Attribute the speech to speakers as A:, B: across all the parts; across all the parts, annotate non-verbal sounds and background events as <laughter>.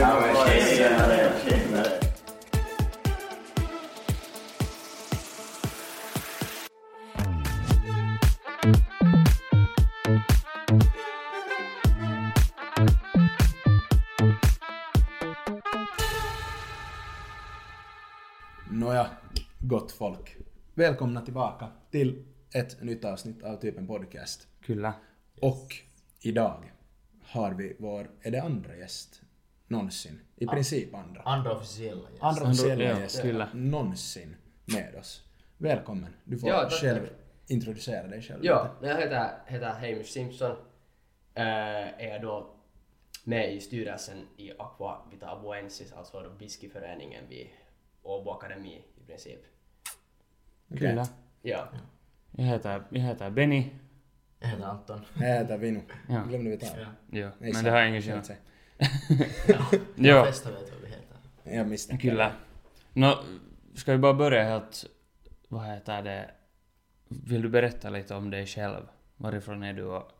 A: Ja, men tjenare, tjenare.
B: Nåja, gott folk. Välkomna tillbaka till ett nytt avsnitt av Typen Podcast.
C: Kyllä.
B: Och idag har vi vår, är det andra gäst någonsin? I princip andra.
A: Andra officiella gäster.
B: Andra officiella
C: ja,
B: gäst
C: kyllä.
B: någonsin med oss. Välkommen. Du får
D: Ja, tack,
B: själv
D: tack.
B: introducera dig själv.
D: Ja,
B: lite.
D: men jag heter, heter Hamish Simpson. Eh, är då med i styrelsen i Aqua Vita Boensis, alltså då whiskyföreningen vid Åbo Akademi i princip.
B: Okej.
C: Kyllä.
D: Ja.
C: Jag heter, jag heter Benny.
A: Jag heter Anton.
B: Jag heter Vino.
C: Ja.
B: Glömde vi ta.
A: Ja.
C: Joo,
B: Ei
C: mä en
B: saa.
C: tehdä englantia.
B: se.
A: De
C: Joo,
A: flesta vet vad vi heter.
B: Jag misstänker.
C: kyllä. No, ska vi bara börja helt... Vad heter det? Vill du berätta lite om dig själv? Varifrån är du och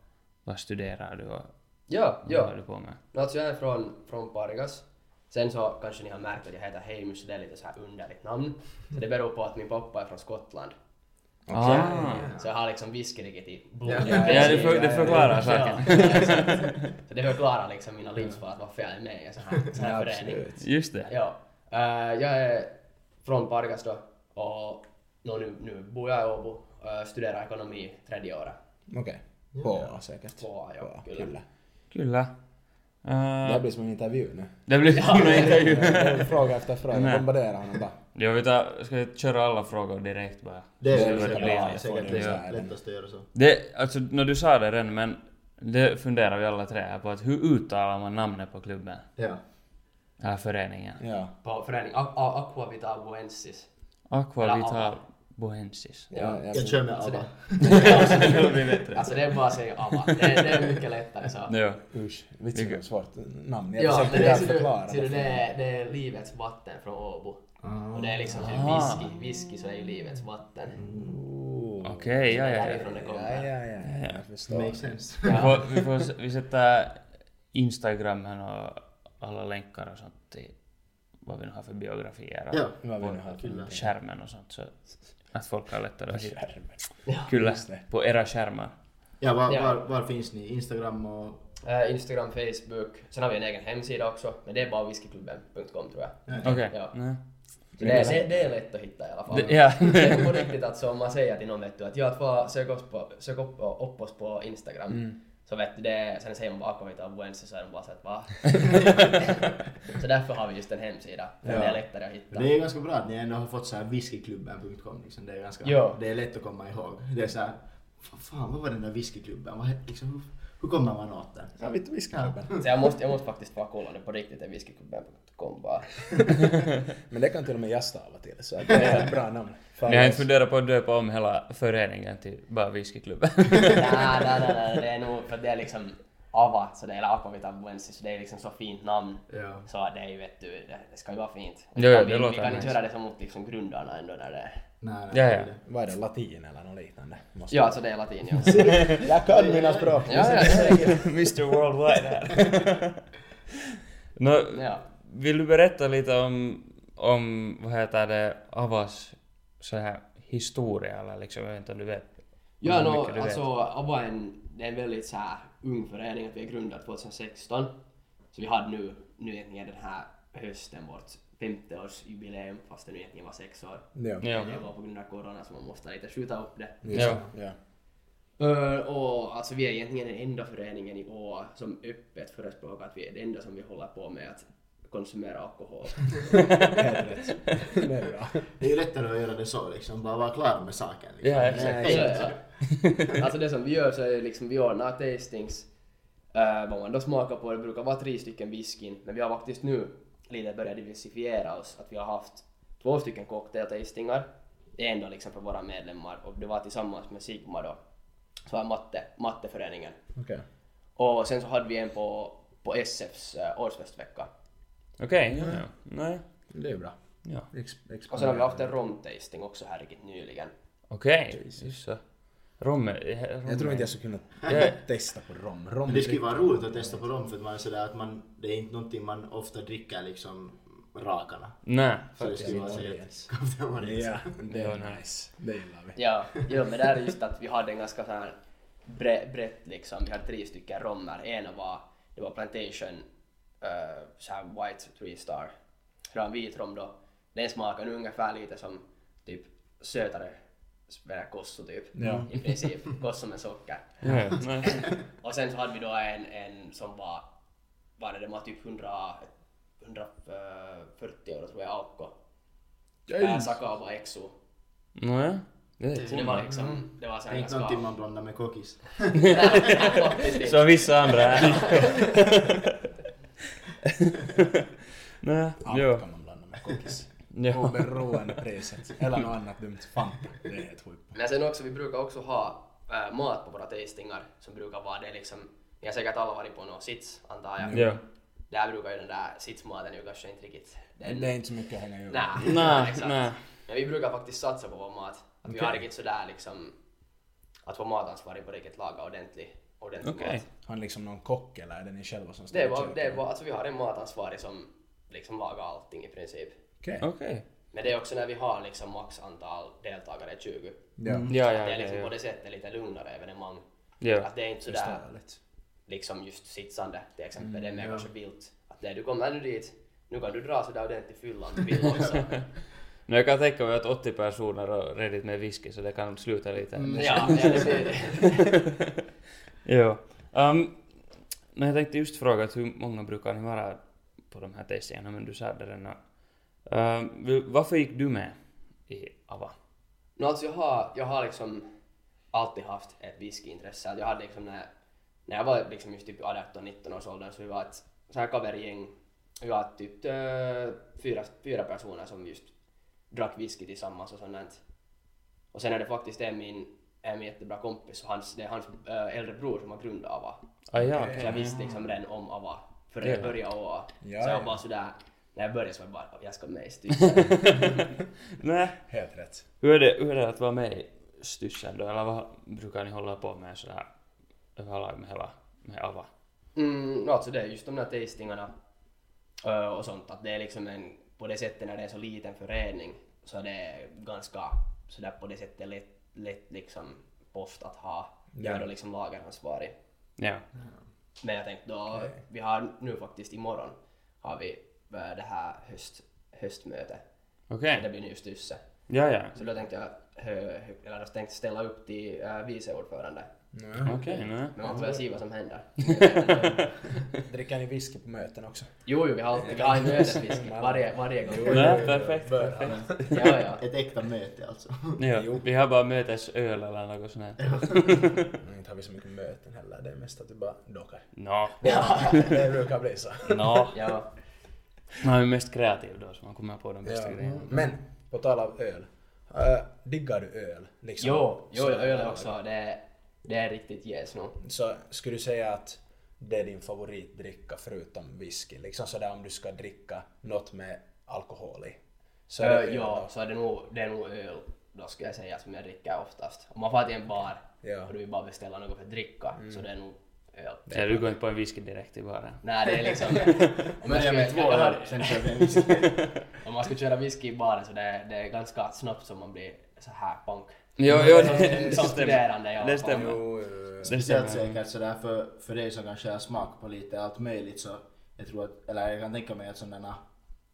C: vad studerar du och
D: Ja,
C: vad
D: ja.
C: håller du på med?
D: No, alltså jag är från, från Pargas. Sen så kanske ni har märkt att jag heter Hamish, så det är lite så här underligt namn. Så det beror på att min pappa är från Skottland.
C: Ah,
D: Så jag har liksom whiskyriket i
A: Ja.
D: blodet.
C: ja, det, för, det förklarar
D: <laughs> Ja,
C: saken.
D: exakt. så det förklarar liksom mina livsval, att varför jag är med i en sån här, sån
B: Ja,
D: här förening.
B: absolut.
C: Just det.
D: Ja. Eh, jag är från Pargas då och nå, nu, nu bor jag i Åbo och studerar ekonomi tredje året.
B: Okej. På säkert.
D: På, ja,
B: På,
D: kyllä.
B: Kyllä.
C: Kyllä.
B: Det
C: Äh,
B: här blir som en intervju nu.
C: det blir <laughs> en intervju.
B: Fråga efter fråga.
C: Nej.
B: Bombardera honom bara.
C: Jag vet inte, ska jag köra alla frågor direkt bara?
A: Det
C: Så
A: är
C: blir
A: säkert,
B: bra,
C: lite-
B: det
A: det är
B: får
A: säkert
B: du
A: lätt-
B: göra.
A: lättast att göra så.
C: Det, alltså, när du sa det redan, men det funderar vi alla tre här på att hur uttalar man namnet på klubben?
A: Ja.
C: Den här föreningen?
B: Ja.
D: På förening A- A- Aqua Vita Boensis.
C: Aqua
D: Eller
C: Vital
D: Ava.
C: Boensis.
B: Ja,
A: Jag kör med alla.
C: Det blir bättre.
D: Alltså det är bara att säga ABBA. Det, är- det är mycket lättare så.
C: Ja.
B: Usch, vitsen
C: Vilka-
B: var svårt namn. Jag
D: Ja, men
B: försökte
D: det, är-
B: där
D: ser du,
B: förklara.
D: ser du, det,
B: det.
D: är, det är livets vatten från Åbo. Och det är liksom så
C: Ah.
D: whisky, whisky så är ju livets vatten.
B: Mm. Ooh.
C: Okej, ja,
D: Det är
C: ja,
D: därifrån
C: ja.
D: det
B: Ja,
D: kommer.
B: ja, ja, jag förstår.
A: Makes sense.
C: Vi får, vi, får, s- vi sätter Instagrammen och alla länkar och sånt till vad vi nu har för biografier och
A: Ja.
B: Vad vi nu har för
A: Kyllä.
C: skärmen och sånt så att folk har lättare att hitta.
B: skärmen.
C: Kyllä,
B: just det.
C: på era skärmar.
A: Ja, var,
D: Ja.
A: var, var finns ni? Instagram och...
D: Eh, Instagram, Facebook. Sen har vi en egen hemsida också. Men det är bara whiskyklubben.com tror jag.
C: Okej.
D: Ja.
C: Nej.
D: Så det, är, det, det är lätt att hitta i alla fall.
C: Det- Ja.
D: Det är på riktigt att så om man säger till någon vet du att jag får sök oss på, sök upp, upp oss på Instagram. Så vet du det, sen säger man bara kom hit och Wensi så är de bara såhär va? så därför har vi just en hemsida. För
B: Ja.
D: det är lättare att hitta.
A: Det är ganska bra att ni ändå har fått så här whiskyklubben.com liksom. Det är ganska...
D: Ja.
A: Det är lätt att komma ihåg. Det är så här... "Fan, Fan, vad var den där whiskyklubben? Vad, hette- liksom, hur, hur kommer man åt den?
B: Ja, vi skärmen.
D: Så jag måste, jag måste faktiskt bara kolla nu på riktigt, det är whiskyklubben.com bara.
B: Men det kan till och med jag stava till, så att det är ett bra namn. Fan,
C: Ni har inte
B: alltså.
C: funderat på att döpa om hela föreningen till bara whiskyklubben? <laughs>
D: nej, nej, nej, nej, det är nog för att det är liksom Ava, så det är Lakovita Buensi, så det är liksom så fint namn.
A: Ja.
D: Så det är ju vet du, det, det ska ju vara fint.
C: Jo,
D: Vi-
C: det
D: vi, vi
C: låter
D: kan inte
C: nice.
D: göra det som mot liksom grundarna ändå när det är...
A: Nej, nej,
C: Ja, ja.
A: det är
B: Vad är det, latin eller något liknande?
D: <laughs>
B: Måste-
D: Ja, alltså det är latin ja.
B: Jag kan mina språk.
D: ja, ja, det
C: <laughs>
D: är
C: Mr Worldwide här. <laughs> Nå,
D: ja.
C: vill du berätta lite om, om vad heter det, Avas så här historia eller liksom, jag vet inte om du vet?
D: Ja,
C: hur
D: no,
C: mycket du vet.
D: alltså ABBA är en, det är en väldigt så här ung förening, att vi är grundad 2016. Så vi hade nu, nu egentligen den här hösten vårt 50-årsjubileum, fast det nu egentligen var sex år.
B: Ja.
C: Ja.
D: Det var på grund av corona så man måste lite skjuta upp det.
B: Just
C: Ja.
B: det, ja.
D: Eh, och alltså vi är egentligen den enda föreningen i år som öppet förespråkar att vi är den enda som vi håller på med att konsumera alkohol.
B: Helt rätt. Det är bra.
A: Det är ju lättare att göra det så liksom. Bara vara klar med saken. Liksom.
C: Ja,
A: Nej,
C: exakt.
D: Så, ja. alltså det som vi gör så är liksom vi ordnar tastings. Uh, vad man då smakar på, det brukar vara tre stycken whiskyn, men vi har faktiskt nu lite börjat diversifiera oss. Att vi har haft två stycken cocktailtastingar, en då liksom för våra medlemmar och det var tillsammans med Sigma då, så är matte, matteföreningen.
B: Okej.
D: Och sen så hade vi en på, på SFs eh, årsfestvecka.
C: Okej, ja, ja. Nej.
B: Det är bra.
C: Ja.
B: Ex-
D: Och sen har vi haft en romtasting också här riktigt nyligen.
C: Okej, just så. Rom, eh,
B: Jag tror
C: rom-
B: inte jag skulle kunna
C: Jag-
B: testa på rom. rom
A: Men det skulle ju vara roligt att testa på rom för att man är sådär att man, det är inte någonting man ofta dricker liksom rakarna.
C: Nej.
A: Så det skulle vara såhär
B: Yes.
A: Kapten Morins.
B: Ja, det
C: Det
B: är
C: var
B: nice. Det gillar vi.
D: Ja, jo, men där är just att vi hade en ganska så här bre, brett liksom. Vi hade tre stycken rommer. En var, det var Plantation, eh, så här White Three Star. Det var en vit rom då. Den smakar nu ungefär lite som typ sötare eller kosso typ.
B: Ja.
D: I princip. Kosso med socker.
C: Ja, ja, nej.
D: Och sen så hade vi då en, en som var, var det, den var typ 100, 140 euro tror jag, Aukko. Äh, Sakava Exo.
C: Nåja. Det är
D: Så det var liksom, det var så
A: Det
D: här
A: är inte någonting
D: ganska...
A: man blandar med kokis.
C: Så vissa andra här. <laughs> Nej,
B: Allt
C: jo.
B: kan man blanda med kokis.
C: Ja.
B: Oberoende priset. Eller något annat dumt. Fanta. Det är ett skit.
D: Men sen också, vi brukar också ha äh, mat på våra tastingar som brukar vara det liksom, ni har säkert alla varit på någon sits antar jag.
C: Ja.
D: Där brukar ju den där sitsmaten ju kanske inte riktigt... Den,
B: Det är inte så mycket att hänga i
D: Nej,
C: Nej,
D: exakt.
C: nej.
D: Men vi brukar faktiskt satsa på vår mat. Att Vi har riktigt sådär liksom att vår matansvarig på riktigt laga ordentlig, ordentlig
C: Okej.
D: mat.
B: Har ni liksom någon kock eller är det ni själva som står
D: Det är
B: och
D: bara,
B: köper?
D: det är bara, alltså vi har en matansvarig som liksom lagar allting i princip.
B: Okej.
C: Okej.
D: Men det är också när vi har liksom max antal deltagare 20.
B: Ja.
C: Ja,
D: det
C: ja,
D: är liksom
C: ja,
D: på
C: ja.
D: det sättet lite lugnare evenemang.
C: Ja.
D: Att det är inte sådär
B: Förståeligt.
D: liksom just sitsande till exempel. det är mer kanske vilt. Att när du kommer nu dit, nu kan du dra sådär ordentligt
C: <laughs>
D: fyllan om du vill också.
C: Men jag kan tänka mig att 80 personer har redigt med whisky så det kan sluta lite.
D: ja, ja, det blir det.
C: Jo. Um, men jag tänkte just fråga att hur många brukar ni vara på de här tastingarna? Men du sa det redan. Ehm, vi- varför gick du med i AVA?
D: No, alltså jag, har, jag har liksom alltid haft ett whiskyintresse. Att Jag hade liksom när, när jag var liksom just typ 18-19 års ålder så vi var ett så här covergäng. Vi var typ eh, fyra, fyra personer som just drack whisky tillsammans och sånt. där. Och sen är det faktiskt en min, en min jättebra kompis och hans, det är hans äh, äldre bror som har grundat AVA.
C: Ah, ja,
D: Så
C: okej.
D: jag visste liksom redan om AVA före
C: Ja.
D: jag började AVA.
B: Ja,
D: så jag
B: ja.
D: var bara sådär, när jag började så var jag bara jag ska med i stycket.
C: Nej.
B: Helt rätt.
C: Hur är, det, hur är det att vara med i Styssen då? Eller vad brukar ni hålla på med sådär överlag med hela med AVA?
D: Mm, no, alltså det är just de där tastingarna ö, och sånt att det är liksom en, på det sättet när det är så liten förening så det är ganska sådär på det sättet lätt, lätt liksom post att ha. Jag
B: Ja.
D: är då liksom lageransvarig.
C: Ja.
D: Men jag tänkte då, vi har nu faktiskt imorgon har vi ö, det här höst, höstmötet.
C: Okej.
D: Det blir nyss Tysse.
C: Ja, ja.
D: Så då tänkte jag, hö, hö, eller då tänkte jag ställa upp till äh, vice ordförande.
B: Ja.
C: Okej, nej.
D: Men man får väl se vad som händer.
B: <laughs> Dricker ni whisky på möten också?
D: Jo, jo, vi har alltid, vi har
B: <laughs>
D: en mötesfisk varje, varje gång.
C: Nej, perfekt, perfekt.
D: Ja, ja.
A: Ett äkta möte alltså.
C: Ja, vi har bara mötesöl eller något sånt här.
B: Men Inte har vi så mycket möten heller. Det är mest att du bara dockar.
C: Nå,
B: <laughs> det brukar bli så.
C: nå.
D: ja.
C: Man är mest kreativ då så man kommer på de bästa
B: Ja.
C: grejerna.
B: Mm. Men, på tal av öl. Äh, diggar du öl? Liksom?
D: Jo, jo,
B: Så-
D: jag gör det också. Det är, det är riktigt jäs nog.
B: Så skulle du säga att det är din favoritdricka förutom whisky? Liksom sådär om du ska dricka något med alkohol i. Så är
C: Eh,
B: det öl
D: ja,
B: då.
D: så är det, nog, det är nog öl då skulle jag säga som jag dricker oftast. Om man far till en bar
B: Ja. Mm.
D: och du vill bara beställa något för att dricka så det är nog öl.
C: Så du går inte på en whisky direkt i baren.
D: Nej, det är
B: <laughs>
D: liksom... om, man
A: Börjar
D: ska,
A: med två öl, sen kör vi en whisky.
D: om man ska köra whisky i baren så det, är- det är ganska snabbt som man blir så här punk.
B: Mm.
C: Jo, jo,
D: Som-
C: Mm. <laughs> det, det
D: som
C: stämmer.
D: studerande i alla
C: Det
D: fall.
C: stämmer.
B: Jo, jo, jo.
C: Det
A: Speciellt
C: stämmer.
A: säkert sådär för, för dig som kanske har smak på lite allt möjligt så jag tror att, eller jag kan tänka mig att sådana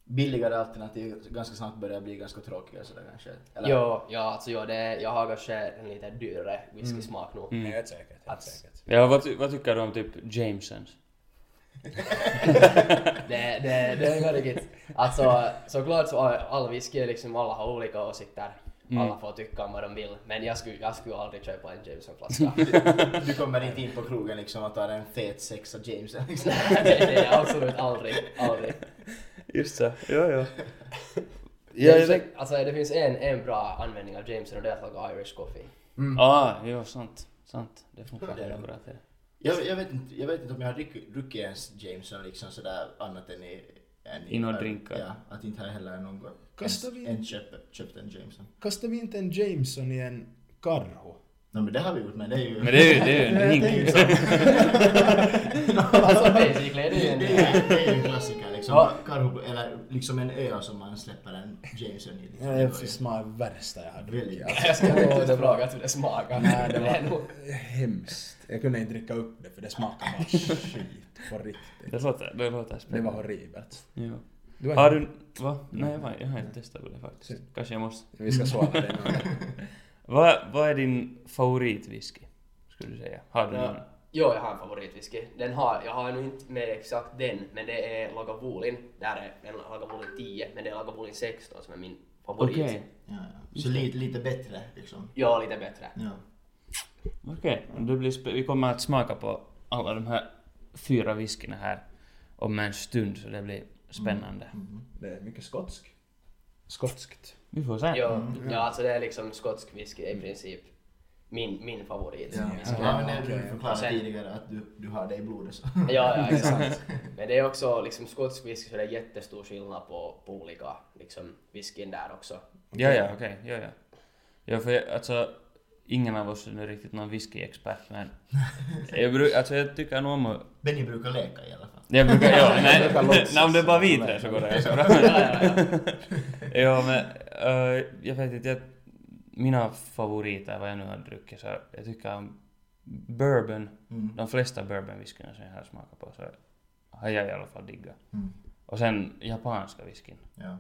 A: billigare alternativ ganska snart börjar bli ganska tråkiga sådär kanske. Eller,
D: Jo, ja, alltså, jo, det, är- jag har kanske en lite dyrare whiskysmak nog.
B: Mm. Helt säkert, helt säkert.
C: Ja, vad, ty- vad tycker du om typ Jamesons?
D: Det, det, det är verkligt. Alltså såklart så all, all whisky är liksom, alla har olika åsikter. Alla får tycka om vad de vill. Men jag skulle, jag skulle aldrig köpa en Jameson-flaska.
A: Du kommer inte in på krogen liksom och tar en fet sexa James. Liksom.
D: det, det är jag absolut aldrig, aldrig.
C: Just så. Jo, jo. Ja, jag
D: Jameson,
C: tänk-
D: alltså det finns en, en bra användning av Jameson och det är att laga Irish coffee.
C: Ah, jo, sant. Sant. Det funkar redan bra till det.
A: Jag, jag, vet inte, jag vet inte om jag har druckit, druckit ens Jameson liksom sådär annat än i... Än
C: I några drinkar.
A: Ja, att inte jag heller någon gång
B: Kastar vi-
A: en köpt, köpt en Jameson.
B: Kastar vi inte en Jameson i en karho?
A: No, men det har vi gjort, men det är ju...
C: Men det är ju, det är ju en
A: <laughs> Det är ju
C: drink.
A: så.
D: Alltså basically, det är
A: Det
D: ju en...
A: är- det är ju en klassiker liksom.
D: Ja.
A: Karhu, eller liksom en ö som man släpper en Jameson i. Liksom.
B: Det är smart värsta jag har druckit.
A: Väldigt.
B: alltså.
D: Jag ska nog inte fråga hur det smakar.
B: Nej, det
D: Det är nog...
B: var hemskt. Jag kunde inte dricka upp det för det smakade bara skit. På
C: Det
B: riktigt.
C: låter, det låter
B: Det var
C: spännande.
B: horribelt.
C: Ja.
B: Du
C: Har du... Va? Nej, jag har- jag har inte testat på det faktiskt. Kanske jag måste.
B: Vi ska svara det nu.
C: Vad, vad är din favoritwhisky? Skulle du säga? Har du
D: Ja.
C: någon?
D: Jo, jag har en favoritwhisky. Den har, jag har nu inte med exakt den, men det är Lagavulin. Där är en Lagavulin 10, men det är Lagavulin 16 som är min favorit.
C: Okej.
A: Ja, ja. Så lite, lite bättre liksom.
D: Ja, lite bättre.
A: Ja.
C: Okej, det blir spe- vi kommer att smaka på alla de här fyra whiskyna här om en stund så det blir spännande.
B: Det är mycket skotsk. Skotskt.
C: Vi får se.
D: Ja,
A: Mm,
D: ja, alltså det är liksom skotsk whisky i princip. Min, min favorit.
A: Ja,
D: Whisky.
A: ja, men det du
B: okej.
A: förklarade
D: Sen-
A: tidigare att du, du har det i blodet så. <laughs>
D: Ja, ja, exakt. Men det är också liksom skotsk whisky så det är jättestor skillnad på, på olika liksom, whiskyn där också.
C: Ja, ja, okej. Ja, ja. ja, för jag, alltså ingen av oss är nu riktigt någon whiskyexpert men jag, bruk, alltså, jag tycker nog om att...
A: Benny brukar leka i alla fall.
C: Jag brukar, ja, nej,
B: Jag brukar låtsas.
C: nej, om det är bara vi tre så går det ganska bra.
D: Ja, ja, ja.
C: <laughs> Ja men eh, jag vet inte, jag, mina favoriter vad jag nu har druckit så jag tycker om bourbon,
A: Mm.
C: de flesta bourbonwhiskyna som jag har smakat på så har jag i alla fall diggat.
A: Mm.
C: Och sen japanska whiskyn.
A: Ja.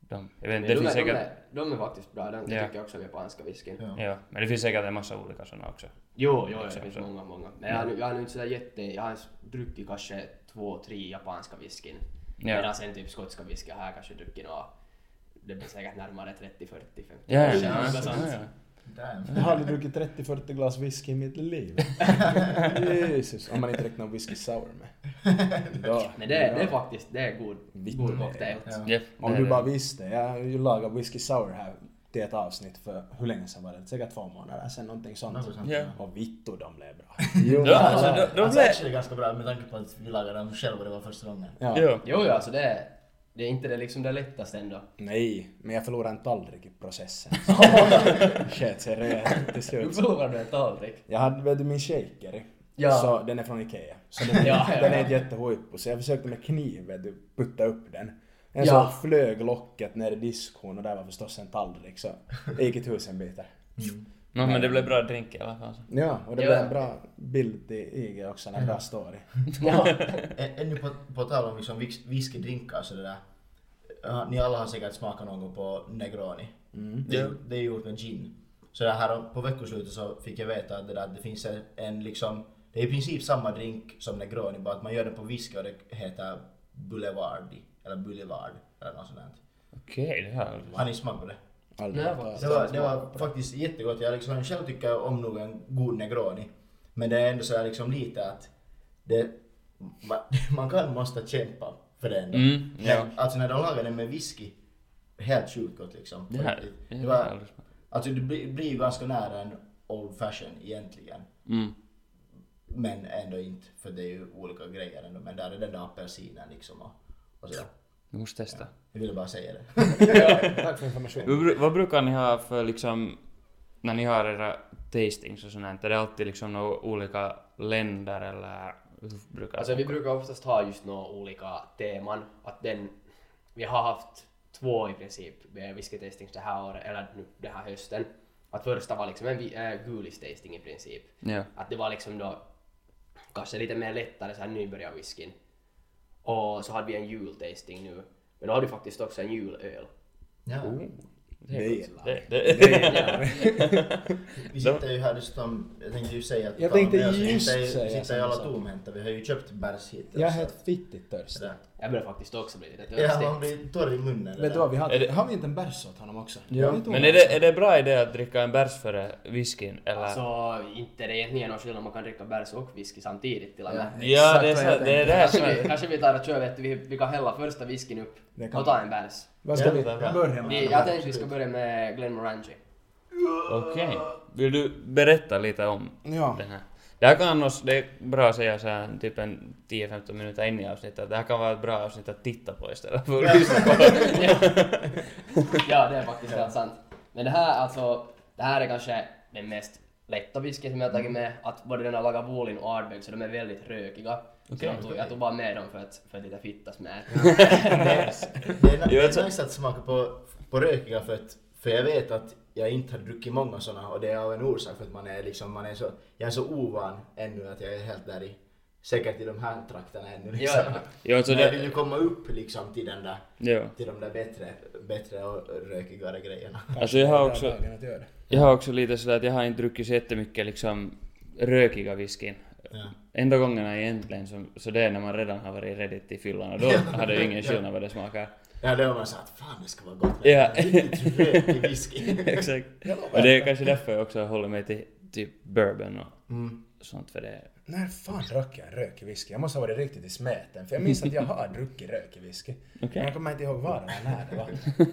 C: De, jag vet
D: Men
C: inte, det
D: de, är,
C: finns
D: de,
C: säkert...
D: är, de är faktiskt bra, den
C: Ja.
D: tycker jag också om japanska whiskyn.
A: Ja.
C: Ja, men det finns säkert en massa olika sådana också.
D: Jo, jo, det
C: Exakt
D: finns
C: så.
D: många, många. Men jag, har nu- jag har nu inte sådär jätte... Jag har druckit kanske två, tre japanska whiskyn.
C: Ja.
D: Medan sen typ skotska whisky har jag kanske druckit nå... Det blir säkert närmare 30, 40, 50
C: Ja, ja,
D: kanske,
C: ja,
D: något
C: ja,
D: sånt.
C: ja.
A: Damn.
B: Jag har aldrig druckit 30-40 glas whisky i mitt liv. Jesus. Om man inte räknar whisky sour <laughs> med. Då-
D: Men det, det är faktiskt det är god,
B: Vitt
D: god
B: med.
D: cocktail.
A: Ja.
C: Japp,
B: Om
C: det
B: du
C: är
B: bara
C: det.
B: visste. Jag har ju lagat whisky sour här till ett avsnitt för hur länge sedan var det? Säkert två månader sedan någonting sånt.
A: Något sånt,
C: Ja.
B: Och vittu de blev bra. <laughs> Jo,
C: Ja, alltså,
B: jävlar.
C: de- de
A: alltså
C: blev-
A: actually ganska bra med tanke på att vi lagade dem själva och det var första gången.
C: <laughs>
B: Ja.
C: Ja.
D: Jo, jo, alltså det är... Det är inte det liksom det lättaste ändå.
B: Nej, men jag förlorade en tallrik i <laughs> processen. Sket sig rejält till
D: Du
B: slut.
D: provade en tallrik.
B: Jag hade vet du, min shaker. i.
D: Ja.
B: Så, den är från Ikea. Så den,
D: Ja, ja,
B: den är
D: ja.
B: inte jättehojpig. Så jag försökte med kniv vet du, putta upp den. En
D: Ja.
B: så flög locket ner i diskon och där var förstås en tallrik. Så det gick i tusen bitar.
C: Nå, men det blev bra drink i alla fall. så.
B: Ja, och det
D: Ja.
B: blev en bra bild i IG också. En bra story.
D: Ja.
A: Ä- Ännu på, på tal om liksom whis- whiskydrinkar så det där. Ja, Ni alla har säkert smakat någon gång på Negroni.
C: Mm.
A: Det, är- det är gjort med gin. Så det här på veckoslutet så fick jag veta att det, där, att det finns en, en liksom, det är i princip samma drink som Negroni bara att man gör den på whisky och det heter Boulevardi. Eller Boulevard eller något sånt där.
C: Okej, det här...
A: Har ni smakat på det?
B: Aldrig
D: Nej,
B: hört talas
A: Det var, det var faktiskt jättegott. Jag liksom själv tycker om nog en god negroni. Men det är ändå så här liksom lite att det, man, <laughs> man kan måste kämpa för det ändå.
C: Mm, ja.
A: Men, alltså när de lagar den med whisky, helt sjukt gott liksom.
C: Det här...
A: Faktiskt.
C: Det här
A: det
C: har jag
A: var,
C: aldrig smakat.
A: alltså det blir blir ju ganska nära en old fashion egentligen.
C: Mm.
A: Men ändå inte, för det är ju olika grejer ändå. Men där är den där apelsinen liksom och, och sådär.
C: Jag måste testa.
A: Jag ville bara säga det.
B: Tack för informationen.
C: Vad bru- Vad brukar ni ha för liksom, när ni har era tastings och sånt, är det alltid liksom några olika länder eller hur brukar
D: Alltså vi brukar oftast ha just några olika teman. Att den, vi har haft två i princip eh, whisky-tastings det här året, eller nu den här hösten. Att första var liksom en vi- äh, gulis-tasting i princip.
C: Ja.
D: Att det var liksom då kanske lite mer lättare såhär nybörjarwhiskyn. Och så hade vi en jultasting nu. Men då har du faktiskt också en julöl.
A: Ja.
B: Det gillar
C: Det,
B: jag.
C: det,
A: Vi sitter ju här dessutom, jag tänkte ju säga att
B: Jag
A: på tal om
B: tänkte
A: det, så
B: just
A: sitter ju-
B: säga
A: sitter
B: samma
A: ju alla
B: sak.
A: tomhänta, vi har ju köpt bärs hit.
B: Jag är
A: så
B: helt
A: att-
B: fittigt törstig.
A: sådär.
D: Jag börjar faktiskt också bli lite
A: Ja,
D: törstig.
A: man blir torr i munnen.
B: Vet du
A: <laughs>
B: vad, vi har,
C: Är det-
B: har vi inte en bärs åt honom också?
A: Ja.
B: Vi tog
C: men
B: en
C: är
B: bärs.
C: det, är det bra idé att dricka en bärs före whiskyn eller?
D: Alltså inte det är egentligen någon skillnad, man kan dricka bärs och whisky samtidigt till och med.
C: ja, det är,
B: exakt vad jag
C: så, det är det här som
D: Kanske vi,
C: är...
D: kanske vi tar och kör, vet du, vi, vi kan hälla första whiskyn upp
B: Det kan
D: och ta en bärs.
B: Vad ska vi
A: Ja, ja.
B: börja med?
D: Vi, jag tänkte vi ska börja
B: <laughs>
D: med Glenmorangie.
C: Okej. Vill du berätta lite om
B: Ja.
C: den här? Det här kan annars, det är bra att säga så här, typ en 10-15 minuter in i avsnittet, det här kan vara ett bra avsnitt att titta på istället för att lyssna på.
D: ja, det är faktiskt helt sant. Men det här alltså, det här är kanske den mest lätta whisky som jag har tagit med, att både den här Lagavulin och Ardbeg, så de är väldigt rökiga. så jag, tog, jag tog bara med dem för att, för att lite fittas med.
A: Det är, det är nice att smaka på, på rökiga för att för jag vet att jag inte har druckit många sådana och det är av en orsak för att man är liksom, man är så, jag är så ovan ännu att jag är helt där i, säkert i de här trakterna ännu liksom.
D: ja.
C: Jo, alltså
A: Men jag
C: det-
A: vill ju komma upp liksom till den där,
C: Ja.
A: till de där bättre, bättre och rökigare grejerna. <laughs>
C: Alltså jag har också...
B: Dagen att göra det.
C: Jag har också lite sådär att jag har inte druckit så jättemycket liksom rökiga whiskyn.
A: Ja.
C: Enda gångerna egentligen som, så det är när man redan har varit redigt till fyllan och då har det ju ingen skillnad vad det smakar.
A: Ja, då var man såhär att fan det ska vara gott
C: <laughs> Ja.
A: med en riktigt rökig whisky.
C: <laughs> Exakt. Och det är kanske därför jag också håller mig till typ bourbon och sånt för det.
B: När fan drack jag en rökig whisky? Jag måste ha varit riktigt i smeten, för jag minns att jag har druckit rökig whisky. Men jag kommer inte ihåg var det var, när
C: <laughs>
B: det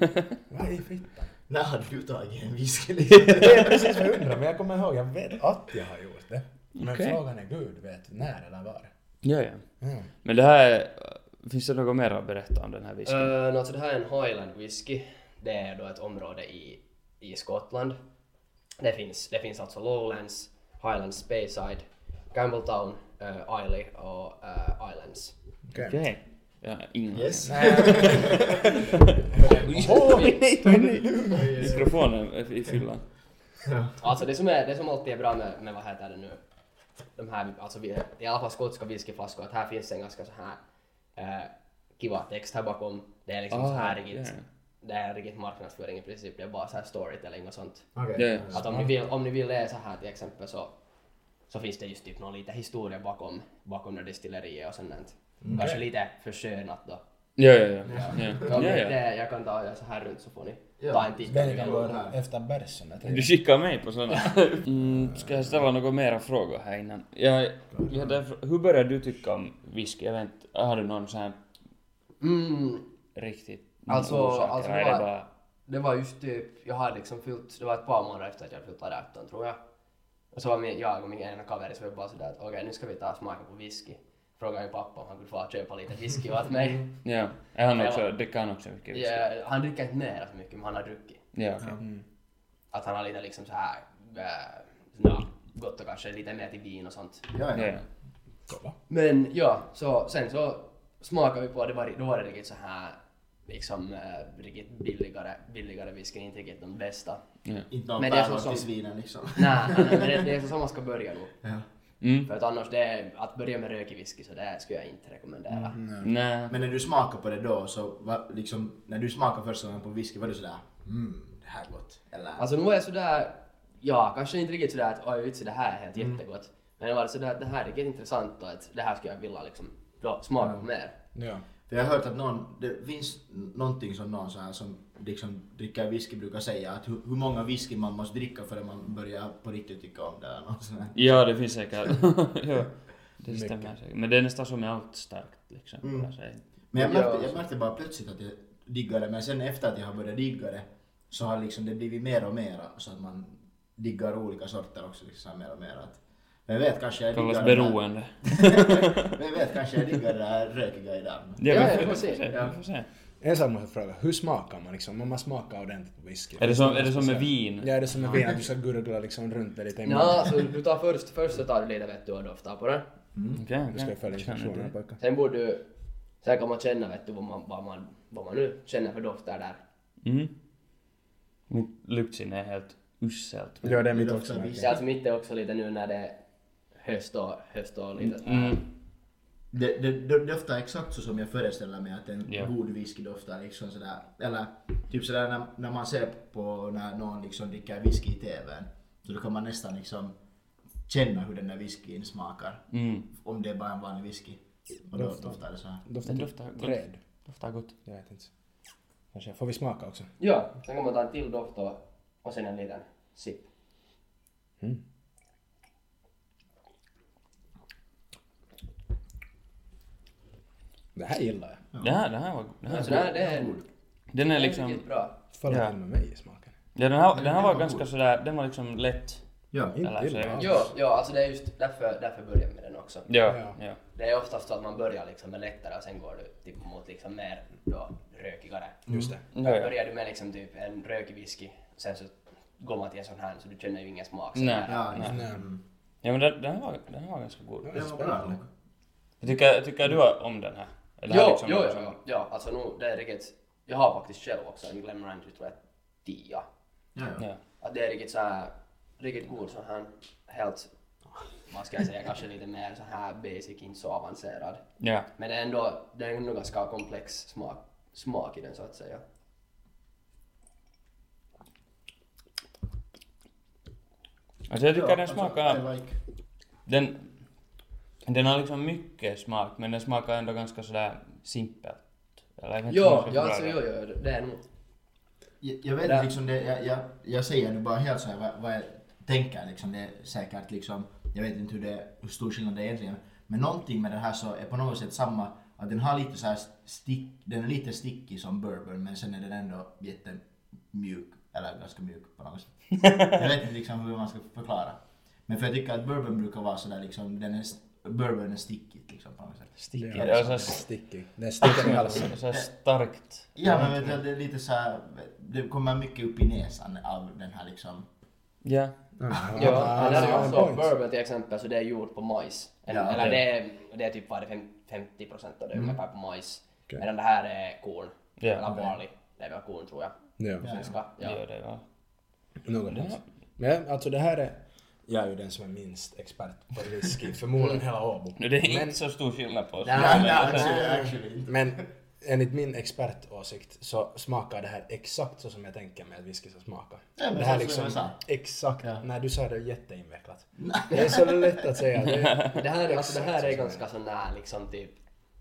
B: var. Vad i fittan?
A: När har du tagit en whisky liksom?
B: Det är precis vad jag undrar, men jag kommer ihåg, jag vet att jag har gjort det. Men
C: Okej.
B: frågan är gud vet när eller var.
C: Ja, ja.
B: Mm.
C: Men det här är, Finns det något mer att berätta om den här whiskyn?
D: Uh, alltså det här är en Highland whisky. Det är då ett område i, i Skottland. Det finns, det finns alltså Lowlands, Highlands, Bayside, Campbelltown, uh, Islay och uh, Islands.
B: Okej.
C: Okej. Jag har ingen aning.
A: Yes.
B: Åh,
C: Mikrofonen i fyllan.
D: Alltså det som, är, det som alltid är bra med, med vad heter det nu, de här, alltså vi, i alla fall skotska whiskyflaskor, att här finns en ganska så här eh, kiva text här bakom. Det är liksom
C: Ah,
D: så här riktigt,
C: ja.
D: det är riktigt marknadsföring i princip, det är bara så här storytelling och sånt.
A: Okej.
C: Ja,
D: Att om ni vill, om ni vill läsa här till exempel så, så finns det just typ någon lite historia bakom, bakom det destilleriet och sånt. där. Kanske lite förskönat då.
C: ja, ja. ja.
D: Ja,
C: Mm. ja,
D: men
C: ja, ja.
D: Det, eh, jag kan ta det så här runt så får ni
A: Ja.
D: ta en titt. om ni
B: Den kan
D: vill.
B: gå efter bärsen. jag
C: Du
B: tänker.
C: skickar mig på såna. <laughs> Mm, ska jag ställa några mera frågor här innan? Jag, jag därför, hur började du tycka om whisky? Jag vet inte, har du någon sån här
D: Mm,
C: riktigt
D: Alltså-
C: orsak,
D: alltså
C: eller
D: det
C: är det
D: var-
C: bara...
D: det var just typ, jag hade liksom fyllt, det var ett par månader efter att jag hade fyllt 18 tror jag. Och så var min, jag och min ena kaveri så vi bara sådär att okej nu ska vi ta och smaka på whisky. Frågade min pappa om han kunde få köpa lite whisky åt mig.
C: Ja, är han
D: det
C: också,
D: var-
C: dricker han också mycket whisky?
D: Ja, han dricker inte mer så mycket men han har druckit.
C: Ja, okej.
D: Att han har lite liksom så här, äh, na, gått och kanske lite mer till vin och sånt.
A: Ja,
C: Ja,
A: ja.
C: ja.
B: Kolla.
D: Men ja, så sen så smakade vi på det, var, då var det riktigt så här liksom äh, riktigt billigare, billigare whisky, inte riktigt de bästa.
C: ja.
A: Inte någon
D: Men det är så
A: päron
D: som-
A: till svinen liksom.
D: Nej, nej, nej, men det, det är så som man ska börja nog.
A: Ja.
C: Mm.
D: För att annars, det är, att börja med rökig whisky så det skulle jag inte rekommendera.
C: Nej.
A: Men när du smakade på det då, så var, liksom, när du smakade första gången på whisky, var du sådär mm, det här är gott? Eller?
D: Alltså nu var jag sådär, ja kanske inte riktigt sådär att oj vitsi det här är helt jättegott. Men det var sådär att det här är riktigt intressant och att det här skulle jag vilja liksom då, smaka på mer.
B: Ja.
A: För jag har hört att någon, det finns någonting som någon så här som liksom dricker whisky brukar säga att hur, hur många whisky man måste dricka förrän man börjar på riktigt tycka om det eller något sånt där.
C: Ja, det finns
D: <laughs>
C: säkert. ja, det stämmer säkert. Men det är nästan som med allt starkt liksom.
D: Mm.
C: Alltså,
A: Men jag
D: Ja,
A: märkte, jag
D: alltså.
A: märkte bara plötsligt att jag diggade det, men sen efter att jag har börjat digga det så har liksom det blivit mer och mer så att man diggar olika sorter också liksom så här mer och mer. Att, men jag vet kanske
C: det
A: jag
C: kallas
A: diggar det <laughs> här-
C: beroende.
A: men jag vet kanske jag diggar det här rökiga i den.
D: Ja,
C: vi
D: ja,
C: vi
D: vi får se. Ja.
C: Vi får se.
B: En sak måste jag fråga, hur smakar man liksom? Om man smakar ordentligt på whisky?
C: Är det som, är det som med
B: Speciellt.
C: vin?
B: Ja, är det som med vin, att du ska gurgla liksom runt det lite i munnen?
D: Ja, så Alltså, du tar först, först så tar du lite vet du och doftar på den.
C: Okej, okej.
B: Du ska följa
C: Jag känner
B: instruktionerna
C: det.
B: pojkar.
D: Sen borde du, sen kan man känna vet du vad man, vad man, vad man nu känner för dofter där.
C: Mm. Mitt luktsinne är helt uselt.
B: Ja, det är mitt
A: Det
B: också.
A: luktar
B: märker
D: Det är
B: jag.
D: alltså mitt är också lite nu när det är höst och, höst och lite sådär.
C: Mm.
A: Det, det, det doftar exakt så som jag föreställer mig att en
C: Ja.
A: god whisky doftar. Liksom sådär. Eller typ sådär när, när man ser på när någon liksom dricker whisky i TVn. Så då kan man nästan liksom känna hur den där whiskyn smakar.
C: Mm.
A: Om det är bara en vanlig whisky. Och då doftar det så här.
B: Doftar
C: Den
B: typ
C: doftar gott.
B: träd.
C: Doftar gott.
B: Jag vet inte. Kanske. Får vi smaka också?
D: Ja, sen kan man ta en till doft och, och sen en liten sipp.
B: Det här gillar jag.
C: Det här, det här var... Det här,
D: Så Alltså, det här, det är,
C: den
D: det
C: är
D: är
C: liksom...
D: riktigt bra.
B: Faller
C: Ja.
B: in med mig i smaken.
C: Ja, den här, den
A: den
C: här
A: var
C: var
A: god.
C: ganska sådär... Den var liksom lätt.
A: Ja.
B: Inte
C: Eller så är
B: illa
C: det-
B: alls.
D: Ja, ja, alltså det är just därför, därför börjar jag med den också.
C: Ja.
B: Ja.
C: ja.
D: Det är oftast så att man börjar liksom med lättare och sen går du typ mot liksom mer då rökigare.
B: Just det.
A: Mm.
C: ja, ja.
D: Börjar du med liksom typ en rökig whisky, sen så går man till en sån här så du känner ju ingen smak. så
C: Nej.
D: här.
A: Ja, just det.
B: Nej.
A: Mm.
C: Ja men den, den, här var, den här var ganska god.
A: Det var bra.
C: Jag tycker, tycker du om den här? Eller
D: Jo,
C: här liksom
D: jo,
C: något
D: jo,
C: som-
D: jo. Ja, alltså nu, det är riktigt. Jag har faktiskt själv också en Glen Ranger tror jag 10.
A: Ja, ja.
C: Ja.
D: Att det är riktigt så här, riktigt god sån här helt, vad ska jag säga, kanske lite mer så här basic, inte så avancerad.
C: ja.
D: Men det är ändå, det är ändå ganska komplex smak, smak i den så att säga.
C: Alltså jag tycker
A: Ja,
C: den
A: alltså,
C: smakar...
A: I like.
C: Den, den har liksom mycket smak, men den smakar ändå ganska sådär simpelt. Eller jag vet inte hur
D: Jo,
C: man ska förklara
D: ja, alltså
C: det.
D: jo, jo, det är nog.
A: Jag, jag vet
D: Där.
A: liksom det, jag, jag, jag säger nu bara helt så här vad, vad jag tänker liksom. Det är säkert liksom, jag vet inte hur, det, hur stor skillnad det är egentligen. Men någonting med den här så är på något sätt samma, att den har lite så här stick, den är lite stickig som bourbon men sen är den ändå jättemjuk, eller ganska mjuk på något sätt. Jag vet inte liksom hur man ska förklara. Men för jag tycker att bourbon brukar vara sådär liksom, den är, st- bourbon är stickigt liksom på något sätt.
C: Stickigt.
A: Ja,
C: Det är så,
B: Sticky. Den sticker i halsen.
C: så, så starkt.
A: Ja men vet du, det är lite så här, det kommer mycket upp i näsan av den här liksom
C: Ja.
D: Ja,
B: han
D: eller
B: har en
D: alltså
B: point.
D: bourbon till exempel, så det är gjort på majs. Eller,
A: Ja,
D: eller
C: okej.
D: det, är, det är typ vad är det, fem- 50 procent av det ungefär på majs.
B: Okej.
D: Medan det här är korn.
C: Ja,
D: eller
A: okej.
D: barley. Det är väl korn tror jag.
A: Ja.
B: Ja,
D: Svenska. Ja.
C: Det gör det, va?
B: något sånt. Men alltså det här är... Jag är ju den som är minst expert på whisky, förmodligen hela Åbo.
C: Nu, det är
B: Men-
C: inte så stor skillnad på oss.
A: Nej, nej, actually, actually inte.
B: Men enligt min expertåsikt så smakar det här exakt så som jag tänker mig att whisky ska smaka.
A: Ja, men
B: det här liksom
A: så som jag sa.
B: Exakt.
A: Ja.
B: Nej, du sa det jätteinvecklat. Det är så lätt att säga. Det,
A: <laughs>
D: Det här, är- alltså, det här är
B: Exakt så
D: ganska sån där liksom typ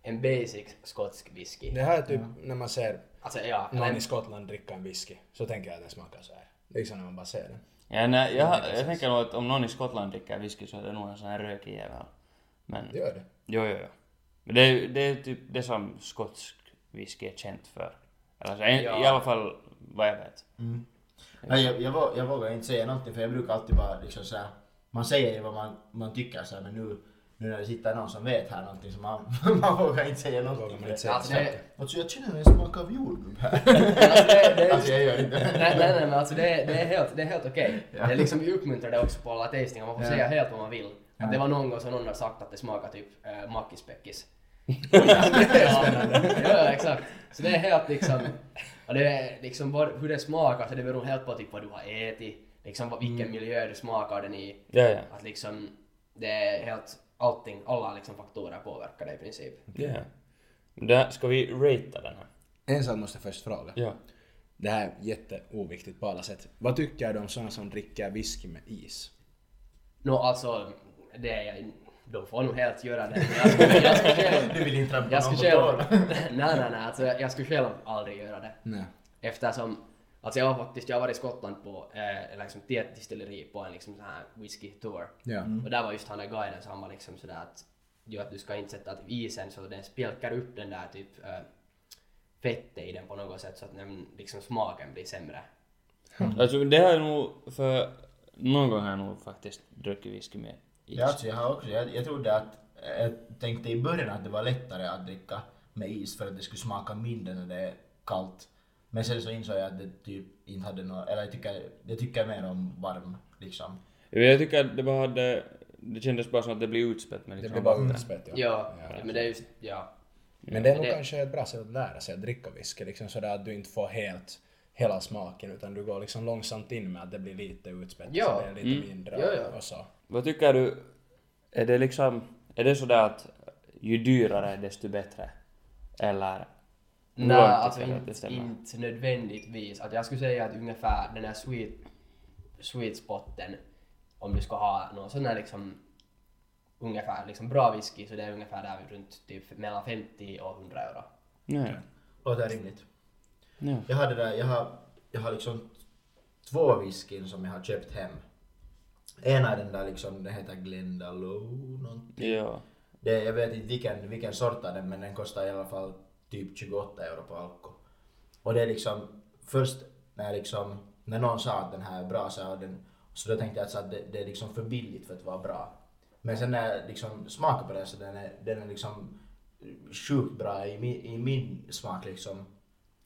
D: en basic skotsk whisky.
B: det här är typ när man ser
D: Alltså ja, eller
B: någon i
D: en,
B: Skottland dricka en whisky så tänker jag att den smakar så här. Liksom när man bara ser den.
C: Ja, nej, jag, jag tänker nog att om någon i Skottland dricker whisky så är det nog en sån här rökig jävel. Men,
B: Det gör det.
C: jo, jo, jo. Men det, är- det är typ det som skotsk whisky är känt för. Eller så, en,
D: Ja.
C: i alla fall vad jag vet.
A: Nej, jag, jag, vå- jag vågar inte säga någonting för jag brukar alltid bara liksom så här, Man säger ju vad man, man tycker så här, men nu, nu när det sitter någon som vet här någonting så man, <laughs> man vågar inte säga
B: Vågar
A: någonting.
B: man inte
A: Alltså,
B: säga.
D: alltså, det,
A: jag känner en smak av jordgubb här.
D: alltså, det, det,
A: <laughs> Alltså jag gör inte.
D: nej, nej, nej, men alltså det, är- det är helt, det är helt okej. Det är liksom, vi uppmuntrar det också på alla tastingar, man får
A: Ja.
D: säga helt vad man vill.
A: Ja.
D: Att det var någon gång som någon har sagt att det smakar typ äh, makispäckis. <laughs> ja, ja, exakt. Så det är helt liksom, och det är liksom vad, hur det smakar, så det beror helt på typ vad du har ätit, liksom vad,
A: Mm.
D: vilken miljö du smakar den i.
C: Ja, ja.
D: Att liksom, det är helt, allting, alla liksom faktorer påverkar det i princip.
C: Ja. Där ska vi ratea den här?
B: En sak måste jag först fråga.
C: Ja.
B: Det här är jätteoviktigt på alla sätt. Vad tycker du om sådana som dricker whisky med is?
D: Nå alltså, det är jag, de får nog helt göra
B: <laughs>
D: det. Men jag skulle, jag skulle själv...
A: Du vill inte trampa
D: Jag
A: någon
D: skulle
A: på
D: själv...
A: tårna.
D: <laughs> Nej, nej, nej. Alltså, jag jag skulle själv aldrig göra det.
B: Nej.
D: Eftersom... Alltså jag har faktiskt, jag har varit i Skottland på, eh, eller liksom till ett distilleri på en liksom sån här whisky tour.
B: Ja.
A: Mm.
D: Och där var just han där guiden så han var liksom sådär att, jo, att du ska inte sätta att isen så den spjälkar upp den där typ eh, fettet i den på något sätt så att den, liksom smaken blir sämre.
C: <laughs> Alltså det har jag nog för... Någon gång har jag nog faktiskt druckit whisky med is.
A: Ja, alltså, jag, har också, jag, jag trodde att, jag tänkte i början att det var lättare att dricka med is för att det skulle smaka mindre när det är kallt. Men sen så insåg jag att det typ inte hade något, eller jag tycker, jag tycker mer om varm liksom.
C: Jag tycker att det bara hade... Det kändes bara som att det blev utspätt med
B: Det
C: liksom
B: blir bara
C: vatten.
B: utspätt.
D: Ja, ja, men det är just, ja.
B: Men det är nog
D: Det-
B: kanske ett bra sätt att lära sig att dricka whisky. Liksom sådär att du inte får helt hela smaken utan du går liksom långsamt in med att det blir lite utspätt.
D: Ja. mm.
B: Så det är lite mindre och-
D: Ja, ja.
B: och så.
C: Vad tycker du? Är det liksom... Är det sådär att ju dyrare desto bättre? Eller? hur
D: Nej,
C: långt
D: alltså
C: tycker du att det
D: inte,
C: stämmer?
D: inte nödvändigtvis. Att jag skulle säga att ungefär den här sweet, sweet spotten, om du ska ha någon sån här liksom ungefär liksom bra whisky så det är ungefär där runt typ mellan 50 och 100 euro.
C: Nej.
A: Låter rimligt.
C: Nej.
A: Jag har det där, jag har, jag har liksom två whiskyn som jag har köpt hem. Ena är den där liksom, den heter Glendalow någon.
C: Ja.
A: Det, jag vet inte vilken, vilken sort av den men den kostar i alla fall typ 28 euro på Alko. Och det är liksom först när liksom, när någon sa att den här är bra så, här, och den, så då tänkte jag att, så att det, det är liksom för billigt för att vara bra. Men sen när jag liksom smakar på den så den är den är liksom sjukt bra i min, i min smak liksom.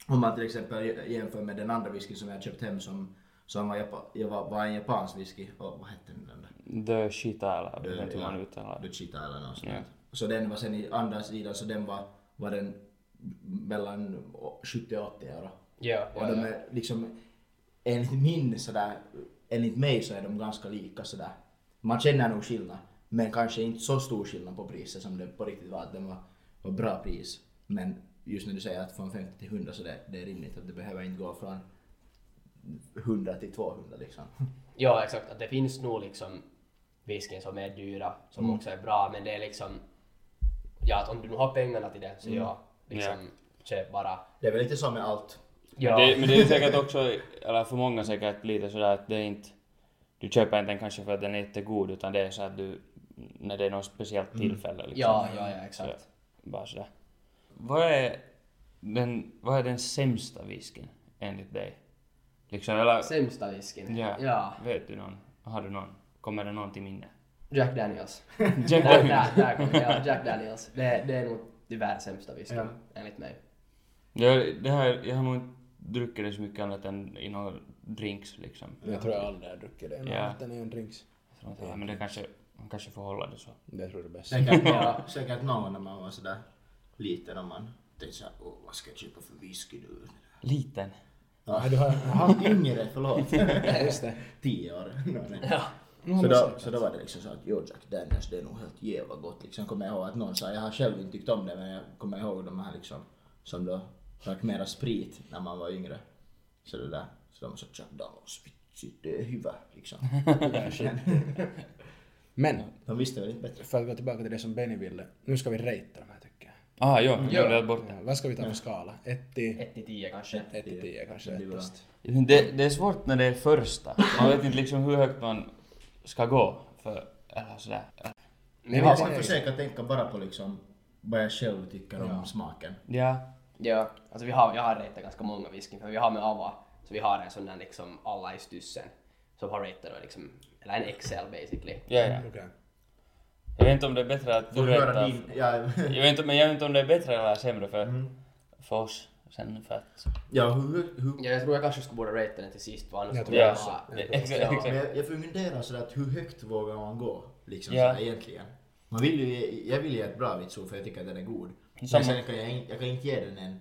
A: Om man till exempel jämför med den andra whiskyn som jag har köpt hem som, som var, Japa- jag var, var en japansk whisky och vad hette den där?
C: The Shita eller jag
A: Eh,
C: vet inte hur
A: ja,
C: man uttalar det.
A: Duchita eller något sånt.
C: Ja.
A: Så den var sen i andra sidan, så den var, var den mellan 70 och 80 euro.
D: Ja,
A: Och de är liksom, enligt min sådär, enligt mig så är de ganska lika sådär. Man känner nog skillnad, men kanske inte så stor skillnad på priset som det på riktigt var. att Den var, var bra pris. Men just när du säger att från 50 till 100 så det, det är rimligt att det behöver inte gå från 100 till 200 liksom.
D: Ja, exakt. Att det finns nog liksom whiskyn som är dyra, som
C: Mm.
D: också är bra, men det är liksom... Ja, att om du nu har pengarna till det, så
C: Mm.
D: ja, liksom köp bara...
A: Det är väl lite så med allt.
D: Ja,
C: Det, men det är säkert också, eller för många säkert lite sådär att det är inte, du köper inte den kanske för att den är jättegod utan det är så att du, när det är något speciellt tillfälle liksom.
D: Mm. ja, ja, ja, exakt.
C: Så, bara sådär. Vad är den, vad är den sämsta whiskyn enligt dig? Liksom, eller,
D: Sämsta whiskyn.
C: ja,
D: ja.
C: vet du någon? Har du någon? Kommer det någon till
D: <laughs>
C: minne?
D: Jack Daniels. <laughs>
C: Jack
D: där,
C: Daniels.
D: där, där kommer <laughs> jag. Jack Daniels. Det, det är nog tyvärr sämsta whiskyn, enligt mig.
C: Jag, det här, jag har nog inte druckit det så mycket annat än i några drinks liksom.
D: Mm.
B: Jag tror jag aldrig har druckit det.
C: Ja.
B: Yeah. Den är en drinks.
C: Jag tror inte- Men det kanske, man kanske får hålla det så.
B: Det tror jag är <laughs> bäst.
A: <laughs> Säkert, någon, säkert någon när man var sådär liten och man tänkte såhär, åh vad ska jag köpa för whisky nu?
C: Liten.
A: Ja,
B: du har-
A: Jaha, yngre, <laughs> förlåt.
B: Just det.
A: Tio <laughs> år. Nej.
B: Nu har
A: Så
B: man
A: då,
B: säkert.
A: så då var det liksom så att jo Jack Daniels det är nog helt jävla gott liksom. Kommer jag ihåg att någon sa, jag har själv inte tyckt om det men jag kommer ihåg de här liksom som då drack mera sprit när man var yngre. Så det där. Så de sa Jack Daniels, shit det är hyvä <laughs> liksom.
B: <laughs> Men,
A: De visste väl inte bättre.
B: för att gå tillbaka till det som Benny ville. Nu ska vi ratea de här tycker jag.
C: Ah, ja, jag
D: Ja.
C: glömde bort det.
B: Ja, vad ska vi ta för skala? 1 till
D: Ett till tio kanske.
B: ett till 10 kanske.
A: Det blir bra.
B: bäst.
C: Jag tänkte, Det, det är svårt när det är första. Man vet inte liksom hur högt man ska gå. För, eller sådär.
A: Men
B: vi
A: jag
B: ska-
A: ska försöka tänka bara på liksom vad jag själv tycker om smaken.
C: Ja.
D: Ja, alltså vi har, jag har ratat ganska många whiskyn för vi har med AVA, så vi har en sån där liksom alla i styssen som har ratat då liksom, eller en Excel basically.
C: ja, ja.
B: Okej.
C: Jag vet inte om det är bättre att
A: Får
C: du
A: du höra
C: rättar.
A: din? Ja,
C: Jag vet inte, men jag vet inte om det är bättre eller sämre för, för oss. Sen för att...
A: <laughs> ja hur, hur
D: Ja, jag tror jag kanske skulle borde rata den till sist för annars
B: Jag
D: kommer
B: tror
D: jag
C: också.
D: ha-
C: Ja, exakt,
D: Ja.
A: Men
C: exakt.
A: jag, jag funderar sådär att hur högt vågar man gå? Liksom
C: Ja.
A: sådär, egentligen. Man vill ju, ge- jag vill ge ett bra vitsord för jag tycker att den är god.
C: Samma.
A: Men sen kan jag, in- jag kan inte ge den en,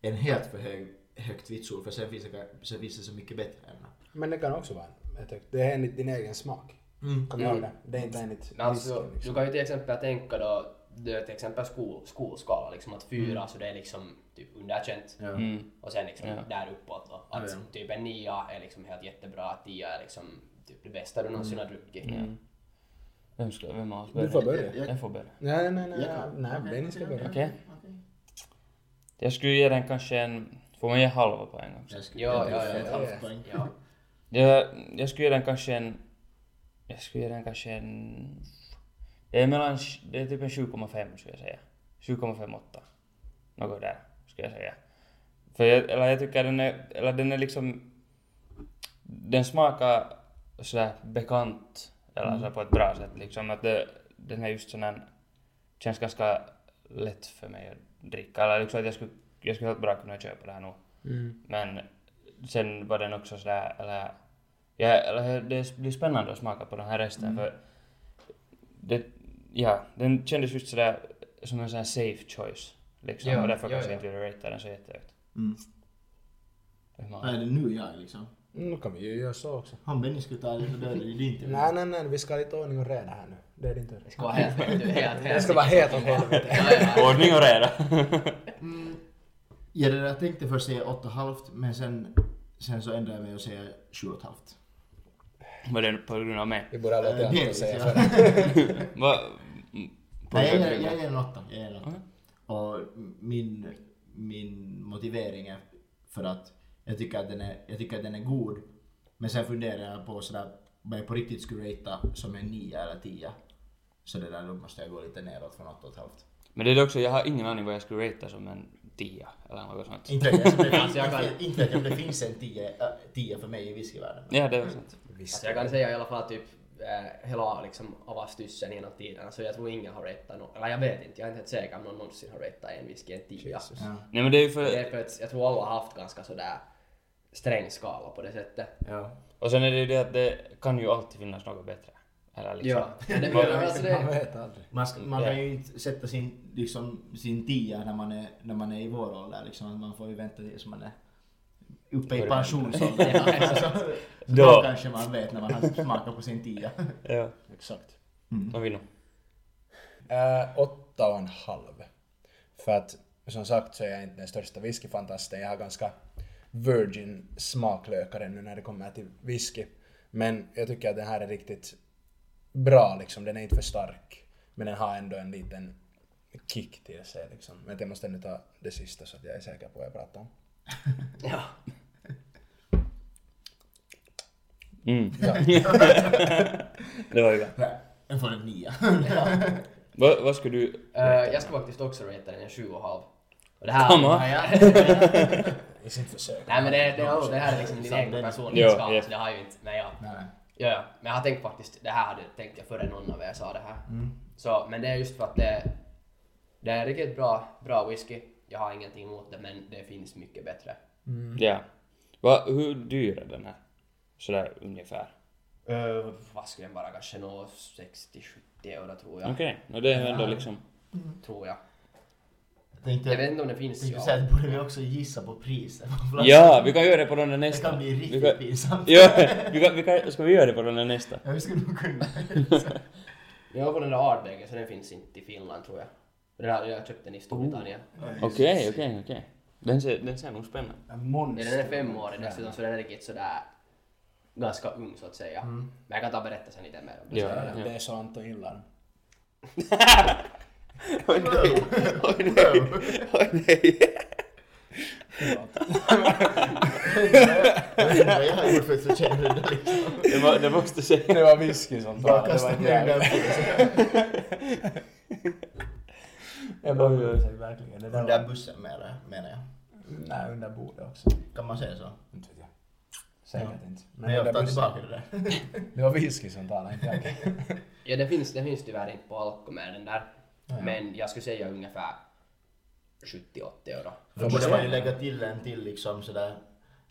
A: en helt för hög, högt vitsord för sen finns, det, ka- sen finns det så mycket bättre ämnen.
B: Men det kan också vara en- jag tycker, Det är enligt din egen smak.
A: Mm.
B: Kom ihåg det. Det är inte enligt
D: Men alltså,
B: risken, liksom.
D: du kan ju till exempel tänka då, det är till exempel skol, skolskala, liksom att
B: Mm.
D: fyra så det är liksom typ underkänt.
A: Ja.
C: Mm.
D: Och sen liksom
C: Ja.
D: där uppåt då. Att
A: Ja,
D: typ en nia är liksom helt jättebra, tia är liksom typ det bästa du någonsin
B: Mm.
D: har druckit.
A: Mm.
D: Mm.
C: Vem, ska, vem av oss
B: Du får
C: börjar?
B: börja.
A: Jag-
C: Jag får börja.
B: Nej, nej, nej.
A: jag kan-
B: Nej,
A: okej,
B: Benny ska
A: okej,
B: börja.
C: Okej. Mm.
A: okej.
C: Jag skulle ge den kanske en... Får man ge halva poäng också?
A: Jag skulle-
D: Ja,
A: jag
D: ja,
A: tror
D: ja,
A: ett
D: ja,
A: halvt
B: ja.
A: poäng.
D: Ja.
C: Jag, jag skulle ge den kanske en... Jag skulle ge den kanske en... Det är mellan... Det är typ en 7,5 skulle jag säga. 7,58. Något där, skulle jag säga. För jag, eller jag tycker den är... Eller den är liksom... Den smakar sådär bekant. Eller sådär på ett bra sätt liksom. Att det, den är just sån här... Känns ganska lätt för mig att dricka. Eller liksom att jag skulle, jag skulle helt bra kunna köpa det här nog. Men sen var den också sådär, eller, ja, eller det blir spännande att smaka på den här resten
D: Mm.
C: för det, ja, den kändes just sådär som en sån här safe choice liksom
D: Ja,
C: och därför
D: ja,
C: kanske
D: ja.
C: inte ville ratea den så jättehögt.
A: Mm.
C: Hur man-
A: Vad är det nu jag liksom?
B: Mm, Nu kan vi ju göra så också.
A: Han Benny skulle ta det så dör det ju din tur.
B: Nej, nej, nej. Vi ska ha lite ordning och reda här nu. Det är din tur.
D: Det ska
A: <laughs>
D: vara helt, helt, helt,
B: Det ska vara helt åt helvete.
D: Ja,
C: <laughs>
D: ja.
C: Ordning och reda! <laughs>
A: Mm. Ja, det där jag tänkte först säga 8,5 men sen, sen så ändrade jag mig och säger 7,5.
C: Var det på grund av mig?
B: Vi borde ha låtit
A: Eh,
B: Anton
A: delvis,
B: säga
A: ja.
B: för
C: Va, m- på
A: Nej,
C: grund av
A: jag, ger- jag
C: mig?
A: ger en åtta. Jag ger en åtta.
C: Mm.
A: Och min, min motivering är för att jag tycker att den är, jag tycker att den är god. Men sen funderar jag på sådär, vad jag på riktigt skulle ratea som en 9 eller 10. Så det där, då måste jag gå lite neråt från 8,5.
C: Men det är också, jag har ingen aning vad jag skulle ratea som en tia eller något sånt.
A: Inte vet jag, så det finns-
D: Alltså, jag kan-
A: <laughs> inte vet jag om det finns en 10 äh, 10 för mig i whiskyvärlden.
C: Ja, det var sant.
B: <laughs> Visst.
D: Alltså jag kan säga i alla fall typ eh, hela liksom avastyssen genom tiden. Alltså jag tror ingen har rättat någon. Eller jag vet inte, jag är inte helt säker om någon någonsin har rättat en whisky en tia.
A: Ja.
C: Nej men det är ju för...
D: Det är för att jag tror alla har haft ganska sådär sträng skala på det sättet.
A: Ja.
C: Och sen är det ju det att det kan ju alltid finnas något bättre. Eller liksom.
D: Ja, men det,
C: Vad-
D: alltså
B: Man
D: det,
B: vet aldrig.
A: Man, ska, man kan
C: Ja.
A: ju inte sätta sin, liksom, sin tia när man, är, när man är i vår ålder. Liksom. Man får ju vänta tills man är uppe i
C: Börjar.
A: <laughs> pensionsåldern. alltså, så
C: Då.
A: då kanske man vet när man har smakat på sin tia. <laughs>
C: Ja.
B: Exakt.
C: De vill nog.
B: Eh, åtta och en halv. För att som sagt så är jag inte den största whiskyfantasten. Jag har ganska virgin smaklökar nu när det kommer till whisky. Men jag tycker att den här är riktigt bra liksom. Den är inte för stark. Men den har ändå en liten kick till sig liksom. Men jag måste ändå ta det sista så att jag är säker på vad jag pratar om.
D: ja.
C: Mm.
B: <laughs>
C: det var ju bra.
A: Nej, Den får en nia.
C: Va, vad ska du...
D: Eh, jag skulle faktiskt också ratea den en 7,5. Och det här...
C: Come on.
A: Ja,
B: I sitt försök.
D: <laughs> Nej men det, det, det, det här är liksom din
A: Sant,
D: egen
A: det-
D: personliga
C: Ja,
D: skala
C: ja.
D: så det har ju inte... Men ja.
A: Nej.
D: Ja, ja. Men jag har tänkt faktiskt, det här hade tänkt jag före någon av er sa det här.
A: Mm.
D: Så, men det är just för att det, det är riktigt bra, bra whisky. Jag har ingenting emot det men det finns mycket bättre.
C: Ja. Va, hur dyr är den här? Sådär ungefär.
A: Eh,
D: Uh, vad skulle den vara? Kanske nå 60-70 euro tror jag.
C: Okej, och det är ju ändå liksom...
D: Tror jag.
A: Jag tänkte,
D: Jag vet
A: jag
D: inte om det finns.
A: tänkte
D: Ja.
A: säga att borde vi också gissa på priset.
C: Ja, vi kan göra det på den där
A: Det
C: nästa.
A: kan bli
C: Vi
A: riktigt
C: kan-
A: pinsamt.
C: Ja, vi kan, vi kan, ska vi göra det på den där nästa?
A: Ja, vi skulle nog kunna.
D: Jag var på den där Ardbeg så den finns inte i Finland tror jag. Den här, jag köpte den i Storbritannien.
C: Okej, okej, okej. Den ser, den ser nog spännande ut.
D: Ja, Den är femårig dessutom så den är riktigt sådär ganska ung så att säga. Men jag kan ta och berätta sen lite mer om det.
C: Ja,
B: Det
C: ja.
B: är så Anton gillar den.
C: <laughs> Oj nej, oj nej, oj nej.
A: <laughs> Jag vet inte vad jag har gjort för att förtjäna det där, liksom.
C: Det, må, det måste säga.
B: Det var whisky som
A: Jag
B: talade. Det var
A: kastar
B: inte
A: ner den
B: jag.
A: där
B: Jag bara bryr sig verkligen. Det
A: Den
B: där
A: där
B: var...
A: bussen menar jag. Menar jag.
B: Nej, under bordet också.
A: Kan man säga så?
B: Inte vet jag. Säkert inte.
A: Men jag
B: det
A: tar
B: var-
A: tillbaka det där.
B: Det var whisky som talade, inte jag.
D: Ja, det finns, det finns tyvärr inte på Alko med den där. Men jag skulle säga ungefär 70-80 euro. <laughs>
A: Då borde man ju lägga till en till liksom sådär.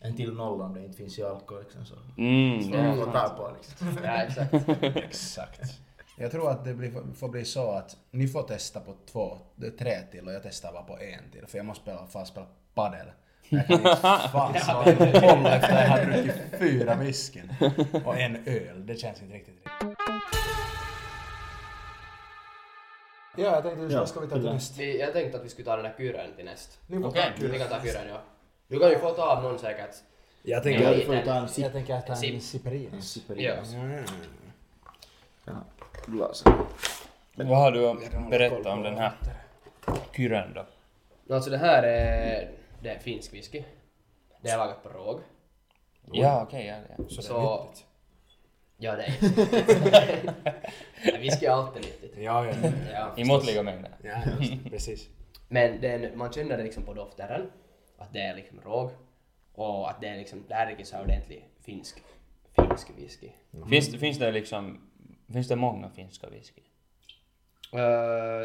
A: En till nolla om det inte finns i alkohol liksom så.
C: Mm,
A: Så man får ta på liksom.
D: Ja, exakt.
A: <laughs>
B: Exakt. Jag tror att det blir, får bli så att ni får testa på två, tre till och jag testar bara på en till. För jag måste spela, fan spela padel. Jag kan
A: <laughs>
B: inte fan snart kolla efter att jag har druckit fyra whiskyn och en öl. Det känns inte riktigt rätt. Ja, jag tänkte,
A: Ja,
B: vad ska vi ta till
A: ja.
B: nästa?
D: Vi, jag tänkte att vi skulle ta den där kuren till näst.
B: Ni får
A: Okej.
B: ta
D: Vi kan
B: kuren.
D: ta kuren, ja. Du kan ju få ta av någon säkert.
B: Jag
D: tänker-
B: tänker,
D: vi får ju ta en
B: jag tänker att han är
D: Sip.
B: Siperius.
D: Ja.
C: Vad har du att berätta om den här kyren då?
D: Alltså det här är, det är finsk whisky. Det är lagat på råg.
C: Ja, okej, ja, ja.
B: Så det
D: Så-
B: är nyttigt.
D: Ja, det är <laughs> Whisky är alltid nyttigt.
B: Ja, ja, ja.
D: <laughs> Ja.
C: I måttliga mängder.
B: Ja, just det. precis.
D: Men den, man känner det liksom på doftaren, att det är liksom råg och att det är liksom, det här är riktigt så här ordentlig finsk, finsk whisky.
C: Finns, det- finns det liksom... Finns det många finska whisky?
D: Eh,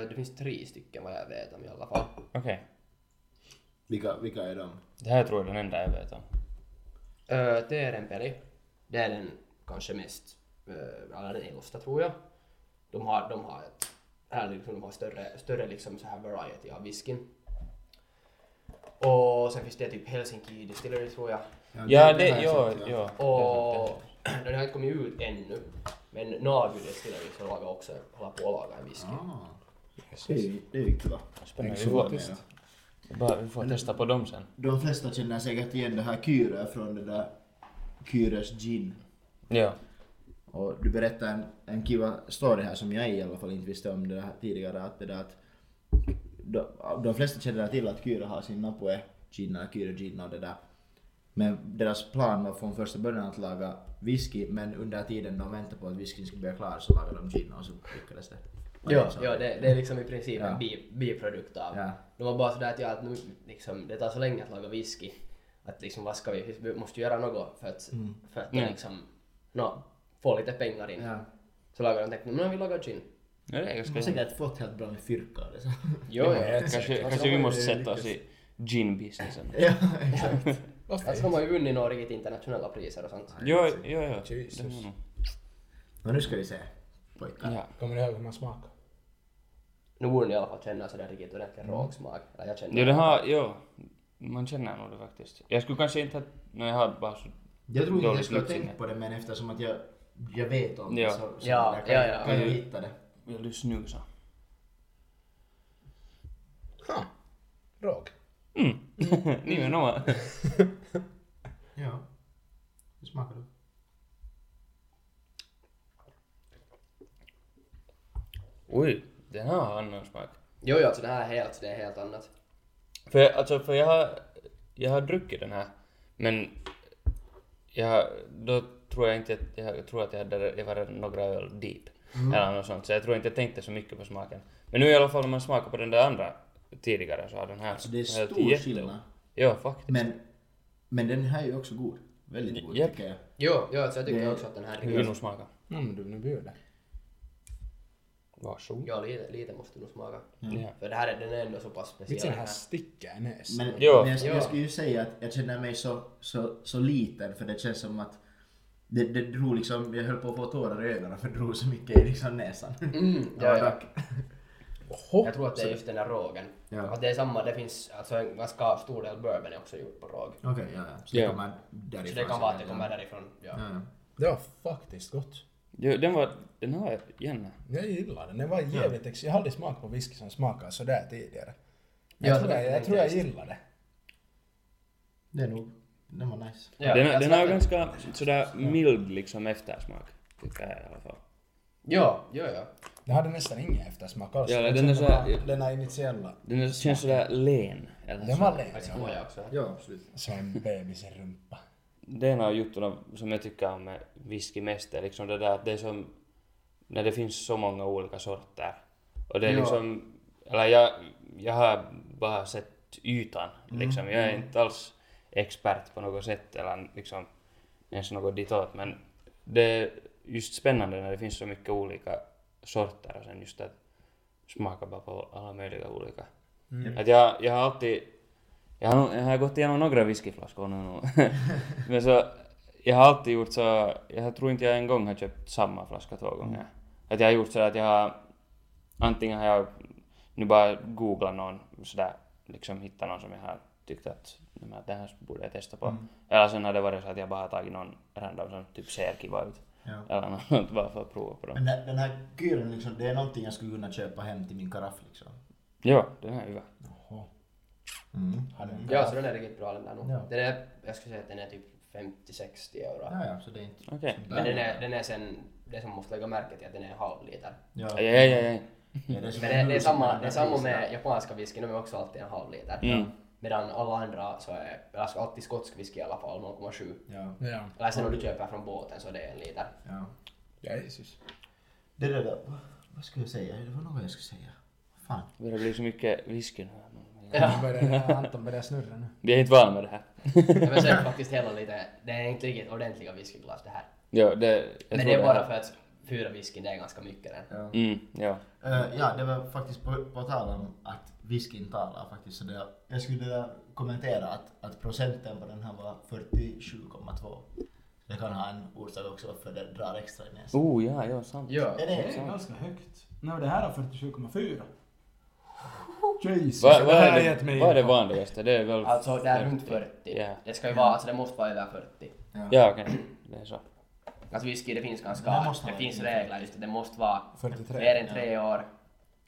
D: det finns tre stycken vad jag vet om i alla fall.
C: Okej.
A: Vilka, vilka är de?
C: Det här tror jag är den enda jag vet om.
D: Uh, Teerenpeli, det är den kanske mest, uh, eller den äldsta tror jag. De har, de har ett, här liksom, de har större, större liksom så här variety av whiskyn. Och sen finns det typ Helsinki Distillery tror jag.
C: Ja,
A: har
C: det...
A: jag
C: Ja,
A: sett,
C: ja.
D: Och <clears throat> den har inte kommit ut ännu. Men Nagu Distillery som lagar också, håller på att laga en whisky.
A: Ah. Det är ju- det är ju kul.
C: Spännande. Vi får, bara, vi får testa på dem sen.
A: De flesta känner säkert igen det här Kyrö från det där Kyrös gin.
C: Ja.
A: Och du berättade en, en kiva story här som jag i alla fall inte visste om det där tidigare. Att det där att de, de flesta känner till att Kyra har sin Napoe gin eller Kyra gin och det där. Men deras plan var från första början att laga whisky men under tiden de väntade på att whiskyn skulle bli klar så lagade de gin och så lyckades det.
D: Ja, ja det, det är liksom i princip
A: Ja.
D: en bi, biprodukt av.
A: Ja.
D: De var bara sådär att, ja, att nu, liksom, det tar så länge att laga whisky. Att liksom, vad ska vi, vi måste göra något för att, för att
C: Mm.
D: liksom, nå, få lite pengar in.
A: Ja.
D: Så lagade de tänkte, nu vi lagar gin.
C: ja det är
A: De
C: ganska
A: har säkert fått helt bra med fyrkar. Liksom.
D: Jo,
C: Ja,
D: jo.
C: kanske, kanske vi måste sätta oss i gin-businessen.
A: <laughs> ja, exakt.
B: Varför
D: Alltså de har ju vunnit några riktigt internationella priser och sånt.
C: Jo, jo, jo.
B: Jesus.
C: Det har nog.
A: Men nu ska vi se. Pojkar.
C: Ja.
B: Kommer du ihåg hur man smakar?
D: Nu borde ni i alla fall känna sådär riktigt ordentlig rågsmak. Eller jag känner
C: Jo, det har, jo. Man känner nog det faktiskt. Jag skulle kanske inte ha... Nej, jag har bara så...
A: Jag tror inte jag
C: Dåligt
A: skulle ha
C: luktsinne.
A: tänkt på det men eftersom att jag, jag vet om
C: Ja.
A: det så, så
D: Ja,
A: jag kan,
D: ja, ja.
A: kan jag hitta det.
C: Vill du <laughs> snusa?
B: Huh. Råg.
C: Mm. Nimenomaan.
A: Ja. Hur smakar det?
C: Oj, den här har annan smak.
D: Jo, jo, alltså det här är helt, det är helt annat.
C: För, jag- alltså, för jag, har, jag har druckit den här, men jag, då tror jag inte att jag, jag tror att jag, hade, jag var några öl deep.
A: Mm.
C: Eller något sånt, så jag tror inte jag tänkte så mycket på smaken. Men nu i alla fall när man smakar på den där andra tidigare så har den här...
A: Alltså det är
C: den här
A: stor
C: jättegod.
A: skillnad.
C: Ja, faktiskt.
A: Men, men den här är ju också god. Väldigt god
C: Japp.
A: tycker jag.
D: Jo, jo, alltså jag tycker
A: Det-
D: också att den här är
C: Jag vill
D: riktigt...
C: nog smaka.
B: Mm, men du, nu bjuder.
C: Varsågod.
D: Ja, lite, lite måste du nog smaka.
C: Ja.
D: För det här är, den är ändå så pass speciell.
B: Vitsen den här
D: den här.
B: sticka i näsan.
A: Men,
C: Ja.
A: men jag,
D: Ja.
A: jag skulle ju säga att jag känner mig så, så, så liten för det känns som att det, det drog liksom, jag höll på att få tårar i ögonen för det drog så mycket i liksom näsan.
D: Mm, ja,
A: Ja,
D: ja.
A: tack.
B: Oho.
D: Jag tror att det är just den där rågen.
A: Ja.
D: Att det är samma, det finns alltså en ganska stor del bourbon är också gjort på råg.
A: <laughs> Okej, ja, ja. Så det
C: Ja.
A: kommer
D: Så
A: därifrån.
D: det kan vara att det
A: sen,
D: kommer
A: ja.
D: därifrån. Ja.
A: Ja, ja.
B: Det var faktiskt gott.
C: Jo, den var... Den har jag gärna.
B: Jag gillar den. Den var jävligt ex... Jag har aldrig smakat på whisky som smakar sådär tidigare. Men
D: Ja,
B: jag, tror
D: det
B: jag,
D: tänkte
B: jag tror jag
D: jag just.
B: gillar det.
A: Det är nog, den var nice.
D: Ja,
C: den,
D: jag
C: den
D: tror
C: har
D: att-
C: ganska sådär mild liksom eftersmak. Tycker jag i alla fall.
D: Ja, ja, ja.
B: Den hade nästan ingen eftersmak alls.
C: Ja,
B: Jag
C: den är
B: tror
C: såhär-
B: bara- Den här initiella.
C: Den är- känns sådär len. Eller
B: Den
C: så.
B: var len.
D: Alltså får jag också.
A: Ja, absolut.
B: Som en bebis i rumpa.
C: Det är en av juttorna som jag tycker om med whisky mest är liksom det där att det är som när det finns så många olika sorter. Och det är
A: Ja.
C: liksom, eller jag, jag har bara sett ytan liksom. Jag är inte alls expert på något sätt eller liksom ens något ditåt men det är just spännande när det finns så mycket olika sorter och sen just att smaka bara på alla möjliga olika. Att jag, jag har alltid, jag har, jag har gått igenom några whiskyflaskor nu <laughs> nog. Men så, jag har alltid gjort så, jag tror inte jag en gång har köpt samma flaska två gånger. Att jag har gjort så att jag har, antingen har jag nu bara googlat någon sådär, liksom hittat någon som jag har tyckt att "Nej, men det här borde jag testa på. Eller sen har det varit så att jag bara har tagit någon random som typ ser kiva ut.
A: Ja.
C: Eller något sånt bara för att prova på dem.
A: Men den, den här kylen liksom, det är någonting jag skulle kunna köpa hem till min karaff liksom.
C: Ja, den här är hyvä.
B: Jaha.
A: Mm.
D: Ja, så den är riktigt bra den där nog.
A: Ja.
D: Den är, jag skulle säga att den är typ 50-60 euro.
A: Ja, ja, så det är inte...
C: Okej.
D: Men den är, den är sen, det som måste lägga märke till att den är en halv liter.
A: Ja.
C: Aj, aj, aj, aj.
A: Ja, det är, som
D: Men
A: en
D: det, det, är
A: hus-
D: samma, det är samma med japanska whisky, de är också alltid en halv liter.
C: Mm.
D: Medan alla andra så är, alltså alltid skotsk whisky i alla fall 0,7.
A: Ja,
B: Ja.
D: Eller sen om du köper från båten så det är en liter.
A: ja.
B: Ja, Jesus.
A: Det där, där. vad- vad skulle jag säga? Det var något jag skulle säga. Vad Fan.
C: Det börjar bli så mycket whisky nu.
B: Ja. Börjar, Anton börjar snurra nu.
C: Vi är inte vana med det här.
D: Jag vill säga faktiskt hela lite, det är inte riktigt ordentliga whiskyglas det här.
C: Ja, det, jag
D: Men
C: tror
D: det är
C: här-
D: bara för att fyra whisky det är ganska mycket den.
A: Ja.
C: Mm, ja.
A: Eh, ja, det var faktiskt på, på tal om att whiskyn talar faktiskt. Så det, jag skulle vilja kommentera att, att procenten på den här var 47,2. Det kan ha en orsak också varför det drar extra i näsan.
C: Oh, ja, ja, sant.
D: Ja.
A: Är
E: Det
A: det?
E: är ganska högt. Nej, det här har 47,4. Jesus.
C: Vad
B: det
C: va
B: här har
C: är,
B: gett mig
C: det- vad är det
B: info.
C: vanligaste? Det är väl...
D: Alltså det är runt 40.
C: Ja.
D: Det ska ju vara, alltså det måste vara över 40.
C: Ja, okej. Det är så.
D: Alltså whisky det finns ganska,
A: Det måste
D: det,
A: vara
D: finns
A: över 40.
D: regler just det, det måste vara
B: 43,
D: mer än tre år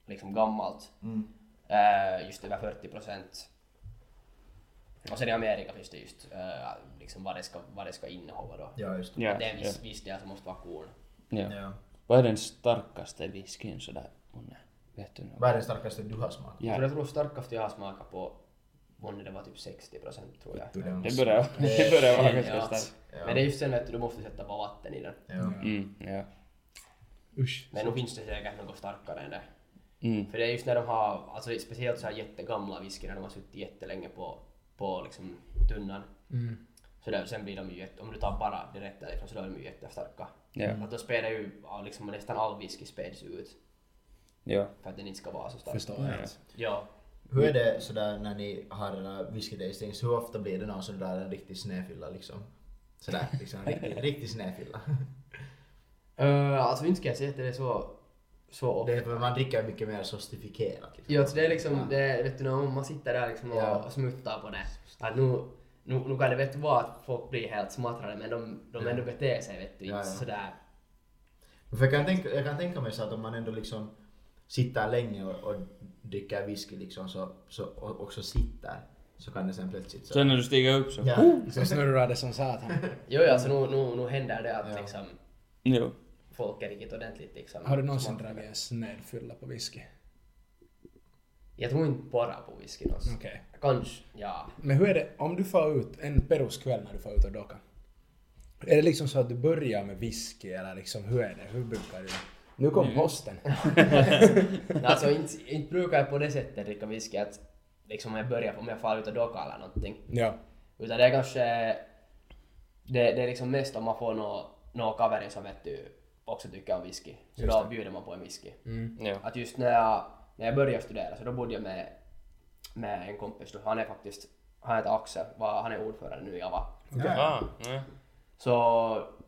D: liksom gammalt.
A: Mm.
D: Eh, just över 40 procent. Och sen i Amerika finns det just eh, liksom vad det ska, vad det ska innehålla då.
A: Ja, just det.
C: Ja,
D: Det är en
C: ja,
D: viss, viss del som måste vara korn.
C: ja.
A: Ja.
C: Vad är den starkaste whiskyn sådär, Unne? Vet du något?
A: Vad är den starkaste du har smakat?
D: Så
C: Ja,
D: jag tror starkast jag har smakat på, månne det var typ 60 procent tror jag.
C: det börjar, det börjar vara ganska
D: Ja.
C: starkt.
D: Men det är just sen vet du, du måste sätta bara vatten i den.
A: Ja.
C: Mm, ja.
B: Usch.
D: Men nu finns det säkert något starkare än det.
C: Mm.
D: För det är just när de har, alltså speciellt så här jättegamla whisky när de har suttit jättelänge på, på liksom tunnan.
B: Mm.
D: Så där, sen blir de ju jätte, om du tar bara direkt därifrån så då är de ju jättestarka.
C: Ja.
D: Att då spelar ju ja, liksom nästan all whisky späds ut
C: Ja.
D: för att den inte ska vara så stark.
B: Förstår jag.
D: Ja.
A: Hur är det sådär när ni har era whisky-tastings, hur ofta blir det någon sån där en riktig snedfylla liksom? Sådär liksom, riktig, riktig <laughs> snedfylla.
D: Eh, alltså inte ska jag säga att det är så, så ofta.
A: Det är för man dricker mycket mer sofistikerat. Liksom.
D: Jo, alltså det är liksom,
A: Ja.
D: det är, vet du, när man sitter där liksom och,
A: Ja.
D: och smuttar på det. Att nu, nu, nu kan det vet du vara att folk blir helt smattrade men de, de
A: Ja.
D: ändå beter sig vet du, inte
A: Ja, ja.
D: sådär.
A: För jag kan, tänka, jag kan tänka mig så att om man ändå liksom sitter länge och, och dricker whisky liksom så, så, och också sitter så kan det sen plötsligt så...
C: Sen när du stiger upp så...
A: Ja.
B: Så snurrar det som satan.
D: Jo, ja, alltså nu, nu, nu händer det att
A: Ja.
D: liksom
C: Jo.
D: folk är riktigt ordentligt liksom.
B: Har du någonsin
D: smattrade.
B: dragit en snedfylla på whisky?
D: Jag tror inte bara på whiskyn alltså.
B: Okej.
D: Kanske, ja.
B: Men hur är det om du far ut en peruskväll när du far ut och dockar? Är det liksom så att du börjar med whisky eller liksom hur är det? Hur brukar du? Nu kom posten.
D: Nej, alltså inte, inte brukar jag på det sättet dricka whisky att liksom om jag börjar, om jag far ut och dockar eller någonting.
B: Ja.
D: Utan det är kanske... Det, det är liksom mest om man får några nå kaverer som vet du också tycker om whisky. Så då bjuder man på en whisky.
C: Ja.
D: Att just när jag, när jag började studera så då bodde jag med, med en kompis. då. Han är faktiskt... Han heter Axel. va- Han är ordförande nu i AVA.
C: Ah, ja.
D: Så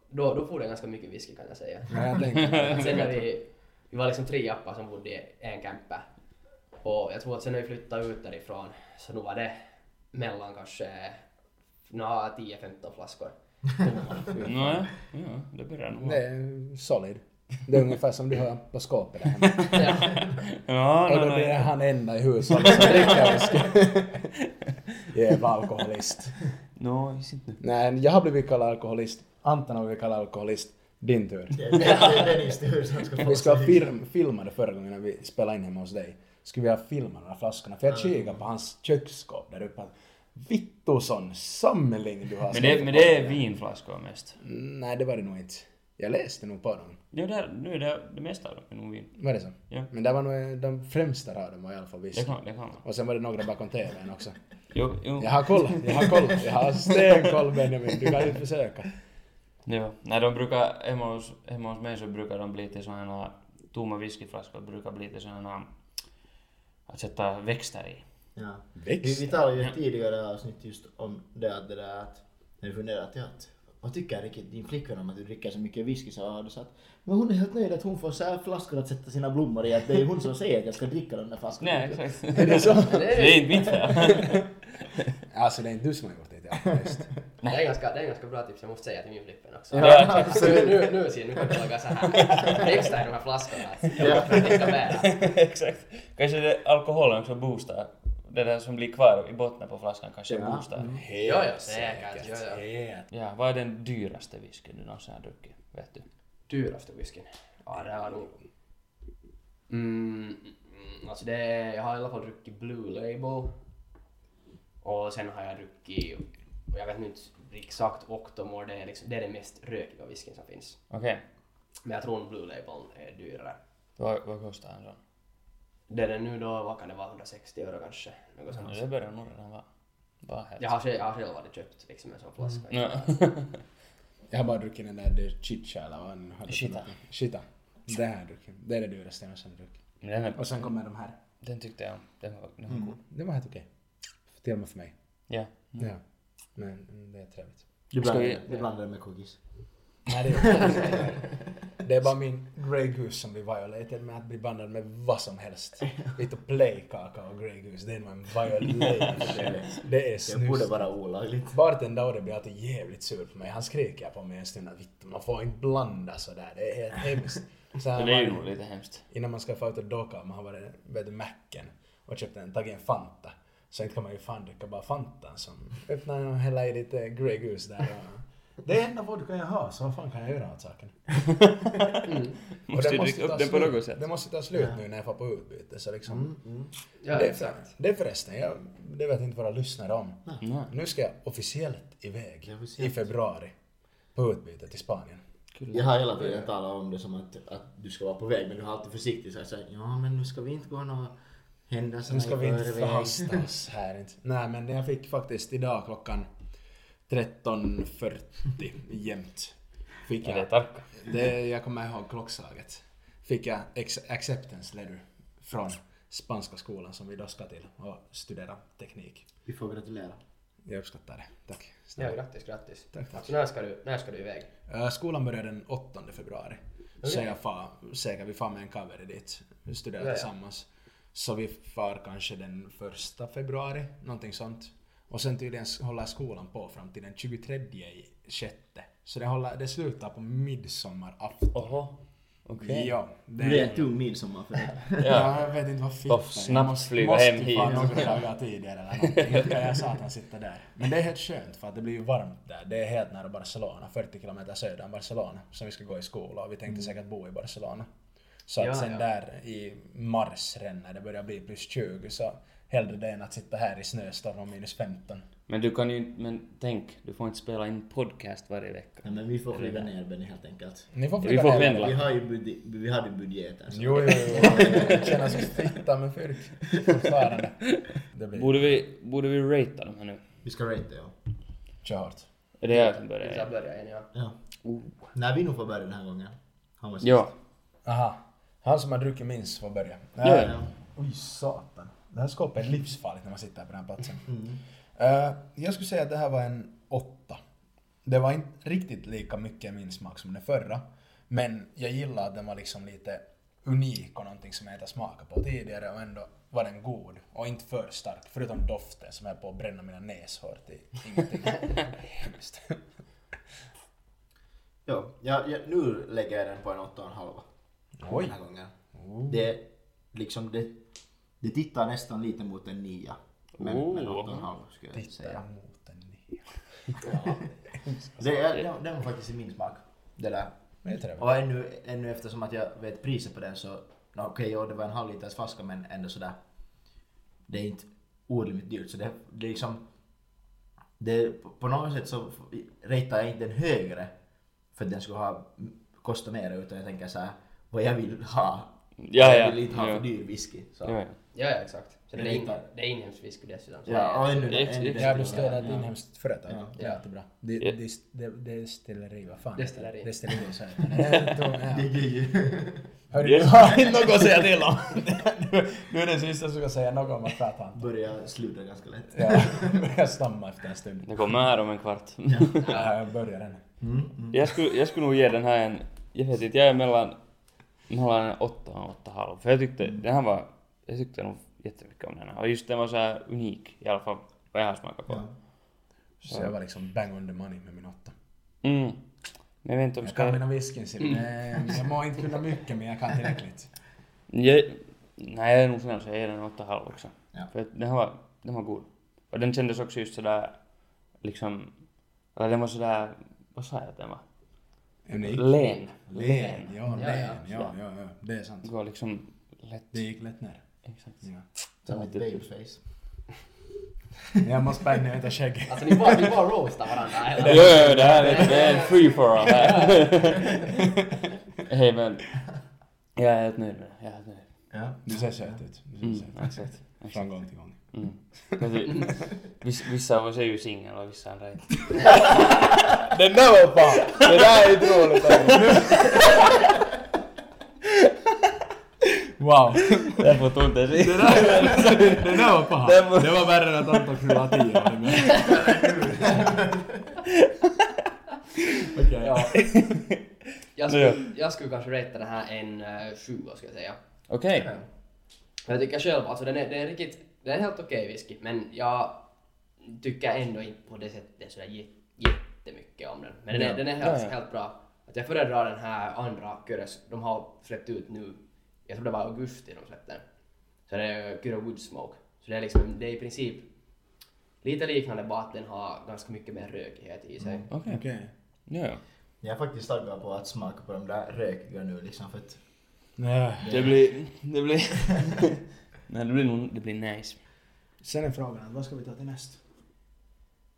D: då, då får det ganska mycket whisky kan jag säga.
B: Men jag <laughs> tänkte,
D: Sen när vi... Vi var liksom tre appar som bodde i en camper. Och jag tror att sen när vi flyttade ut därifrån så nu var det mellan kanske nå 10-15 flaskor.
C: Nåja, ja, det börjar nog
B: det
C: <laughs> vara.
B: är solid. Det är ungefär som du har på skåpet där hemma.
C: Ja,
B: Och
C: nej,
B: då blir det
C: nej.
B: han enda i hushållet som dricker
C: <laughs>
B: whisky. Jävla alkoholist.
C: Nå, is inte nu.
B: Nej, jag har blivit kallad alkoholist. Anton har blivit kallad alkoholist. Din tur.
A: Det <laughs> det- det är Dennis tur som ska få
B: Vi ska
A: sig-
B: film, filma det förra gången när vi spelade in hemma hos dig. Skulle vi ha filmat de här flaskorna. För jag kikade på hans köksskåp där uppe. Vittu sån samling du har.
C: Men det, men det är vinflaskor mest.
B: Nej, det var det nog inte. Jag läste nog på dem.
C: Ja, där, nu är det, det mesta av dem är nog vin.
B: Var det så?
C: Ja.
B: Men det var nog eh, de främsta raden var i alla fall
C: Det
B: visst.
C: kan, det kan man.
B: Och sen var det några bakom TVn också.
C: Jo, jo.
B: Jag har koll, jag har koll. Jag har stenkoll Benjamin. Du kan inte försöka.
C: Jo. När de brukar, hemma hos, hemma hos mig så brukar de bli till sådana här, tomma whiskyflaskor brukar bli till sådana här, att sätta växter i.
A: Ja. Vi,
B: Växt.
A: vi talade ju i ett tidigare avsnitt just om det, att det där att när vi funderat ja, att vad tycker riktigt din flickvän om att du dricker så mycket whisky så har du sagt men hon är helt nöjd att hon får så här flaskor att sätta sina blommor i att det är hon som säger att jag ska dricka de där flaskorna.
C: Nej, exakt.
B: Är det så?
C: <laughs> Det är inte mitt fel.
B: Alltså det är inte du som har gjort det till alkoholist.
D: Det är, ganska, det är ganska bra tips, jag måste säga till min flippen också.
C: Ja,
D: nu, nu, nu ser jag, nu kan du laga såhär texta i de här flaskorna. Jag får dricka mer.
C: <laughs> Exakt. Kanske det alkoholen också boostar. Det där som blir kvar i botten på flaskan kanske
A: Ja.
C: boostar.
B: Helt
D: Ja, ja, säkert. Ja, ja.
B: Helt.
C: Ja, vad är den dyraste whiskyn du någonsin har druckit? Vet du?
D: Dyraste whiskyn? Ja, det har nog... Mm, mm, alltså det är, jag har i alla fall druckit Blue Label. Och sen har jag druckit, och jag vet nu inte exakt, Octomore. Det är, liksom, det är den mest rökiga whiskyn som finns.
C: Okej.
D: Men jag tror Blue Label är dyrare.
C: Vad, vad kostar en sån?
D: Det är den nu då, vad kan det vara, 160 euro kanske? Något sånt.
C: Ja, det börjar nog redan vara... Vara helt...
D: Jag har, själv, jag har själv aldrig köpt liksom en sån flaska.
C: Nå.
B: Jag har bara druckit den där de chicha eller vad den hade för
C: Chita.
B: någonting. Chita. Det här har jag druckit. Det är det dyraste jag någonsin har druckit.
C: <laughs> Men den, är,
B: Och sen kommer de här.
C: den tyckte jag om. Den var, den var god.
B: Det var helt okej. Till och med för mig.
C: Ja.
B: Ja. Men mm, det är trevligt.
C: Ska
A: Du blandar,
C: vi-
A: du blandar det med cookies.
B: Nej, det, är det är bara min Grey Goose som blir violated med att bli bandad med vad som helst. Lite playkaka och Grey Goose, det är nog en violated. Det är
A: Det borde
B: snus.
A: vara olagligt.
B: Bartender Ode blir alltid jävligt sur på mig. Han skriker på mig en stund att vittu, man får inte blanda sådär. Det är helt hemskt. Så här
C: Det är ju
B: var-
C: nog lite hemskt.
B: Innan man ska få ut och docka har man varit vet du, macken och köpt en, tagit en Fanta. Så inte kan man ju fan dricka bara Fantan som öppnar och häller i lite Grey Goose där. Och... Det är enda vodka jag har, så vad fan kan jag göra åt
C: <laughs>
B: saken? Och
C: Måste
B: det
C: ju dricka
B: ta
C: upp den på
B: slut-
C: något sätt.
B: Det måste ta slut nu när jag får på utbyte, så liksom.
A: Mm,
D: Ja,
B: det,
D: exakt.
B: det är förresten, jag, det vet inte våra lyssnare om.
C: Nej.
B: Nu ska jag officiellt iväg
A: Ja,
B: i
A: officiellt.
B: februari på utbyte till Spanien.
A: Jag har hela tiden talat om det som att, att du ska vara på väg men du har alltid försiktigt sagt såhär ja men nu ska vi inte gå några händelser
B: Nu ska vi inte
A: förväg."
B: förhasta oss här inte. Nej men jag fick faktiskt idag klockan 13.40 jämt. Fick
C: Ja, det är
B: jag,
C: tarka.
B: det, jag kommer ihåg klockslaget. Fick jag ex- acceptance letter från spanska skolan som vi då ska till och studera teknik.
A: Vi får gratulera.
B: Jag uppskattar det. Tack.
D: Ja, grattis, grattis.
B: Tack, tack.
D: Så när ska du, när ska du iväg?
B: Eh, Skolan börjar den 8 februari. Så jag far, säkert vi far med en kaveri dit, vi studerar
D: Ja, ja.
B: tillsammans. Så vi far kanske den 1 februari, någonting sånt. Och sen tydligen s- håller skolan på fram till den 23 i sjätte. Så det, håller, det slutar på midsommarafton.
C: Oho. Okej.
B: Ja, det
A: Det blir en tung midsommar
B: <laughs>
A: för dig.
C: Ja.
B: Ja, jag vet inte vad fint
C: Bara
B: det är.
C: snabbt
B: Måste-
C: flyga
B: måste
C: hem
B: fan
C: hit.
B: några dagar tidigare eller någonting. Ska jag satan sitta där. Men det är helt skönt för att det blir ju varmt där. Det är helt nära Barcelona, 40 kilometer söder om Barcelona. Som vi ska gå i skola och vi
C: Mm.
B: tänkte säkert bo i Barcelona. Så att
D: Ja,
B: sen
D: ja.
B: där i mars redan när det börjar bli plus 20 så hellre det än att sitta här i snöstorm och minus 15.
C: Men du kan ju Men tänk, du får inte spela in podcast varje vecka.
A: Nej, men vi får flyga ner Benny helt enkelt.
B: Ni får
C: Vi
B: flyga
C: får
B: ner.
C: pendla.
A: Vi har ju budget, vi hade budgeten. Så.
B: Jo, jo, jo.
C: <laughs>
B: Det känns som fitta med fyrk. Fortfarande. Det blir...
C: Borde vi, borde vi ratea dem här nu?
A: Vi ska ratea ja.
B: Kör hårt.
C: Är det jag som
D: Vi ska
C: börjar?
D: börja igen, ja.
A: ja.
C: Oh.
A: När vi nog får börja den här gången. Han var sist.
C: Ja.
B: Aha. Han som har druckit minst får börja.
C: Ja, ja.
A: Ja.
B: Oj satan. Det här skåpet är livsfarligt när man sitter här på den här platsen.
C: Mm.
B: Eh, jag skulle säga att det här var en åtta. Det var inte riktigt lika mycket min smak som den förra. Men jag gillar att den var liksom lite unik och någonting som jag inte har smakat på tidigare och ändå var den god och inte för stark. Förutom doften som är på att bränna mina näshår till
C: <laughs>
B: ingenting. Hemskt.
A: Ja, ja, ja, nu lägger jag den på en åtta och en halva.
B: Oj. Oh.
A: Den här gången. Det, liksom det, det tittar nästan lite mot en nia. Men, men åtta och en halv skulle jag
B: Oh. Titta
A: säga.
B: mot den nya.
A: Det, är- det, det var faktiskt i min smak. Det där.
B: Men det är trevligt.
A: Och ännu, ännu eftersom att jag vet priset på den så, nå, okej ja det var en halv liters flaska men ändå sådär. Det är inte orimligt dyrt så det, det är liksom. Det, på- på något sätt så f- ratear jag inte den högre för att den skulle ha kostat mer utan jag tänker såhär vad jag vill ha.
C: Ja, ja.
A: jag vill inte ha
C: Ja.
A: för dyr whisky. Så.
C: Ja, ja.
D: Ja, ja, exakt. Så det,
A: Det
D: är in,
A: litar.
D: det är inhemsk whisky dessutom. Så
A: Ja, och ännu,
C: Ex-
A: ännu
C: ex-
B: Ja,
A: bättre.
B: du stöder ett inhemskt företag. Det är
D: Ja.
B: jättebra. Det
C: Ja.
B: det- det- det är stilleri, vad fan?
D: Destilleri.
B: Destilleri, så heter det.
A: <laughs> Det är ju- <laughs>
B: Hörru, du har inte något att säga till om. <laughs> Du- Du är den sista som ska säga något om att prata om.
A: Börjar sluta ganska lätt.
B: Ja, <laughs> börjar stamma efter en stund.
C: Det kommer här om en kvart. <laughs>
B: Ja, jag börjar den.
A: Mm,
C: Jag skulle, jag skulle nog ge den här en... Jag vet inte, jag är mellan... Mellan en åtta och en åtta och halv. För jag tyckte den här var... Jag tyckte nog jättemycket om den här. Och just den var så här unik. I alla fall vad jag har smakat på.
B: Så jag var liksom bang on the money med min åtta.
C: Mm. Men jag vet inte om
B: Jag
C: ska...
B: kan
C: Jag,
B: mina whiskyn, ser du. Nej, Jag må inte kunna mycket, men jag kan tillräckligt.
C: nej, jag är nog snäll så jag ger den en åtta och en halv också.
A: Ja.
C: För att den här var... Den var god. Och den kändes också just sådär... Liksom... Eller den var sådär... Vad sa jag att den var?
B: Unik.
C: Len.
B: Len, ja,
D: Ja,
B: len,
D: ja.
B: ja, ja, ja. Det är sant.
C: Det var liksom lätt...
B: Det gick lätt ner.
C: Exakt.
B: Ja.
A: Som ett babyface.
B: Jag måste bang ner utan skägg.
D: Alltså ni bara, ni bara roastar varandra.
C: Jo,
D: hela-
C: jo, det här är, det är en free for all här. <laughs> Hej men. Jag är helt nöjd med det. Jag är helt nöjd.
A: Ja.
B: Du ser söt ut. Du ser
C: Mm,
B: söt ut.
C: exakt.
B: Från gång till gång.
C: Mm. Men det- viss- Vissa av oss är ju singel och vissa andra är inte.
B: Den där var bra! Det där är inte roligt. Wow,
C: Jag får tog inte sig.
B: det där var paha.
C: Det var-
B: Det var värre än att Anton fyllde tio år.
A: <laughs>
B: men- Okej.
D: Ja.
C: Ja.
D: Jag skulle, jag skulle kanske ratea den här en eh, sjua, ska jag säga.
C: Okej.
D: Men jag tycker själv, alltså den är, den är riktigt, den är helt okej whisky, men jag tycker ändå inte på det sättet sådär jä- jättemycket om den. Men den är, den är helt,
C: Ja, ja.
D: helt bra. Att jag föredrar den här andra Kyrös, de har släppt ut nu, jag tror det var augusti de släppte den. Så det är äh, Kyrö Woodsmoke. Så det är liksom, det är i princip lite liknande bara att den har ganska mycket mer rökighet i sig.
C: Okej.
B: Okej.
C: Ja, ja.
A: Jag är faktiskt taggad på att smaka på de där rökiga nu liksom för att
B: Nej.
C: Det blir... Det blir... Nej, det blir nog... Det blir nice.
B: Sen är frågan, vad ska vi ta till näst?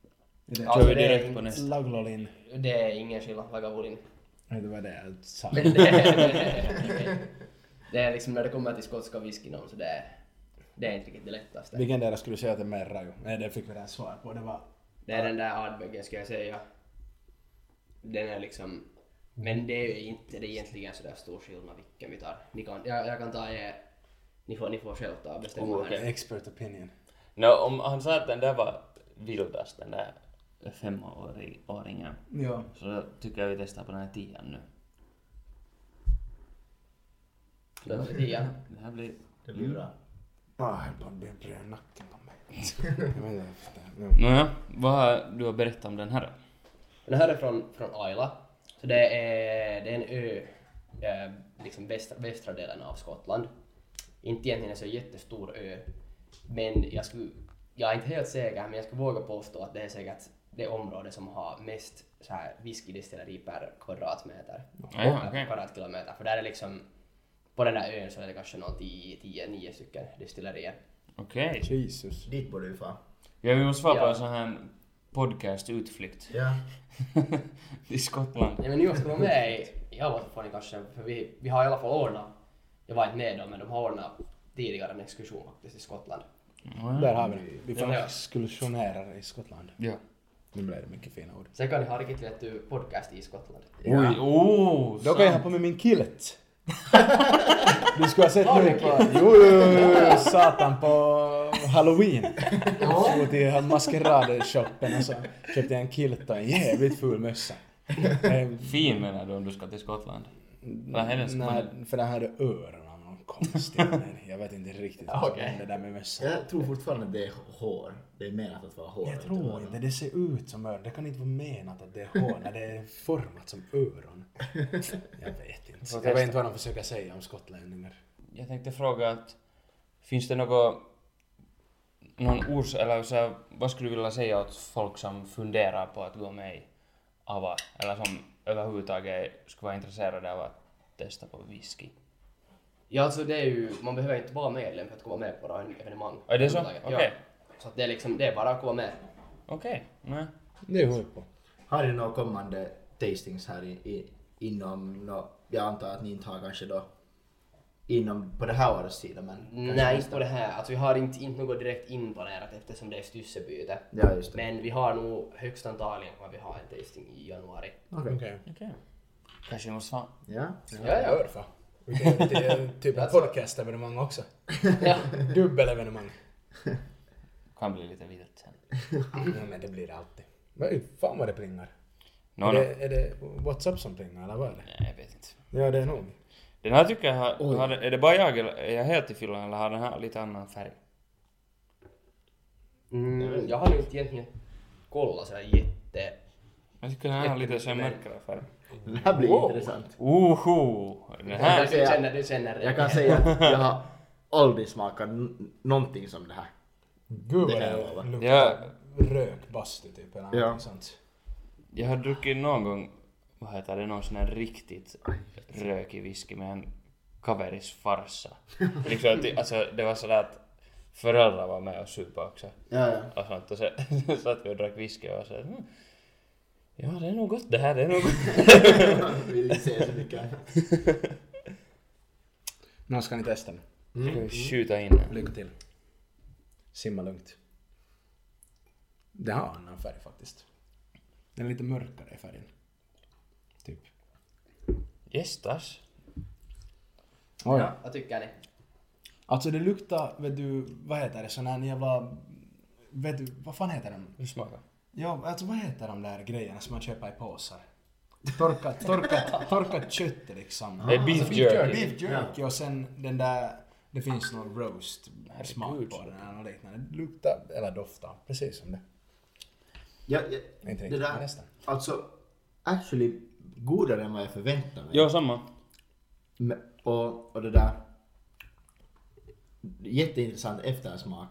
B: Är det
C: Kör
D: Alltså,
C: vi
D: det är
C: direkt
D: inte-
C: på nästa.
B: Laglolin?
D: Det är ingen skillnad, Lagavulin.
B: Nej, det var det jag sa.
D: Men det, det, är liksom när det kommer till skotska whiskyn och så det, är- det är inte riktigt det lättaste.
B: Vilken deras skulle du säga att det är mer raju? Nej, det fick vi redan svar på. Det var...
D: Det är den där Ardbeggen ska jag säga. Den är liksom... Men det är ju inte det är egentligen sådär stor skillnad vilken vi tar. Ni kan, jag, jag kan ta er Ni får, ni får själv ta och bestämma
C: Oh,
D: här
C: okej.
D: nu.
B: Expert opinion.
C: No, om han sa att den där var vildast, den där femåringen,
E: Ja.
C: så då tycker jag vi testar på den här tian nu.
D: Den här tian.
C: Det här blir...
A: Det
B: Mm.
A: blir bra.
B: Ah, höll på att bli bröd i nacken på
C: <laughs>
B: mig. Jag vet inte, nu.
C: Nåja, vad har du att berätta om den här då?
D: Den här är från, från Ayla. Så det är, det är en ö, eh, liksom västra, västra delen av Skottland. Inte egentligen en så jättestor ö, men jag skulle, jag är inte helt säker, men jag skulle våga påstå att det är säkert det område som har mest så här whiskydestilleri per kvadratmeter.
C: Ja, ja,
D: per
C: okej.
D: kvadratkilometer. För där är liksom, på den där ön så är det kanske någon 10-9 stycken destillerier.
C: Okej.
B: Jesus.
A: Dit borde vi fan.
C: Ja, vi måste vara på
D: Ja.
C: en sån här podcast-utflykt
A: Ja.
C: <laughs> till Skottland.
D: Nej men jag ska vara med i, i Alvarsförfarandet kanske, för vi, vi har i alla fall ordnat, jag var inte med då, men de har ordnat tidigare en exkursion faktiskt i Skottland.
B: Där har vi det. Vi får
D: Ja, ja.
B: exkursionerar i Skottland.
C: Ja.
B: Nu blev det mycket fina ord.
D: Sen kan ni ha riktigt lätt du podcast i Skottland.
C: Oj, oh,
B: Då kan jag ha
C: sant.
B: på mig min kilt. Du skulle ha sett
D: Har du
B: mig på...
D: kilt?
B: Jo, jo, jo, jo, satan på halloween. Jag for till maskerad-shoppen och så köpte jag en kilt och en jävligt ful mössa. Eh,
C: Fin menar du om du ska till Skottland? Vad är det som
B: Mm, Nej, för den hade öron av någon konstig anledning. Jag vet inte riktigt vad som
D: Okej.
B: hände där med mössan.
A: Jag tror fortfarande att det är hår. Det är menat att vara hår.
B: Jag
A: inte
B: tror
A: öron.
B: inte det ser ut som öron. Det kan inte vara menat att det är hår när det är format som öron. Jag vet inte. Jag vet inte vad de försöker säga om skottlänningar.
C: Jag tänkte fråga att finns det något någon ors eller så här, vad skulle du vilja säga åt folk som funderar på att gå med i AVA eller som överhuvudtaget skulle vara intresserade av att testa på whisky?
D: Ja alltså det är ju, man behöver inte vara medlem för att komma med på några evenemang.
C: Ja, det är så?
D: överhuvudtaget.
C: Okej.
D: Ja. Så att det är liksom, det är bara att komma med.
C: Okej, nej.
B: Det är hur på.
A: Har ni några kommande tastings här i, i, inom, nå- jag antar att ni inte har kanske då inom, på det här årets sida men kanske
D: Nej,
A: nästa.
D: inte på det här. Alltså vi har inte, inte något direkt inplanerat eftersom det är styssebyte.
A: Ja just det.
D: Men vi har nog högst antagligen kommer vi ha en tasting i januari.
A: Okej.
B: Okej.
C: Okej. Kanske måste fan.
A: Ja.
D: Ja, ja.
B: Hör fan. Vilket är typ ett podcastevenemang också.
D: Ja.
B: Dubbelevenemang.
C: Kan bli lite vilt <laughs> sen.
B: Ja, men det blir det alltid. Men fan vad det plingar.
C: No,
B: är,
C: no.
B: det, är det WhatsApp som plingar eller vad är det?
C: Nej, jag vet inte.
B: Ja, det är nog.
C: Den här tycker jag har, har, är det bara jag eller är jag helt i fyllan eller har den här lite annan färg?
D: Mm, jag har nog inte egentligen kollat så här jätte...
C: Jag tycker den här har lite så här mörkare färg.
A: Det här blir intressant.
C: Oho! Den här,
D: Du känner, du känner
A: Jag kan säga att jag har aldrig smakat n- någonting som det här.
B: Gud
A: Det
B: vad
A: kan jag
B: det
A: lova.
B: luktar
C: Ja.
B: rökbastu typ eller
A: Ja.
B: något sånt.
C: jag har druckit någon gång, vad heter det, någon sån här riktigt rökig whisky med en kaveris <laughs> farsa. liksom, att det- alltså det var sådär att föräldrar var med och supa också.
A: Ja, ja.
C: Och sånt och så <laughs> satt vi och drack whisky och var såhär "Mm, Ja, det är nog gott det här, det är nog gott.
A: Jag vill inte säga så mycket annat.
B: Nu ska ni testa nu.
C: Ska vi skjuta in den?
B: Lycka till. Simma lugnt. Det har en annan färg faktiskt. Den är lite mörkare i färgen. Typ.
C: Gästas?
B: Oj.
D: Ja, vad tycker ni?
B: Alltså det luktar, vet du, vad heter det, sån här jävla... Vet du, vad fan heter den?
C: Hur smakar?
B: Ja, alltså vad heter de där grejerna som man köper i påsar? Torkat, torkat, torkat kött liksom.
C: Det är beef jerky.
B: Beef jerky och sen den där, det finns någon roast smak
C: Herregud.
B: på den eller något liknande. Det luktar, eller doftar, precis som det.
A: Ja, ja,
B: Inte
A: det
B: riktigt, men
A: där,
B: nästan.
A: alltså actually godare än vad jag förväntade mig.
C: Ja, samma.
A: Men- Och, och det där. Jätteintressant eftersmak.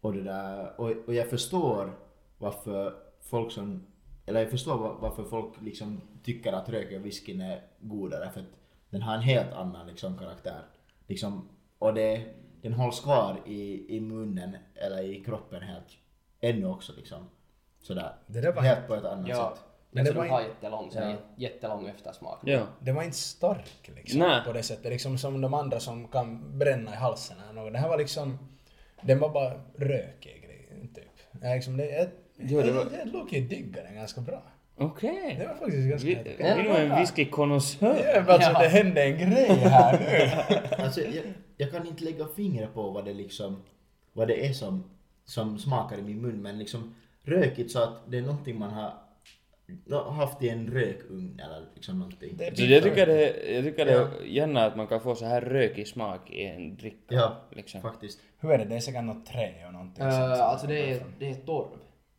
A: Och det där. Och, och jag förstår varför folk som... Eller jag förstår var, varför folk liksom tycker att rökiga whiskyn är godare. För att den har en helt annan liksom karaktär. Liksom, och det, den hålls kvar i, i munnen eller i kroppen helt. Ännu också liksom. Sådär.
B: Det där var
A: helt på ett annat
D: Ja,
A: sätt.
B: Men
D: men
B: det
D: det
B: var
D: de
B: ju-
D: har jättelång, så det är
A: Ja.
D: jättelång eftersmak.
C: Ja.
B: Det var inte stark liksom
C: Nej.
B: på det sättet. Liksom som de andra som kan bränna i halsen eller något. Det här var liksom, den var bara rökig grej, typ. Ja, liksom det, jag,
C: Jo, det var-
B: jag, jag låg ju och diggade den ganska bra.
C: Okej.
B: Det var faktiskt ganska...
C: Vi, vi är en whiskykonnässör. <laughs>
B: Ja, men alltså det hände en grej här nu.
A: Alltså, jag, jag kan inte lägga fingret på vad det liksom, vad det är som, som smakar i min mun men liksom rökigt så att det är någonting man har nå, haft i en rökugn eller liksom någonting.
C: Så jag
B: typ-
C: tycker det, jag tycker det är gärna att man kan få så här rökig smak i en dricka.
A: Ja,
C: Liksom.
A: faktiskt.
B: Hur är det? Det är säkert något trä och någonting sånt
D: Eh,
B: som
D: alltså det
B: kommer
D: är,
B: fram.
D: det är torv.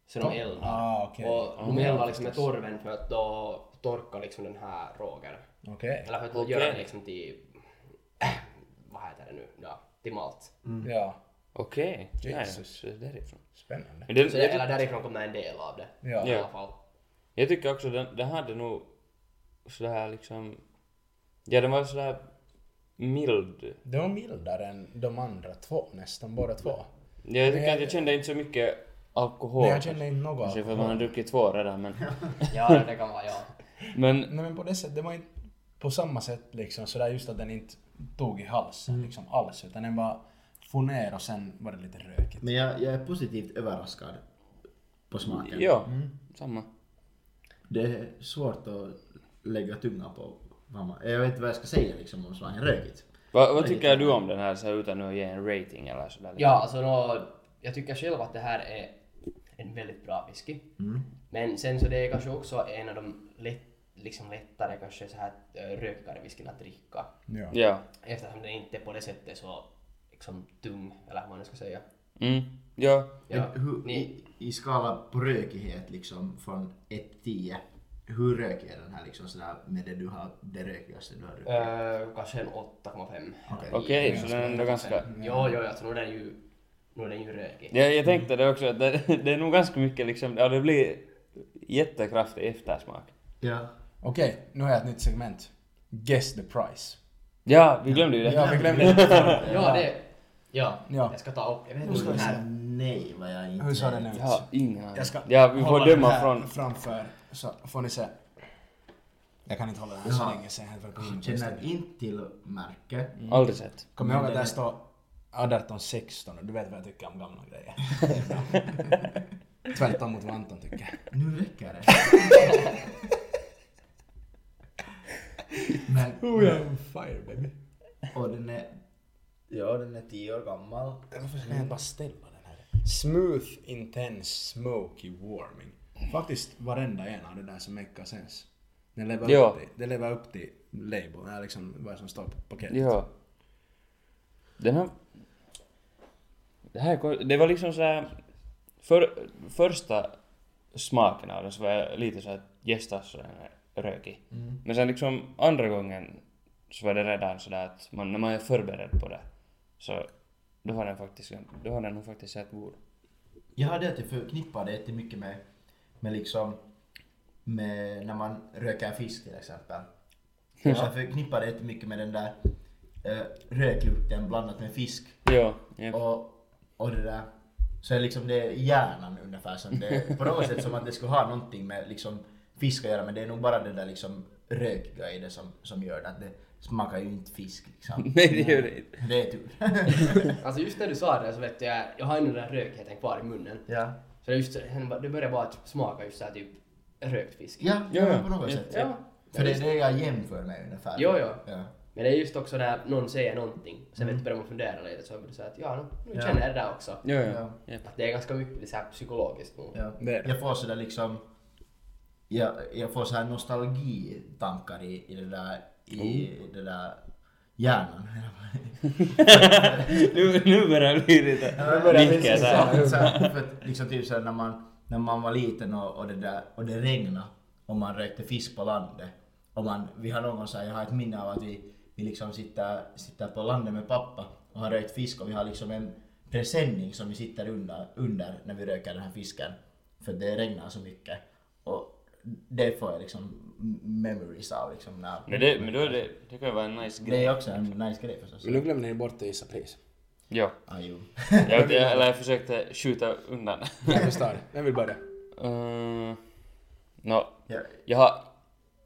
D: Så de eldar.
B: Ah, okej.
D: Och de eldar liksom med torven för att då torka liksom den här rågen.
B: Okej.
D: Eller för att
C: Okej.
D: göra den liksom till... <clears throat> Vad heter det nu? Ja, till malt.
B: Ja.
C: Okej. Nej,
B: Jesus.
C: så därifrån.
B: Spännande.
C: Men den,
D: Så
C: jag,
D: det,
C: ty-
D: eller därifrån kommer en del av det.
B: Ja.
D: I alla fall.
C: jag tycker också den, den hade nog sådär liksom... Ja, den var sådär mild.
B: Det var mildare än de andra två, nästan båda två.
C: Ja, jag tycker
B: jag-
C: att jag kände inte så mycket alkohol.
B: Nej, jag känner inte något.
C: Kanske för att man har druckit två
B: <laughs>
C: redan men...
D: Ja, det kan vara ja.
C: men
B: Nej men på det sättet, det var inte på samma sätt liksom sådär just att den inte tog i halsen liksom alls utan den bara for ner och sen var det lite rökigt.
A: Men jag, jag är positivt överraskad på smaken.
C: ja,
B: Mm.
C: samma.
A: Det är svårt att lägga tungan på. vad man- Jag vet inte vad jag ska säga liksom om slangen rökigt.
C: Va, vad tycker du om den här så här, utan att ge en rating eller sådär?
D: Ja, alltså då, jag tycker själv att det här är en väldigt bra whisky.
A: Mm.
D: Men sen så det är kanske också en av de lätt, liksom lättare, kanske så här eh, rökigare whiskyn att dricka.
B: Ja.
C: Ja.
D: Eftersom den inte på det sättet så liksom tung, eller vad man nu ska säga.
C: Mm. Ja.
D: Ja,
A: Men hur,
D: ni,
A: i, I skala på rökighet liksom från 1 till 10. Hur rökig är den här liksom sådär med det du har, det rökigaste du har druckit?
D: eh, kanske en 8,5.
A: Okej.
C: Okej, så den är ändå ganska...
D: Jo, jo, alltså nu är den ju, nu är den ju rökig.
C: Ja, jag tänkte det också att det, <laughs> det är nog ganska mycket liksom, ja det blir jättekraftig eftersmak.
A: Ja.
B: Okej, nu har jag ett nytt segment. Guess the price.
C: Ja, vi glömde ju det.
B: Ja, vi glömde <laughs> det.
D: Ja, det... Ja,
B: Ja.
D: jag ska ta upp. Jag vet inte
B: ska
D: hur den
B: vi
D: här...
B: se.
A: Nej vad jag inte Mm,
B: Hur såg den ut?
C: Jag har ingen aning.
B: Jag ska
C: Ja, vi får
B: hålla den
C: döma
B: här
C: från...
B: framför så får ni se. Jag kan inte hålla den så
A: Jaha.
B: länge sen. jag höll på att gå in
A: Jag
B: på listan.
A: känner inte till märke.
B: Mm.
C: Aldrig sett.
B: Kom ihåg att där står 18-16 och du vet vad jag tycker om gamla grejer. Tvärtom mot vad Anton tycker.
A: Nu räcker det. men,
B: Oh, jag är on fire baby.
A: och den är... Ja, den är 10 år gammal.
B: Varför ska jag bara ställa den här? Smooth, intense, smoky, warming. Faktiskt varenda en av det där som make sens. Den lever,
C: Ja.
B: upp till, den lever upp till label, eller liksom vad som står på paketet.
C: Ja. Den här... Det här kom- Det var liksom så här... För, första smaken av den så var jag lite så här gästas så den är rökig. Men sen liksom andra gången så var det redan så där att man, när man är förberedd på det så då har den faktiskt, då har den nog faktiskt sett god.
A: Jag hade alltid förknippat det till mycket med, med liksom, med när man röker en fisk till exempel. Så jag förknippar det till mycket med den där eh, röklukten blandat med fisk.
C: Ja, ja. <laughs>
A: Och, och det där. Så är liksom det är hjärnan ungefär som det, på något sätt som att det skulle ha någonting med liksom fisk att göra men det är nog bara det där liksom rökiga i det som, som gör det. Att det smakar ju inte fisk liksom.
C: Nej, det gör det inte.
A: Det är tur. <laughs>
D: Alltså just när du sa det så vet jag, jag har ännu den här rökigheten kvar i munnen.
A: ja.
D: Så det är just sen bara- det börjar bara att smaka just såhär typ rökt fisk.
A: Ja, ja, men på något
C: ja,
A: sätt.
D: ja.
A: För det är det jag jämför med ungefär.
D: Jo, jo.
A: Ja.
D: Men det är just också när någon säger någonting, sen vet du börjar man fundera lite så blir det såhär att ja, nu, nu
A: Ja.
D: känner jag det där också.
C: Ja, ja.
A: Ja.
C: ja.
D: Att det är ganska mycket så här psykologiskt nog.
A: Ja.
B: Det är det.
A: Jag får sådär liksom... Jag, jag får såhär nostalgitankar i, i det där... I
B: Oh.
A: det där hjärnan.
C: Nu, nu börjar det bli lite... Nu
A: Så
C: börjar
A: här, så här, för att liksom typ såhär när man, när man var liten och, och det där, och det regnade och man rökte fisk på landet. Och man, vi har någon gång så här, jag har ett minne av att vi, vi liksom sitter, sitter på landet med pappa och har rökt fisk och vi har liksom en presenning som vi sitter under, under när vi röker den här fisken. För det regnar så mycket. Och det får jag liksom memories av liksom när...
C: Men det, men då är det, det kan ju vara en nice grej.
A: Det är också en nice grej förstås.
B: Men nu glömde ni bort att gissa pris.
C: Ja.
A: Ah, jo.
C: Jag, jag, eller jag försökte skjuta undan. <laughs> Eh,
B: Vem vill starta? Vem vill börja?
C: Uh, no,
A: Ja,
C: jag har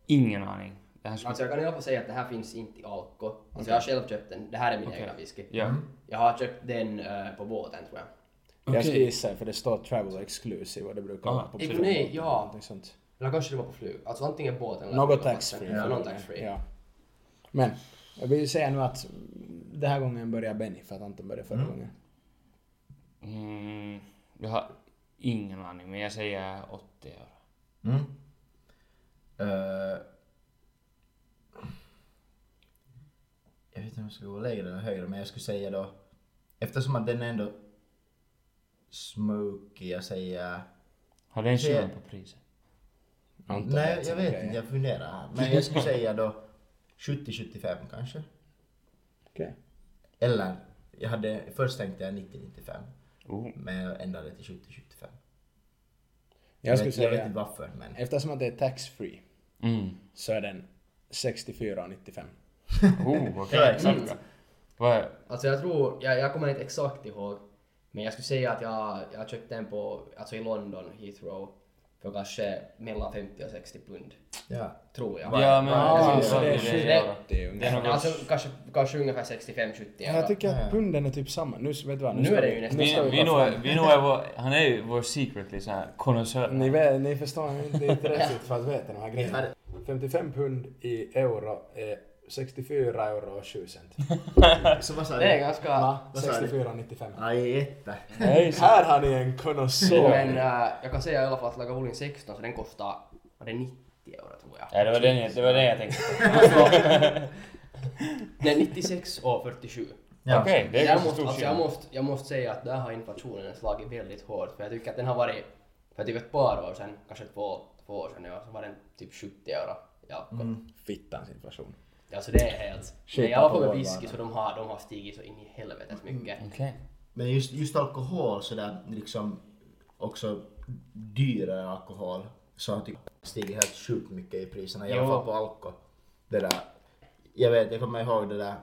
C: ingen aning. Det här skulle...
D: Alltså jag kan i alla fall säga att det här finns inte i Alko. Alltså jag har själv köpt den, det här är min egna whisky.
C: Ja.
D: Jag har köpt den eh, på båten tror jag.
B: Jag ska gissa för det står travel exclusive och det brukar vara på
D: Ej, nej, ja.
B: Någonting sånt.
D: Eller kanske det var på flyg. Alltså antingen båten eller
B: Något
D: på båten.
B: taxfree.
D: Ja, någon taxfree.
B: Ja. Men jag vill ju säga nu att den här gången börjar Benny för att Anton började förra gången.
C: Mm, jag har ingen aning, men jag säger 80 euro.
A: Mm. Eh, jag vet inte om jag ska gå lägre eller högre, men jag skulle säga då... Eftersom att den är ändå smoky, jag säger...
C: Har den
A: Det-
C: skillnad på priset?
B: Anton
A: Nej, jag
B: sina
A: vet
B: grejer.
A: inte, jag funderar. här. Men jag skulle säga då 70-75 kanske.
B: Okej.
A: Eller, jag hade, först tänkte jag 90-95,
C: Oh.
A: men jag ändrade till 70-75.
B: Jag
A: vet-
B: skulle
A: jag vet inte
B: säga,
A: varför, men...
B: eftersom att det är tax free
C: Mm.
B: så är den 64,95.
C: Oh,
A: Ja,
C: okej.
A: exakt.
C: Mm. Vad-
D: Alltså jag tror, jag, jag kommer inte exakt ihåg, men jag skulle säga att jag, jag köpte den på, alltså i London, Heathrow, för kanske mellan 50 och 60 pund,
A: Ja.
D: tror jag.
C: Ja, men
A: Ja,
C: alltså,
A: så
C: vad
B: det är
C: blir
D: det.
C: i euro?
B: Det är
C: Det är
B: ungefär.
C: nog
D: Alltså kanske, kanske ungefär 65-70
B: Jag
D: euro.
B: tycker att punden är typ samma. Nu, vet du vad,
D: Nu
B: ska
D: är det
B: vi-
D: ju
B: nu
D: nästan
B: ska
C: Vi,
B: vi
C: vi,
B: bara
C: nog,
B: fram.
C: vi nog är vår, han är ju vår secretly sån här konnässör.
B: Ni, vet, ni förstår inte riktigt för att veta de här grejerna. 55 pund i euro är 64 euro och 7 cent.
A: Så vad sa
D: Det är
A: du?
D: ganska...
A: Vad sa du?
B: 64,95.
A: Aj, etta.
B: Nej, här har ni en konnässör.
D: Men äh, jag kan säga i alla fall att Lagavulin 16, så den kostar, var det 90 euro tror jag?
C: Ja, det var den, jag- det var den jag tänkte på.
D: Nej, 96 och 47.
A: Ja.
C: Okej, det är
D: jag,
C: ganska
D: måste,
C: stor
D: alltså, jag,
C: skillnad.
D: måste, jag måste säga att där har inflationen slagit väldigt hårt. För jag tycker att den har varit, för typ ett par år sedan, kanske två, två år sedan, ja, så var den typ 70 euro. Ja,
C: Mm.
B: Fittans inflation.
D: Alltså det är helt...
B: Shit,
D: Men i alla fall med
B: alkohol
D: whisky
B: bara.
D: så de har, de har stigit så in i helvetes mycket.
C: Okej.
A: Men just, just alkohol sådär liksom också dyrare alkohol så har typ stigit helt sjukt mycket i priserna. I alla
D: Jo.
A: fall på alkohol. Det där, jag vet, jag kommer ihåg det där,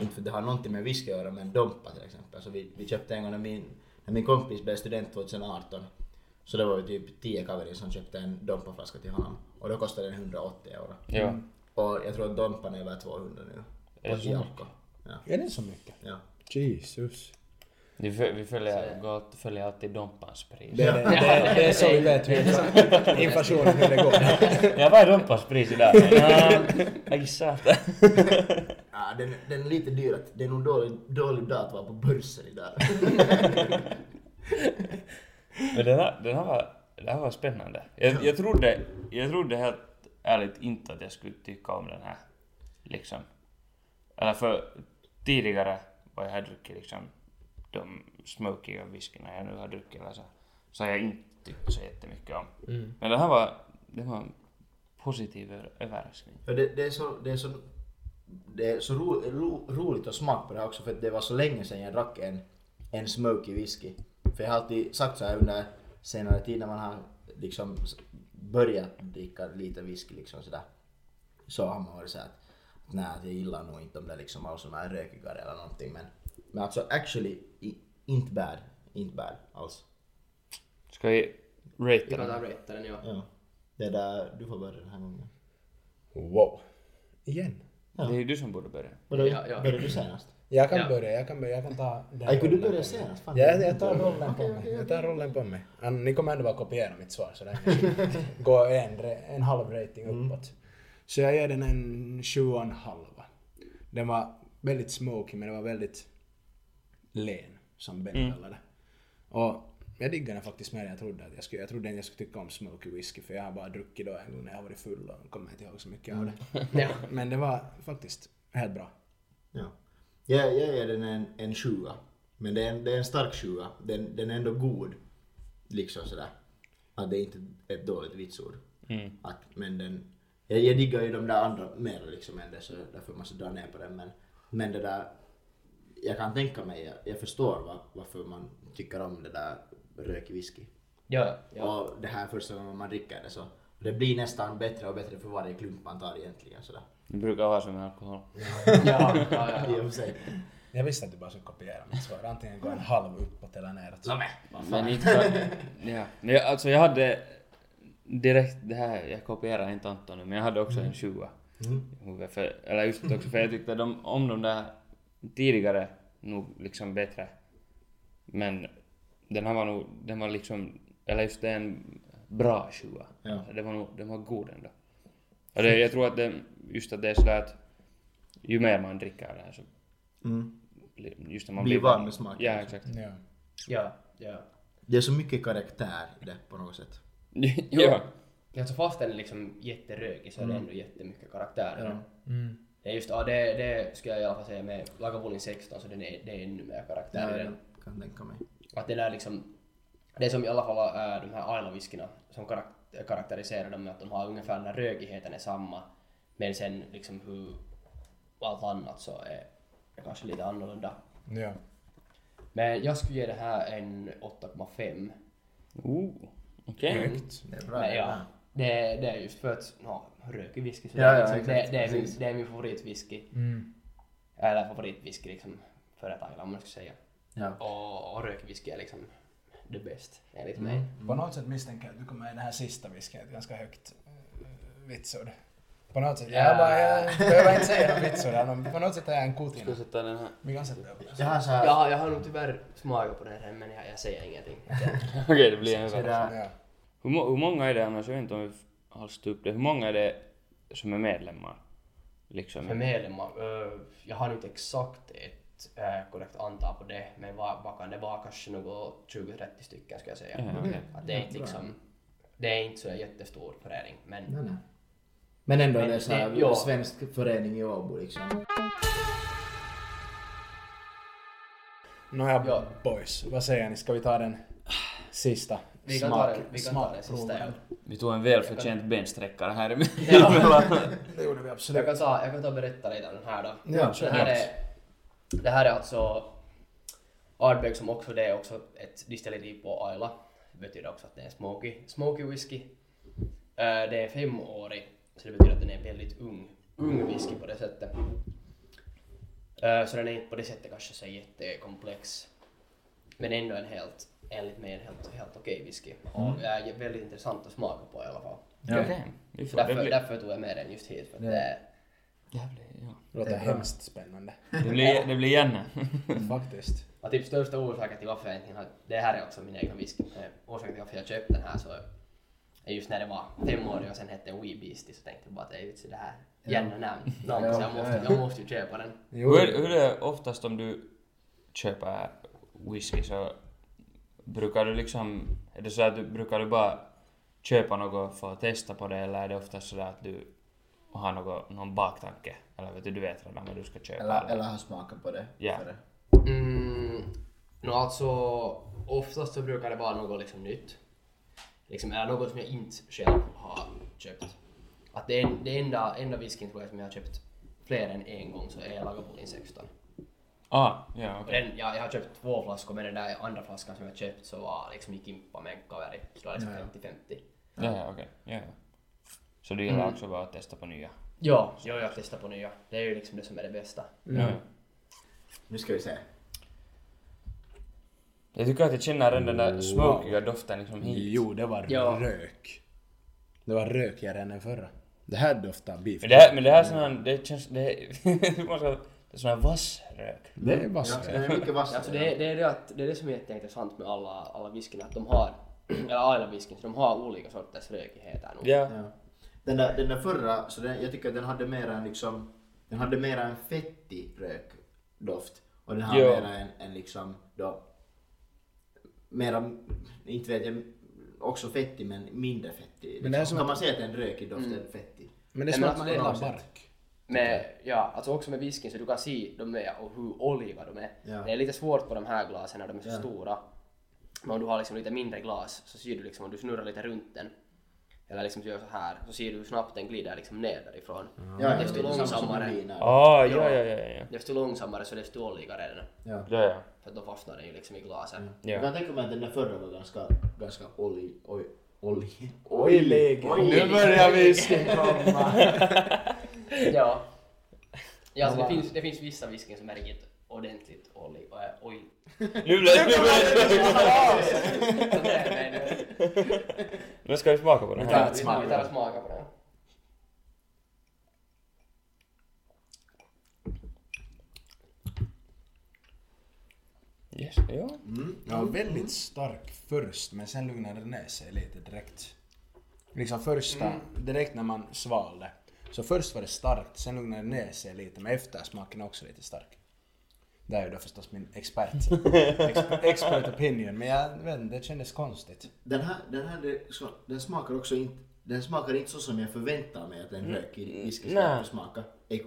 A: inte för att det har någonting med whisky att göra men Dompa till exempel. Så vi, vi köpte en gång när min, när min kompis blev student 2018 så det var vi typ 10 kaverin som köpte en Dompa-flaska till honom och då kostade den 180 euro.
C: Ja.
A: Och jag tror att Dompan är över 200 nu.
C: Är det
A: Och
C: så
A: i
C: mycket?
A: alkohol. Ja,
B: Är det så mycket?
A: ja.
B: Jesus.
C: Vi, föl- vi följer, går, att- följer alltid Dompans pris.
B: Det är, det, det, är, det är så vi vet hur infla- inflationen hur det går.
C: Ja, vad är Dompans pris idag? Ja, Jag gissar att det.
A: Ja, den, den är lite dyr. att- Det är nog dålig, dålig dag att vara på börsen idag.
C: Men den här, den här var, den här var spännande. Jag, jag, trodde, jag trodde helt ärligt inte att jag skulle tycka om den här. Liksom. Eller för tidigare vad jag har druckit liksom de smokiga whiskyna jag nu har druckit eller så, så har jag inte tyckt så jättemycket om. Men den här var, det var en positiv ö- överraskning.
A: <laughs> För det, det är så, det är så, det är så ro, ro, roligt att smaka på det här också för att det var så länge sedan jag drack en, en smoky whisky. För jag har alltid sagt så här under senare tid när man har liksom s- börjat dricka lite whisky liksom sådär. Så har man varit såhär att nej, att jag gillar nog inte om det liksom alls som är rökigare eller någonting men, men alltså actually i, inte bad, inte bad alls.
C: Ska vi
D: Vi
C: ratea
D: kan
C: den?
D: ta raten, ja.
A: Ja. Det där, du får börja den här gången.
B: Wow. Igen.
C: Det är ju du som borde börja.
A: Vadå?
D: Ja, ja.
A: Började du senast?
B: Jag kan
D: Ja.
B: börja, jag kan börja, jag kan ta den
A: Aj, kunde du
B: rollen.
A: börja senast? Fan,
B: Ja, jag tar rollen på mig. Jag tar rollen på mig. An- Ni kommer ändå bara kopiera mitt svar så det går en, re- en halv rating uppåt. Så jag ger den en sju och en halva. Den var väldigt smoky men den var väldigt len som Ben kallade det. Och jag diggar den faktiskt mer än jag trodde. Att jag, skulle, jag trodde inte jag skulle tycka om smoky whisky för jag har bara druckit då en gång när jag har varit full och kommer inte ihåg så mycket av det.
D: Ja.
B: Men det var faktiskt helt bra.
A: Ja. Jag, jag ger den en, en sjua. Men det är en, det är en stark sjua. Den, den är ändå god. Liksom sådär. Att det är inte ett dåligt vitsord. Att, men den, jag, jag diggar ju de där andra mer liksom än det så därför måste jag dra ner på den. Men, men det där, jag kan tänka mig, jag, jag förstår va, varför man tycker om det där rökig whisky.
D: Ja, ja.
A: Och det här är första gången man dricker det så. Det blir nästan bättre och bättre för varje klump man tar egentligen sådär.
C: Det brukar vara som med alkohol.
D: ja, ja, ja,
A: <laughs> I
D: ja.
A: och för sig.
B: Jag visste att du bara skulle kopiera mitt svar. Antingen går en halv uppåt eller neråt.
C: Men inte för- ja. Men jag, alltså jag hade direkt det här, jag kopierar inte Anton nu, men jag hade också en 20 i huvudet. För, eller just också för jag tyckte de, om de där tidigare nog liksom bättre. Men den här var nog, den var liksom, eller just det är en bra 20
A: Ja.
C: Det var nog, den var god ändå. Och det, jag tror att det, just att det är sådär att ju mer man dricker av det här så
A: Mm.
C: bli- Just när man
A: Bli
C: blir
A: van med smaken.
C: Ja, exakt.
B: Ja.
D: Ja, ja.
A: Det är så mycket karaktär i det på något sätt.
C: <laughs> ja.
D: Alltså fast den är liksom jätterökig så är det
C: Mm.
D: ändå jättemycket karaktär.
A: Ja.
B: Mm.
D: Det är just, ja det, det skulle jag i alla fall säga med Lagavulin 16 så den är, det är ännu mer
A: Det
D: karaktär i
A: är
D: den.
A: det. Kan tänka mig.
D: Att det där liksom, det är som i alla fall äh, de här Aila-whiskyna som karak- karaktäriserar dem med att de har ungefär den här rökigheten är samma. Men sen liksom hur allt annat så är det kanske lite annorlunda.
B: Ja.
D: Men jag skulle ge det här en 8,5.
C: Oh, okej.
B: Högt.
A: Det är bra.
D: Men
A: det är
D: ja,
A: bra.
D: det, det är just för att, no, rökig whisky så
A: Ja,
D: det är
A: ja,
D: liksom, det,
A: exakt,
D: det, är min,
A: precis.
D: det är min favoritwhisky.
B: Mm.
D: Eller favoritwhisky liksom, för ett island om man ska säga.
A: Ja.
D: Och, och rökvisky är liksom det bäst enligt
A: Mm.
D: mig.
B: På något sätt misstänker jag att du kommer med den här sista whiskyn ett ganska högt eh, vitsord. På något sätt. Jag, bara, jag behöver inte säga något vitsord här, men på något sätt är jag en
C: Ska
B: kutina.
C: vi sätta den här? <laughs>
B: Vi kan sätta upp.
A: Jag har så här,
D: Ja, jag har nog tyvärr smakat på den här men jag, jag säger ingenting.
C: Okej, det blir en
A: så
C: över.
A: där,
B: Ja.
C: Hur, må- hur många är det annars? Jag vet inte om vi har stått upp det. Hur många är det som är medlemmar? Liksom.
D: För medlemmar, eh, jag har nog inte exakt ett eh, korrekt antal på det men vad, vad kan det vara? Kanske något 20-30 stycken ska jag säga.
A: Mm.
C: Ja, okej.
D: Att det, är inte liksom, det är inte så jättestor förening men
A: Nej, nej. Men ändå
D: Men
A: är det så här,
D: det- ja.
A: svensk förening i Åbo liksom.
B: Nåja
D: Ja.
B: boys, vad säger ni? Ska vi ta den sista
D: vi kan ta den, vi kan ta den sista.
B: smakproven?
D: ja.
C: Vi tog en välförtjänt bensträckare här emellan.
B: Det gjorde vi
D: Jag
B: absolut.
D: kan ta, jag kan ta och berätta lite om den här då.
B: Ja,
D: det, här är, det här är alltså Ardbeg som också det är också ett distilleri på Isla. Det betyder också att det är smoky, smoky whisky. Eh, det är femårig, så det betyder att den är väldigt ung, ung whisky på det sättet. Eh, så den är inte på det sättet kanske så jättekomplex. Men ändå en helt, enligt mig en helt, helt okej whisky.
C: Mm.
D: Och är väldigt intressant att smaka på i alla fall.
C: Okej. Vi
D: Så
C: får det
D: därför,
C: blir...
D: därför tog jag med den just hit. För att det är,
C: Jävlar, ja.
B: Låter hemskt spännande.
C: Det blir, det blir Janne.
B: Faktiskt.
D: Och typ största orsaken till varför jag inte har... Det här är också min egna whisky. Eh, Orsaken till varför jag köpte den här så... är Just när det var fem år och sen hette den Wee Beastie så tänkte jag bara att "Ey, vitsi, det här... Jävla namn. Namn, så jag måste, jag måste ju köpa den.
B: Jo,
C: Hur, hur är det oftast om du köper whisky så brukar du liksom... Är det så att du brukar du bara köpa något för att testa på det eller är det oftast sådär att du har något, någon baktanke? Eller vet du, du vet redan vad du ska köpa?
A: Eller, eller har smakat på det.
C: Ja.
A: före.
D: Mm, no, alltså oftast så brukar det vara något liksom nytt. Liksom, eller något som jag inte själv har köpt. Att det, en- det enda, enda whiskyn tror jag som jag har köpt fler än en gång så är Lagavulin 16.
C: Ah, ja,
D: Och
C: okej.
D: Den, jag, jag har köpt två flaskor men den där andra flaskan som jag köpt så var liksom i Kimpa med en kaveri. Så det var liksom 50-50.
C: Ja, Mm. ja, okej. Ja, ja. Så du gillar också bara att testa på nya?
D: Ja, jo, jag testar på nya. Det är ju liksom det som är det bästa.
C: Ja.
A: Nu ska vi se.
C: Jag tycker att jag känner redan den där smokiga doften liksom hit.
B: jo, det var
D: Ja.
B: rök. Det var rökigare än den förra. Det här doftar beef.
C: Men det här, men det här är sån här, det känns, det är, <laughs> man ska, det är sån här vass rök.
B: Det är bara
A: Ja,
B: så.
A: det är mycket
D: Alltså
A: vassare.
D: det, är- det, är det, att, det är det som är jätteintressant med alla, alla whiskyn, att de har, <clears throat> eller island whiskyn, så de har olika sorters rökigheter nog.
C: Ja.
A: Ja. Den, där, den där förra, så den, jag tycker att den hade mera en liksom, den hade mera en fettig rökdoft och den här
C: Jo.
A: mera en, en liksom då, mera, inte vet jag, också fettig men mindre fettig. Liksom.
B: Men det är som
A: kan
B: att- Mm.
A: man säga att en rökig doft är fettig?
B: Men det är
D: Nej,
B: som
D: men
B: att man
D: alltså, det är
B: gillar
D: något
B: bark.
D: Med, ja, alltså också med whiskyn så du kan se de är och hur oliva de är.
A: Ja.
D: Det är lite svårt på de här glasen när de är så
A: Ja.
D: stora. Men om du har liksom lite mindre glas så ser du liksom om du snurrar lite runt den eller liksom gör så här så ser du hur snabbt den glider liksom ner därifrån.
A: Ja,
D: desto,
A: det är samma som
D: långsammare,
A: vin här.
C: Ah, ja, ja, ja, ja.
D: desto långsammare så desto oljigare är den.
A: Ja.
C: Ja, ja.
D: För då fastnar den ju liksom i glaset.
A: Jag
C: ja.
A: kan tänka mig att den där förra var ganska, ganska olj, oj, olj,
B: Oilig. Nu börjar whiskyn komma.
D: Ja. ja alltså, det, finns, det finns vissa whiskyn som är riktigt ordentligt oljig och är oil.
A: <laughs>
C: Nu blir
D: Så det är med nu.
C: Nu ska vi smaka på den
D: Vi
C: här.
D: tar- vi tar vi tar och smakar på den.
C: Yes, ja.
B: Ja, väldigt stark först, men sen lugnade den ner sig lite direkt. Liksom första, direkt när man svalde. Så först var det starkt, sen lugnade den ner sig lite, men eftersmaken är också lite stark. Det är ju då förstås min expert, exp- expert opinion, men jag vet inte, det kändes konstigt.
A: Den här, den här det- så- den smakar också inte, den smakar inte så som jag förväntar mig att en rökig whisky ska
C: nej.
A: försmaka. eh,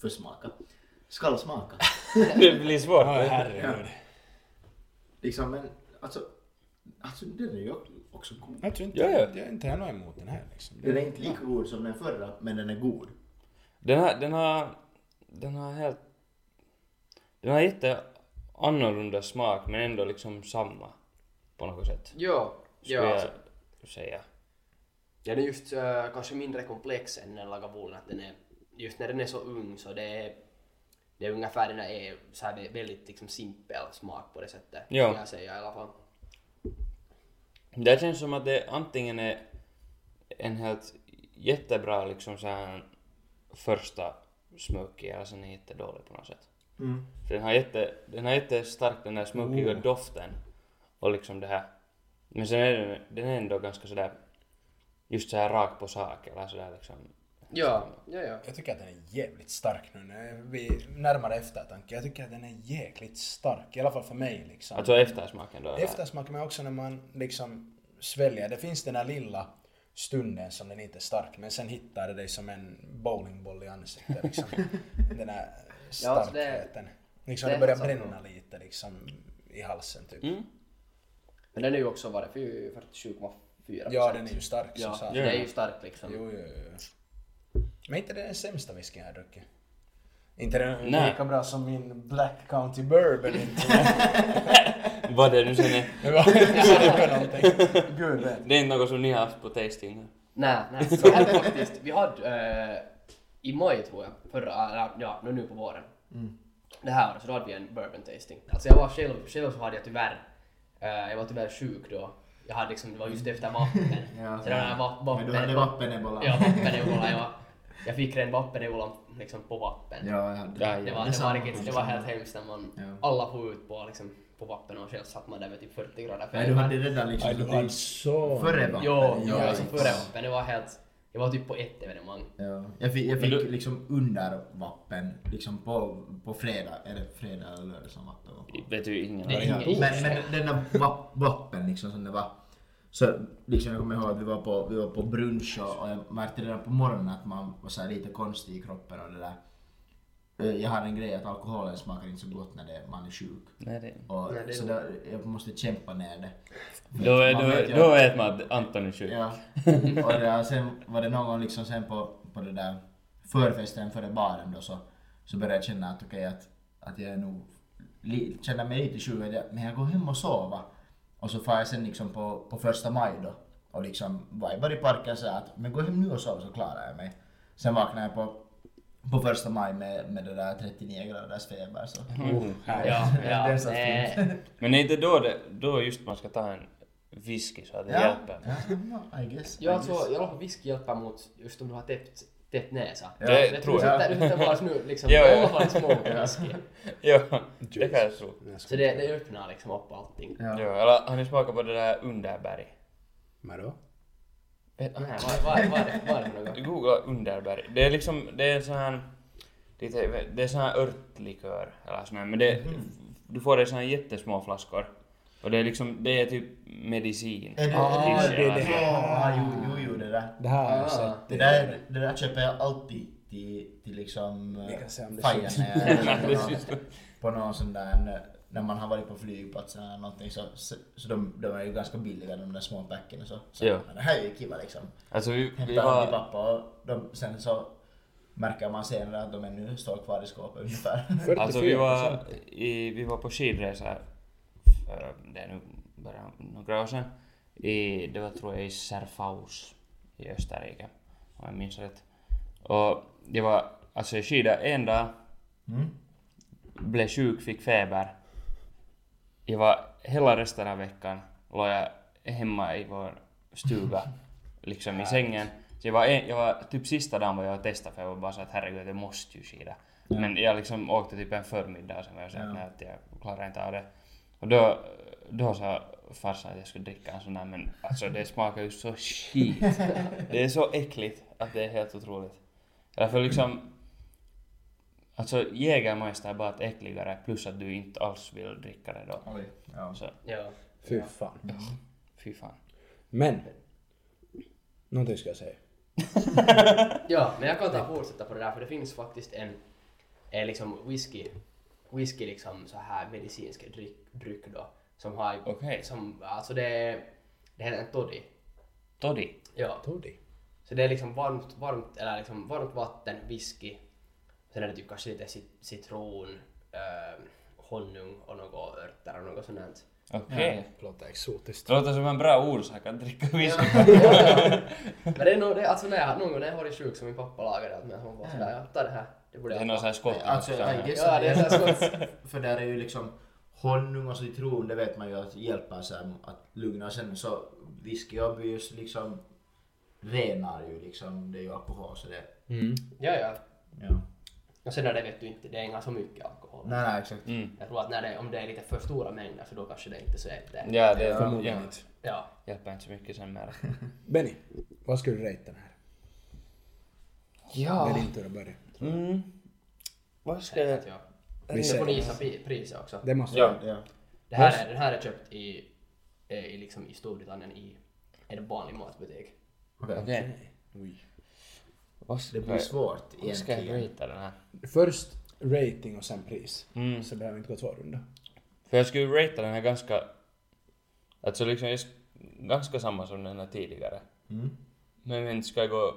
A: Försmaka? Skall smaka.
C: Det blir svårt.
B: Åh herregud.
A: Liksom men alltså, alltså den är ju också god.
B: Jag tror inte,
C: Ja, ja.
B: jag är inte har något emot den här liksom.
A: Den är inte lika god som den förra, men den är god.
C: Den har, den har, den har helt... Den har jätte annorlunda smak men ändå liksom samma på något sätt.
D: Ja,
C: Skulle
D: ja. Alltså,
C: jag säga.
D: ja den är just eh, kanske mindre komplex än den lagavulin. Att den är, just när den är så ung så det är, det är ungefär den där är så här vä- väldigt liksom simpel smak på det sättet.
C: Ja.
D: skulle Jag säger i alla fall.
C: Det känns som att det antingen är en helt jättebra liksom så här första smoky eller sen är jättedålig på något sätt.
A: Mm.
C: För den har, jätte, den har jättestark den där smokiga doften och liksom det här. Men sen är den, den är ändå ganska sådär just så här rakt på sak eller sådär liksom.
D: Ja, ja, ja.
B: Jag tycker att den är jävligt stark nu när vi närmar eftertanke. Jag tycker att den är jäkligt stark, i alla fall för mig liksom.
C: Alltså eftersmaken då? eller?
B: Eftersmaken men också när man liksom sväljer. Det finns den här lilla stunden som den inte är stark men sen hittar det dig som en bowlingboll i ansiktet
D: <laughs>
B: liksom. den här
D: Ja, så det-
B: starkheten. liksom
D: det
B: det,
D: är
B: börjar
D: sant.
B: bränna lite liksom i halsen typ.
C: Mm.
D: Men den är ju också, vad är det, fy- 47,4
B: Ja den är ju stark som
D: Ja,
B: sagt.
D: den är ju stark liksom.
B: Jo, jo, jo. Men inte den sämsta whiskyn jag har druckit. Inte den
C: Nej.
B: lika bra som min Black County Bourbon
C: <laughs>
B: inte.
C: Vad det nu sen är?
B: Det var så det var någonting. Gud vet.
C: Det är inte något som ni har haft på tasting?
D: Nej,
A: <laughs>
D: nej. Så här faktiskt, vi hade eh, i maj tror jag, förra, eller, ja nu, nu på våren.
A: Mm.
D: Det här året så då hade vi en bourbon tasting. Alltså jag var själv, själv så hade jag tyvärr, eh, jag var tyvärr sjuk då. Jag hade liksom, det var just
A: <laughs>
D: efter vapen.
A: Ja, alltså,
D: så det var den här va-
A: Men du hade
D: vapen.
A: vappenebola.
D: Ja, vappenevolan. Jag, jag fick den vappenevolan liksom på vapen.
A: Ja, jag hade
C: Ja,
D: Det var, det, var
A: Detsamma.
D: riktigt, det var helt hemskt när man,
A: Ja.
D: alla får ut på, liksom, på vapen och själv satt man där med typ 40 grader
A: Nej, du hade redan liksom...
B: Aj, du
A: så
B: har
A: att
B: så...
A: du- Före vapen.
D: Jo, jo,
A: Ja,
D: alltså
A: inte.
D: före vapen. Det var helt, jag var typ på ett evenemang.
A: Ja. Jag fick, jag fick
C: Men du-
A: liksom under vapen, liksom på, på fredag, eller fredag eller lördag som vatten var på.
C: Vet du ingen
D: Det är
C: aning.
D: ingen-
A: Men, men den där va, vapen liksom som det var. Så liksom jag kommer ihåg att vi var på, vi var på brunch och, och jag märkte redan på morgonen att man var så här lite konstig i kroppen och det där. Eh, Jag har en grej att alkoholen smakar inte så gott när det, man är sjuk.
C: Nej, det...
A: Och,
D: Nej, det är
A: så där, jag måste kämpa ner det.
C: Då, är,
A: Man
C: då,
A: vet ju
C: då
A: att-
C: vet man att Anton är
D: Typ.
C: sjuk.
A: Ja. Och det, där, sen var det någon gång liksom sen på, på det där förfesten före baren då så, så började jag känna att okej att, att jag är nog, li, känner mig lite sjuk, att jag- men jag går hem och sover. Och så far jag sen liksom på, på första maj då och liksom vibar i parken så här att men gå hem nu och sov så klarar jag mig. Sen vaknade jag på, på första maj med, med det där 39 graders feber så.
D: Ja, ja,
A: Mm. <laughs> Det är så
D: nej.
C: Men är det då, det, då just man ska ta en whisky så att det
A: Ja,
C: hjälper?
A: ja, ja, I guess.
D: Ja,
A: I
D: alltså,
A: guess.
D: i alla fall whisky hjälpar mot just om du har täppt, täppt näsa.
A: Ja,
C: det
D: jag
C: tror
D: tror
A: jag.
D: jag. Du hittar bara nu liksom, i
C: Ja, ja.
D: alla fall smoke whisky.
C: Ja, det kan jag tro.
D: Så det, det öppnar liksom upp allting.
C: Ja,
A: Ja.
C: eller har ni smakat på det där underberg?
B: Vadå?
D: Nej, vad vad- vad är det vad är det för något?
C: Googla underberg. Det är liksom, det är en sån här... Lite, det är sån här örtlikör eller sån här, men det,
B: Mhm.
C: du får det i sån här jättesmå flaskor. Och det är liksom, det är typ medicin.
A: Är det-
B: Ah,
A: är
B: det är det
A: Ja,
B: här.
A: jo, jo, jo, det där.
B: Det här har jag
D: Ah,
B: sett.
A: Det där, det där köper jag alltid till, till liksom
B: Vi kan
A: eh,
B: se om det
A: Fajan <laughs>
B: syns.
A: när jag är på någon- på någon sån där eh, när man har varit på flygplatsen eller någonting så, så, så de, de är ju ganska billiga de där små packen och så. så
C: Ja.
A: men det här är ju kiva liksom.
C: Alltså vi, vi
A: Hämtar dem till
C: var...
A: pappa och de, sen så märker man senare att de ännu står kvar i skåpet ungefär.
B: 44
C: Alltså vi var, i, vi var på skidresa för eh, det är nu bara några år sedan. I, det var tror jag i Serfaus i Österrike om jag minns rätt. Och det var alltså jag skidade en dag,
A: Mm.
C: blev sjuk, fick feber. Jag var hela resten av veckan låg jag hemma i vår stuga, liksom i sängen. Så jag var, en, jag var typ sista dagen var jag och testade för jag var bara så att herregud jag måste ju skida. Men jag liksom åkte typ en förmiddag och sen var jag såhär
A: Ja.
C: nej att jag klarar inte av det. Och då, då sa farsan att jag skulle dricka en sån där men alltså det smakar ju så skit. Det är så äckligt att det är helt otroligt. Därför liksom Alltså Jägermeister är bara ett äckligare plus att du inte alls vill dricka det då.
A: Oj, ja.
C: Så,
D: Ja.
B: Fy fan.
C: fy fan.
B: Men. Någonting ska jag säga.
D: Ja, men jag kan ta fortsätta på det där för det finns faktiskt en, en liksom whisky, whisky liksom så här medicinsk dryck, dryck då som har,
C: Okej.
D: som, alltså det, är- det heter en toddy.
C: Toddy.
D: Ja.
B: Toddy.
D: Så det är liksom varmt, varmt, eller liksom varmt vatten, whisky, sen är det typ kanske lite cit- citron, eh, honung och några örter och något sånt. där.
C: Okej.
B: Låter exotiskt.
C: Det låter som en bra orsak att dricka whisky.
D: Men det är nog, det, alltså när jag, någon gång när jag har varit sjuk som min pappa lagade det, men hon var sådär, ja ta det här, det borde
C: Det är
D: jag
C: någon
D: ha.
C: sån här skott.
A: Alltså, I guess
D: Ja, det är så här
A: För där är ju liksom honung och citron, det vet man ju att hjälper så här, att lugna. Och sen så whisky och bus liksom renar ju liksom, det är ju alkohol så det...
B: Mm.
D: Ja, ja.
A: Ja.
D: Och sen är det vet du inte, det är inga så mycket alkohol.
A: Nej, nej exakt.
C: Mm.
D: Jag tror att när det, om det är lite för stora mängder så då kanske det inte så är det.
C: Ja, det ja.
B: Förmodligen inte.
D: Ja.
C: hjälper inte så mycket sen mer.
B: Benny, vad skulle du rate den här? Det
C: Ja.
B: är din tur att börja.
C: Mm. Vad ska jag...
D: Vet jag.
B: Vi
D: Sen får
B: säger.
D: ni gissa pri- priset också.
B: Det måste
C: Ja.
B: jag.
A: Ja.
D: Det här är, den här är köpt i, eh, i, liksom i Storbritannien i en vanlig matbutik.
A: Okej.
C: Okej.
B: Oj.
C: Vad ska
A: Det blir
C: jag...
A: svårt
C: Vad ska jag
A: egentligen.
C: rita den här?
B: Först rating och sen pris.
C: Mm.
B: Så behöver vi inte gå två rundor.
C: För jag skulle ratea den här ganska... Alltså liksom, jag, sk- ganska samma som den här tidigare.
A: Mm.
C: Men jag vet inte, ska jag gå...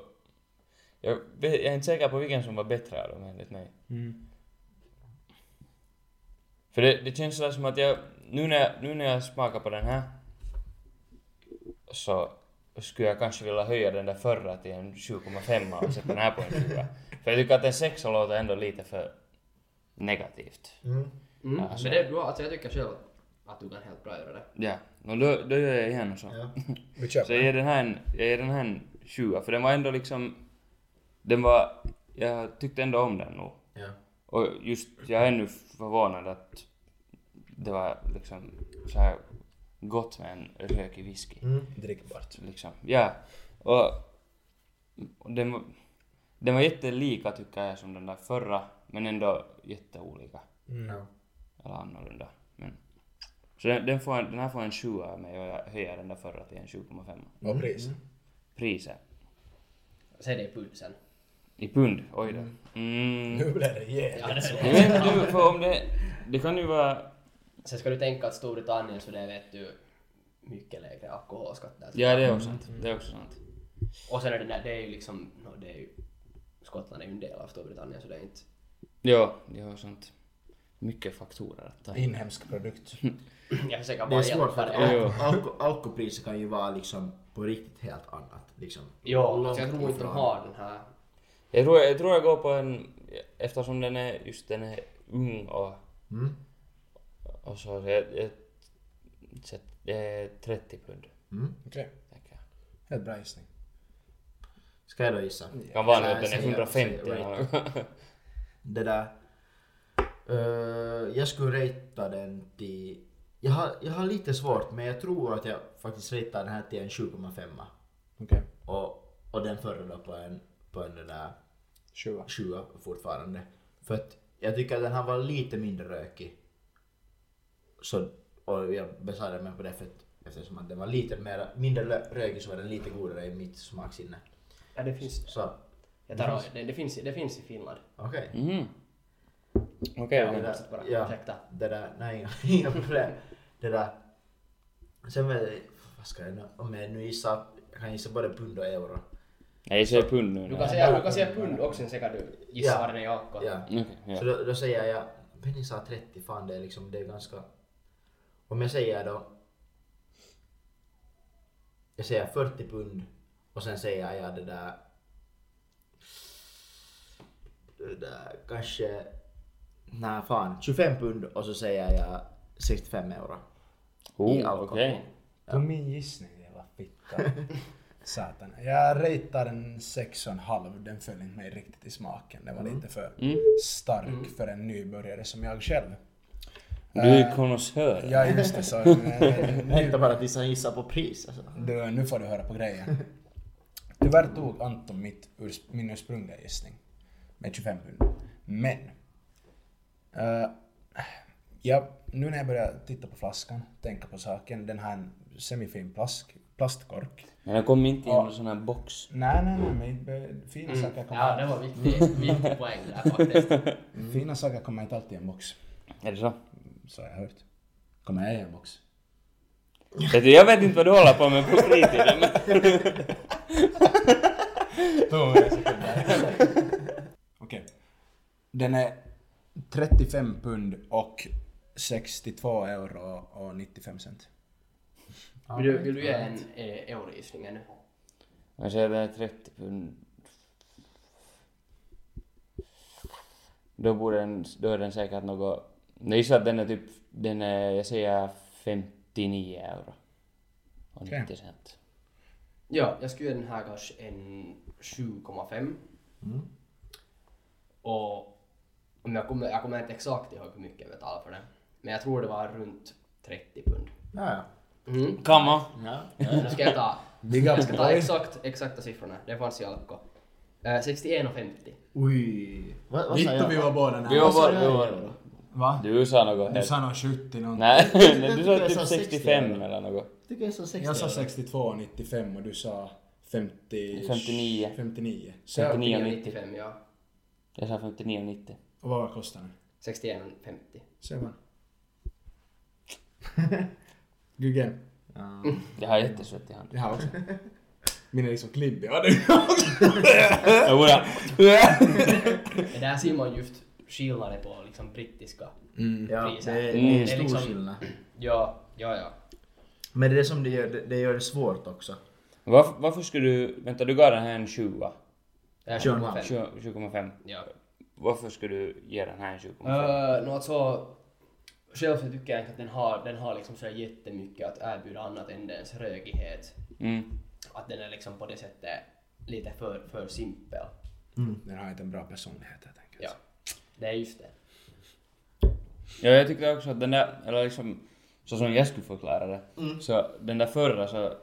C: Jag, vet, jag är inte säker på vilken som var sko, bättre av dem enligt mig. För det, det känns sådär som att jag... Nu när jag, nu när jag smakar på den här så skulle jag kanske vilja höja den där förra till en 7,5 och sätta den här på en 7. För jag tycker att en 6 låter ändå lite för negativt.
A: Mm.
D: Mm.
C: Ja, alltså.
D: Men det är bra, alltså jag tycker själv att du kan helt bra göra det.
C: Ja, och då, då gör jag igen och så.
A: Ja.
B: Vi kör
C: Så
B: på
C: jag
B: den.
C: ger den här en, jag ger den här en 20, för den var ändå liksom... Den var... Jag tyckte ändå om den nog.
A: Ja.
C: Och just, jag är nu förvånad att det var liksom så här gott med en rökig whisky.
A: Mm.
B: Drickbart.
C: Liksom. Ja. Och, och den, var- den var jättelika tycker jag som den där förra, men ändå jätteolika.
A: Ja.
C: Eller annorlunda. Men, så den, den, får, en- den här får en 7 av mig och jag höjer den där förra till en 7,5.
B: Och pris.
C: Priset.
D: Sen är det pulsen.
C: I pund? Oj då. Mm.
B: Nu blev det jävligt.
D: Ja, det är
C: Jag vet inte, för om det... Det kan ju vara...
D: Sen ska du tänka att Storbritannien så det vet du mycket lägre alkoholskatt där.
C: Ja, det är också sant. Mm. Det är också sant.
D: Och sen är det där, det är ju liksom, no, det är ju, Skottland är ju en del av Storbritannien så det är inte, <clears throat>
C: Ja, det är sant. Mycket faktorer att ta in.
B: Inhemsk produkt.
D: jag försöker
A: Det
D: bara
A: är svårt för
D: hjälpa
A: att
D: dig.
C: Ja.
A: alko- alko- alkopriset kan ju vara liksom på riktigt helt annat. Liksom.
D: Ja,
A: Långt
D: så jag tror inte de
A: ifrån.
D: har den här,
C: Jag tror, jag tror jag går på en... Eftersom den är just den är ung och,
A: Mm.
C: och så... Jag, jag, så det är 30 pund.
A: Mm.
B: Okej.
C: tänker jag.
B: Helt bra gissning.
A: Ska jag då gissa?
C: Kan vara nu att
A: Nej,
C: den är
A: säg-
C: 150
A: säg-
C: eller <laughs>
A: det där. Eh, jag skulle ratea den till... Jag har, jag har lite svårt men jag tror att jag faktiskt ratear den här till en 7,5.
B: Okej.
A: Och, och den förra då på en, på en den där
B: Tjua.
A: 7 fortfarande. För att jag tycker att den här var lite mindre rökig. Så, och jag besvarade mig på det för att, eftersom att den var lite mer, mindre lö- rökig så var den lite godare i mitt smaksinne.
D: ja det finns,
A: Så
D: jag tar av- det, det finns, det finns i Finland.
A: okej.
C: Mm. Okej,
D: Ja,
C: okej.
A: det där-
D: fortsätt bara.
A: ja.
D: Ursäkta.
A: Det där, nej <laughs> inga problem. Det där. Sen vet jag, vad ska jag nu, om jag nu gissar, jag kan gissa både pund och euro.
C: Nej, så är pund nu.
D: Du
C: nej.
D: kan säga, du kan säga pund och sen säkert du gissa
A: Ja.
D: vad den är i alkohol.
A: Ja.
C: Okej,
A: Så
C: ja.
A: då, då säger jag, Penny sa 30, fan det är liksom, det är ganska... Om jag säger då... Jag säger 40 pund och sen säger jag det där... Det där kanske... Nej fan, 25 pund och så säger jag 65 euro. i
C: Oh,
A: alkohol.
C: okej.
B: På min gissning, jävla fitta. Satan. Jag ratear en 6,5. Den föll inte mig riktigt i smaken. Den var lite för
C: Mm.
B: stark för en nybörjare som jag själv.
C: Du är ju konnässör.
B: Ja, just det. Så, eh,
A: Vänta bara tills han gissar på pris alltså.
B: du, nu får du höra på grejen. <laughs> Tyvärr tog Anton mitt, urs- min ursprungliga gissning med 25 pund. Men Eh, ja, nu när jag börjar titta på flaskan, tänka på saken, den har en semifin plask, plastkork.
C: Men den kom inte i någon sån här box.
B: Nej, nej, nej, men be- fina saker kommer,
D: Mm. Ja, det var viktig, viktig poäng där <laughs> faktiskt.
B: fina saker kommer inte alltid i en box.
C: Är det så?
B: Så har jag hört. Kommer jag i en box?
C: Vet du, jag vet inte vad du håller på med på fritiden. men-
B: <laughs> Okej. Den är 35 pund och 62 euro och 95 cent.
D: Vill du, vill du ge en eh, eurogissning ännu?
C: Jag säger det är 30 pund. Då borde den, då är den säkert något... Jag gissar att den är typ, den är, jag säger 59 euro. Och
B: Okej.
C: 90 cent.
D: Ja, jag skulle ge den här kanske en 7,5. Och om jag, kommer, jag kommer inte exakt ihåg hur mycket jag betalade för den. Men jag tror det var runt 30 pund.
A: Ja, ja.
D: <laughs> Mm.
C: Come on.
A: ja.
D: Nu ska jag ta,
B: Big
D: jag
B: up
D: ska ta
B: boy!
D: exakt, exakta siffrorna. Det fanns i Alko. Eh, 61,50.
A: Oj. Vad, vad sa
B: Vitt och vi var
A: jag?
B: båda
C: Vi
B: nära.
C: var
A: Vad sa
C: bara...
A: jag
C: Vi
A: i
C: var,
A: euro?
E: Va?
C: du sa något
E: Du
C: helt...
E: sa någon 70 någonting.
C: Nej,
A: <laughs>
C: nej, du sa
A: Jag sa
C: typ
A: 60
C: 65 eller något.
A: Tycker jag sa 60.
B: Jag sa 62 och 95 och du sa 50...
C: 59.
B: 59. Så
C: 59 och 90.
D: 59,95 ja.
C: Jag sa 59 och 90.
B: Och vad kostar den?
D: 61,50.
B: Säg <laughs> bara. Google.
A: Ja.
C: Jag har jättesvett i handen.
B: Det här också. Min är liksom klibbig. Ja, du.
C: Jag borde...
D: Men där ser man just skillnaden på liksom brittiska.
A: Ja, det är,
C: Mm.
A: det är
D: Det är
A: stor
D: liksom-
A: skillnad.
D: Ja, ja, ja.
A: Men det är det som det gör det, det, gör det svårt också.
C: Varför, varför skulle du... Vänta, du gav den här en 20.
D: Det är
A: Sure,
D: 7,5.
C: 20 20,5.
D: Ja.
C: Varför skulle du ge den här en 20,5?
D: Uh, no, alltså, själv så tycker jag inte att den har, den har liksom så här jättemycket att erbjuda annat än dens rögighet.
C: Mm.
D: Att den är liksom på det sättet lite för, för simpel.
B: Den har inte en bra personlighet helt enkelt.
D: Ja, det är just det.
C: Ja, jag tyckte också att den där... Eller liksom... Så som jag skulle förklara det.
A: Mm.
C: Så den där förra så...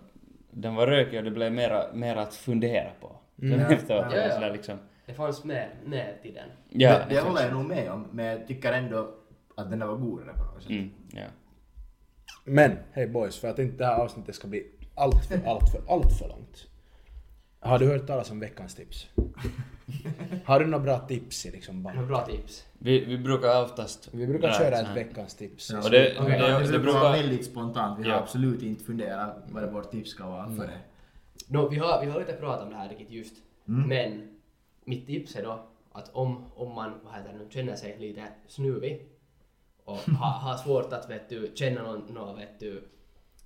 C: Den var rökig och det blev mera, mera att fundera på. Den efteråt.
D: Ja,
C: Ja,
D: ja.
C: Sådär liksom...
D: Det fanns med, med till den.
C: Ja,
A: det, det håller jag nog med om, men jag tycker ändå att den där var godare på något sätt.
C: Mm, ja.
B: Men, hej boys, för att inte det här avsnittet ska bli allt för, allt för, allt för långt. Har du hört talas om veckans tips? Har du några bra tips i liksom
D: Det var
B: bara?
D: bra tips.
C: Vi, vi brukar oftast...
B: Vi brukar
C: dra
B: köra
C: ett sånt
B: ett
C: här.
B: veckans tips.
A: Ja,
C: Och det-
A: så-
C: det-
A: ja,
C: det
A: det brukar
C: brukar-
A: vara väldigt spontant. Vi har
C: Ja.
A: absolut inte funderat vad det vårt tips ska vara för det.
D: No, vi, har, vi har lite pratat om det här riktigt just. Men mitt tips är då att om, om man vad heter det, nu, känner sig lite snuvig och <laughs> har har svårt att vet du, känna någon, någon, vet du,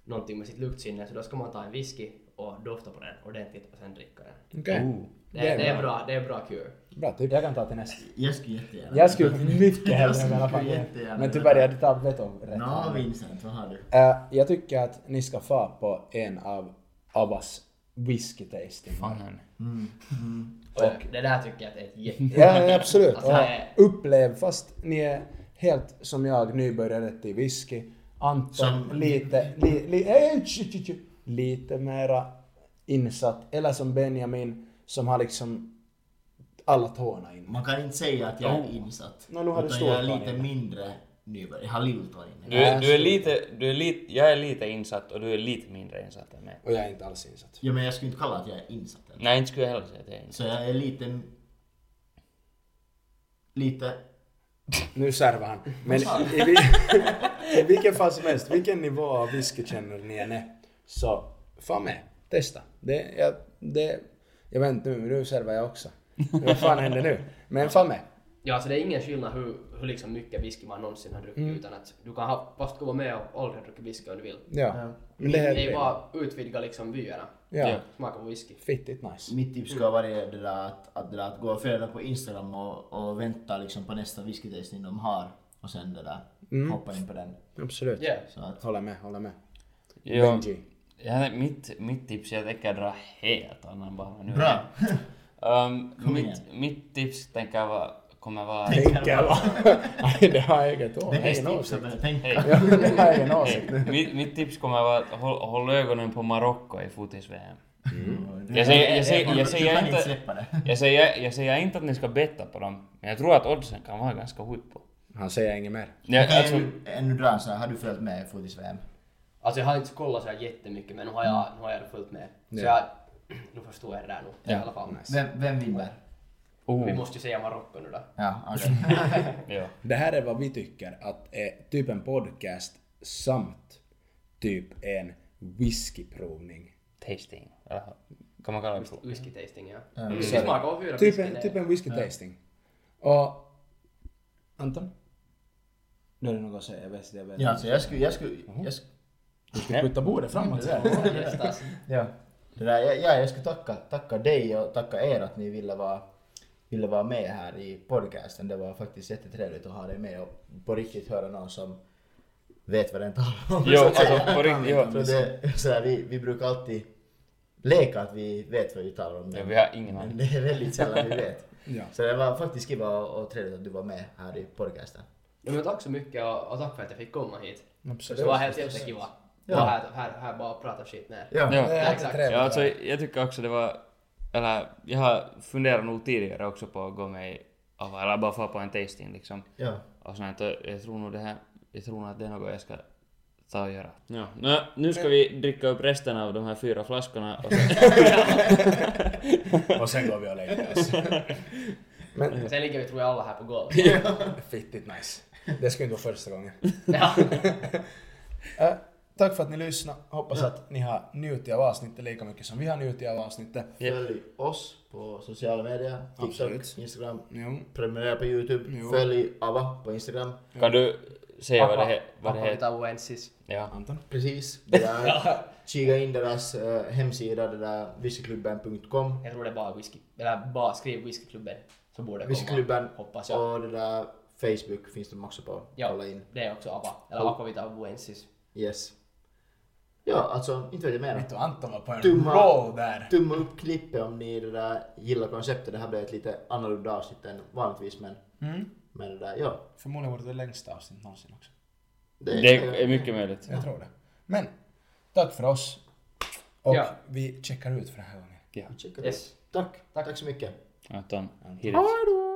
D: någonting med sitt luktsinne så då ska man ta en whisky och dofta på den ordentligt och sen dricka den.
B: Okej.
A: Oh.
D: Det, det, är, bra, det är bra kur.
B: Bra tips. Jag kan ta till nästa.
A: Jag skulle jättegärna...
B: Jag
A: <laughs>
B: skulle mycket
A: Jag
B: hellre
A: skulle
B: i alla fall.
A: jättegärna
B: Men
A: vilja
B: tyvärr,
A: ta-
B: jag hade tagit vet om rätt.
A: Nå, Vincent, vad har du?
B: Eh, jag tycker att ni ska få på en av Abbas whisky tasting.
C: Fan.
D: Och det där tycker jag att det är ett jätte... <laughs>
B: Ja, ja, absolut.
D: Alltså, nej.
B: och upplev, fast ni är helt som jag, nybörjare till whisky. Anton,
A: Som-
B: lite, li, li, eh, tju, tju, tju, lite mera insatt. Eller som Benjamin, som har liksom alla tårna in.
A: Man kan inte säga att jag är insatt.
B: Nå, nu har du
A: utan
B: stått
A: jag är
B: på
A: lite
B: den.
A: mindre nybörjare. Jag har lilltån
C: Du,
A: inne.
C: är- du är lite, du är lite, jag är lite insatt och du är lite mindre insatt än mig.
B: Och jag är inte alls insatt.
A: Ja, men jag skulle inte kalla att jag är insatt än.
C: Nej, inte skulle jag heller säga att jag är insatt.
A: Så jag är lite... Lite...
B: Nu servar han. Men i, vil, <laughs> i vilken fall som helst, vilken nivå av whisky känner ni än är, så fan med. Testa. Det, jag, det, jag vet inte nu, men nu servar jag också. Vad fan händer nu? Men fan med.
D: Ja, alltså det är ingen skillnad hur, hur liksom mycket whisky man någonsin har druckit utan att du kan ha, fast gå med och aldrig dricka whisky om du vill.
B: Ja. Men
D: Det
B: det
D: är
B: är
D: bara utvidga liksom vyerna.
B: Ja.
D: Smaka på whisky.
B: Fittigt nice.
A: Mitt tips ska vara det där att, att, det där att gå och följa dem på Instagram och, och vänta liksom på nästa whiskytestning de har. Och sen det där,
C: Mm.
A: hoppa in på den.
B: Mm, Absolut.
D: Ja.
A: Så att,
B: Håller med, håller med.
C: Ja,
B: Benji.
C: jag, mitt, mitt tips är att jag tänker dra helt annan bana nu.
A: bra!
C: Ehm,
A: Kom igen.
C: mitt, mitt tips tänker jag vara, kommer vara...
B: Tänker va? <laughs> Nej, det har jag inget
A: Det
B: ord.
A: är
B: Ingen
A: bästa
B: åsikt. <laughs>
A: tipset men tänk
C: Hej.
B: Ja, Det har jag ingen åsikt.
C: Hej. Mitt, mitt tips kommer vara att håll, håll ögonen på Marocko i fotis-VM.
A: Det-
C: Jag säger- jag
A: det- det-
C: säger- jag
A: du
C: säger
A: kan
C: inte-
A: inte släppa det.
C: Jag säger, jag säger inte att ni ska betta på dem, men jag tror att oddsen kan vara ganska huippo.
B: Han säger inget mer.
C: Ja,
A: Okej,
C: alltså,
A: ännu- Ännu drar en sån här, har du följt med i fotis-VM?
D: Alltså jag har inte kollat så här jättemycket men nu har
A: Mm.
D: jag, nu har jag det fullt med. Så jag, <clears throat>
B: Ja.
D: nu förstår jag det där nog i
C: Ja,
D: alla fall.
A: Vem, vem vinner?
D: Vi
C: oh,
D: måste ju säga Marocko nu då.
A: Ja, okej.
C: <laughs> ja.
B: Det här är vad vi tycker att är typ en podcast samt typ en whiskyprovning.
C: Tasting. Eller, kan man kalla det så?
D: Whisky tasting ja.
A: Mm.
D: Vi
B: Sorry.
D: smakar av fyra
B: Typ
D: whisky, det-
B: en, typ en whisky tasting. Och... Anton? Nu är det något att säga, jag vet jag vet.
A: Ja, alltså jag skulle... Jag skulle, jag skulle
B: Du ska flytta bordet framåt.
D: Gästas.
A: ja. Det där, ja, ja, jag skulle tacka, tacka dig och tacka er att ni ville vara, ville vara med här i podcasten. Det var faktiskt jättetrevligt att ha dig med och på riktigt höra någon som vet vad den talar om.
C: Jo,
A: <laughs> så att säga.
C: alltså, på riktigt, jo.
A: Så det, så här, vi, vi brukar alltid leka att vi vet vad vi talar om.
C: Ja,
A: men-
C: vi har ingen
A: Men
C: aning.
A: <laughs> det är väldigt sällan vi vet.
B: Ja.
A: Så det var faktiskt kul och och trevligt att du var med här i podcasten.
D: Ja, men tack så mycket och, och tack för att jag fick komma hit.
B: Absolut.
D: Det var helt jättekiva.
A: Ja.
D: Ja. Här, här, här bara prata shit med er.
A: Ja.
C: Ja.
B: Det är
D: exakt.
C: Ja,
B: trevligt.
C: alltså, jag tycker också det var... Eller, jag har funderat nog tidigare också på att gå med i... Eller bara få på en tasting liksom.
A: ja.
C: Och sånt, här, och jag tror nog det här... Jag tror nog att det är något jag ska ta och göra. Ja. Nå, nu ska vi dricka upp resten av de här fyra flaskorna och sen...
B: Och sen går vi och lägger oss. Men
D: Sen ligger vi tror jag alla här på golvet.
B: fittigt nice. Det skulle inte vara första gången.
D: <laughs> ja.
B: Eh, tack för att ni lyssnade. Hoppas att ni har njutit av avsnittet lika mycket som vi har njutit av avsnittet.
A: Följ oss på sociala medier, TikTok,
B: Absolut.
A: Instagram.
B: Jo.
A: Prenumerera på Youtube,
B: Jo.
A: följ ABBA på Instagram.
C: Kan du säga vad det, he, vad det heter?
D: Oensis.
C: Ja.
B: Anton?
A: Precis. Det där. Kika in deras eh, hemsida, det där whiskyklubben.com.
D: Jag tror det är bara whisky. Eller bara skriv whiskyklubben. Så borde det komma.
A: Whiskyklubben
D: Hoppas jag.
A: och det där Facebook finns de också på.
D: Ja.
A: Kolla in.
D: Det är också ABBA. Eller Aquavita Oensis.
A: Yes. Ja, alltså inte vet jag mer.
B: Vet du, Anton var på en
A: Dumma.
B: roll där.
A: Tumma upp klippet om ni det där gillar konceptet. Det här blev ett lite annorlunda avsnitt än vanligtvis men,
B: Mm.
A: men det där, ja.
B: Förmodligen var det det längsta avsnittet någonsin också.
C: Det är mycket möjligt.
B: Jag tror det. Men, tack för oss. Och
D: Ja.
B: vi checkar ut för den här gången.
A: Checka det.
D: Yes.
A: Tack. Tack så mycket.
C: Anton,
B: Anton.
C: hides.
A: Hej då!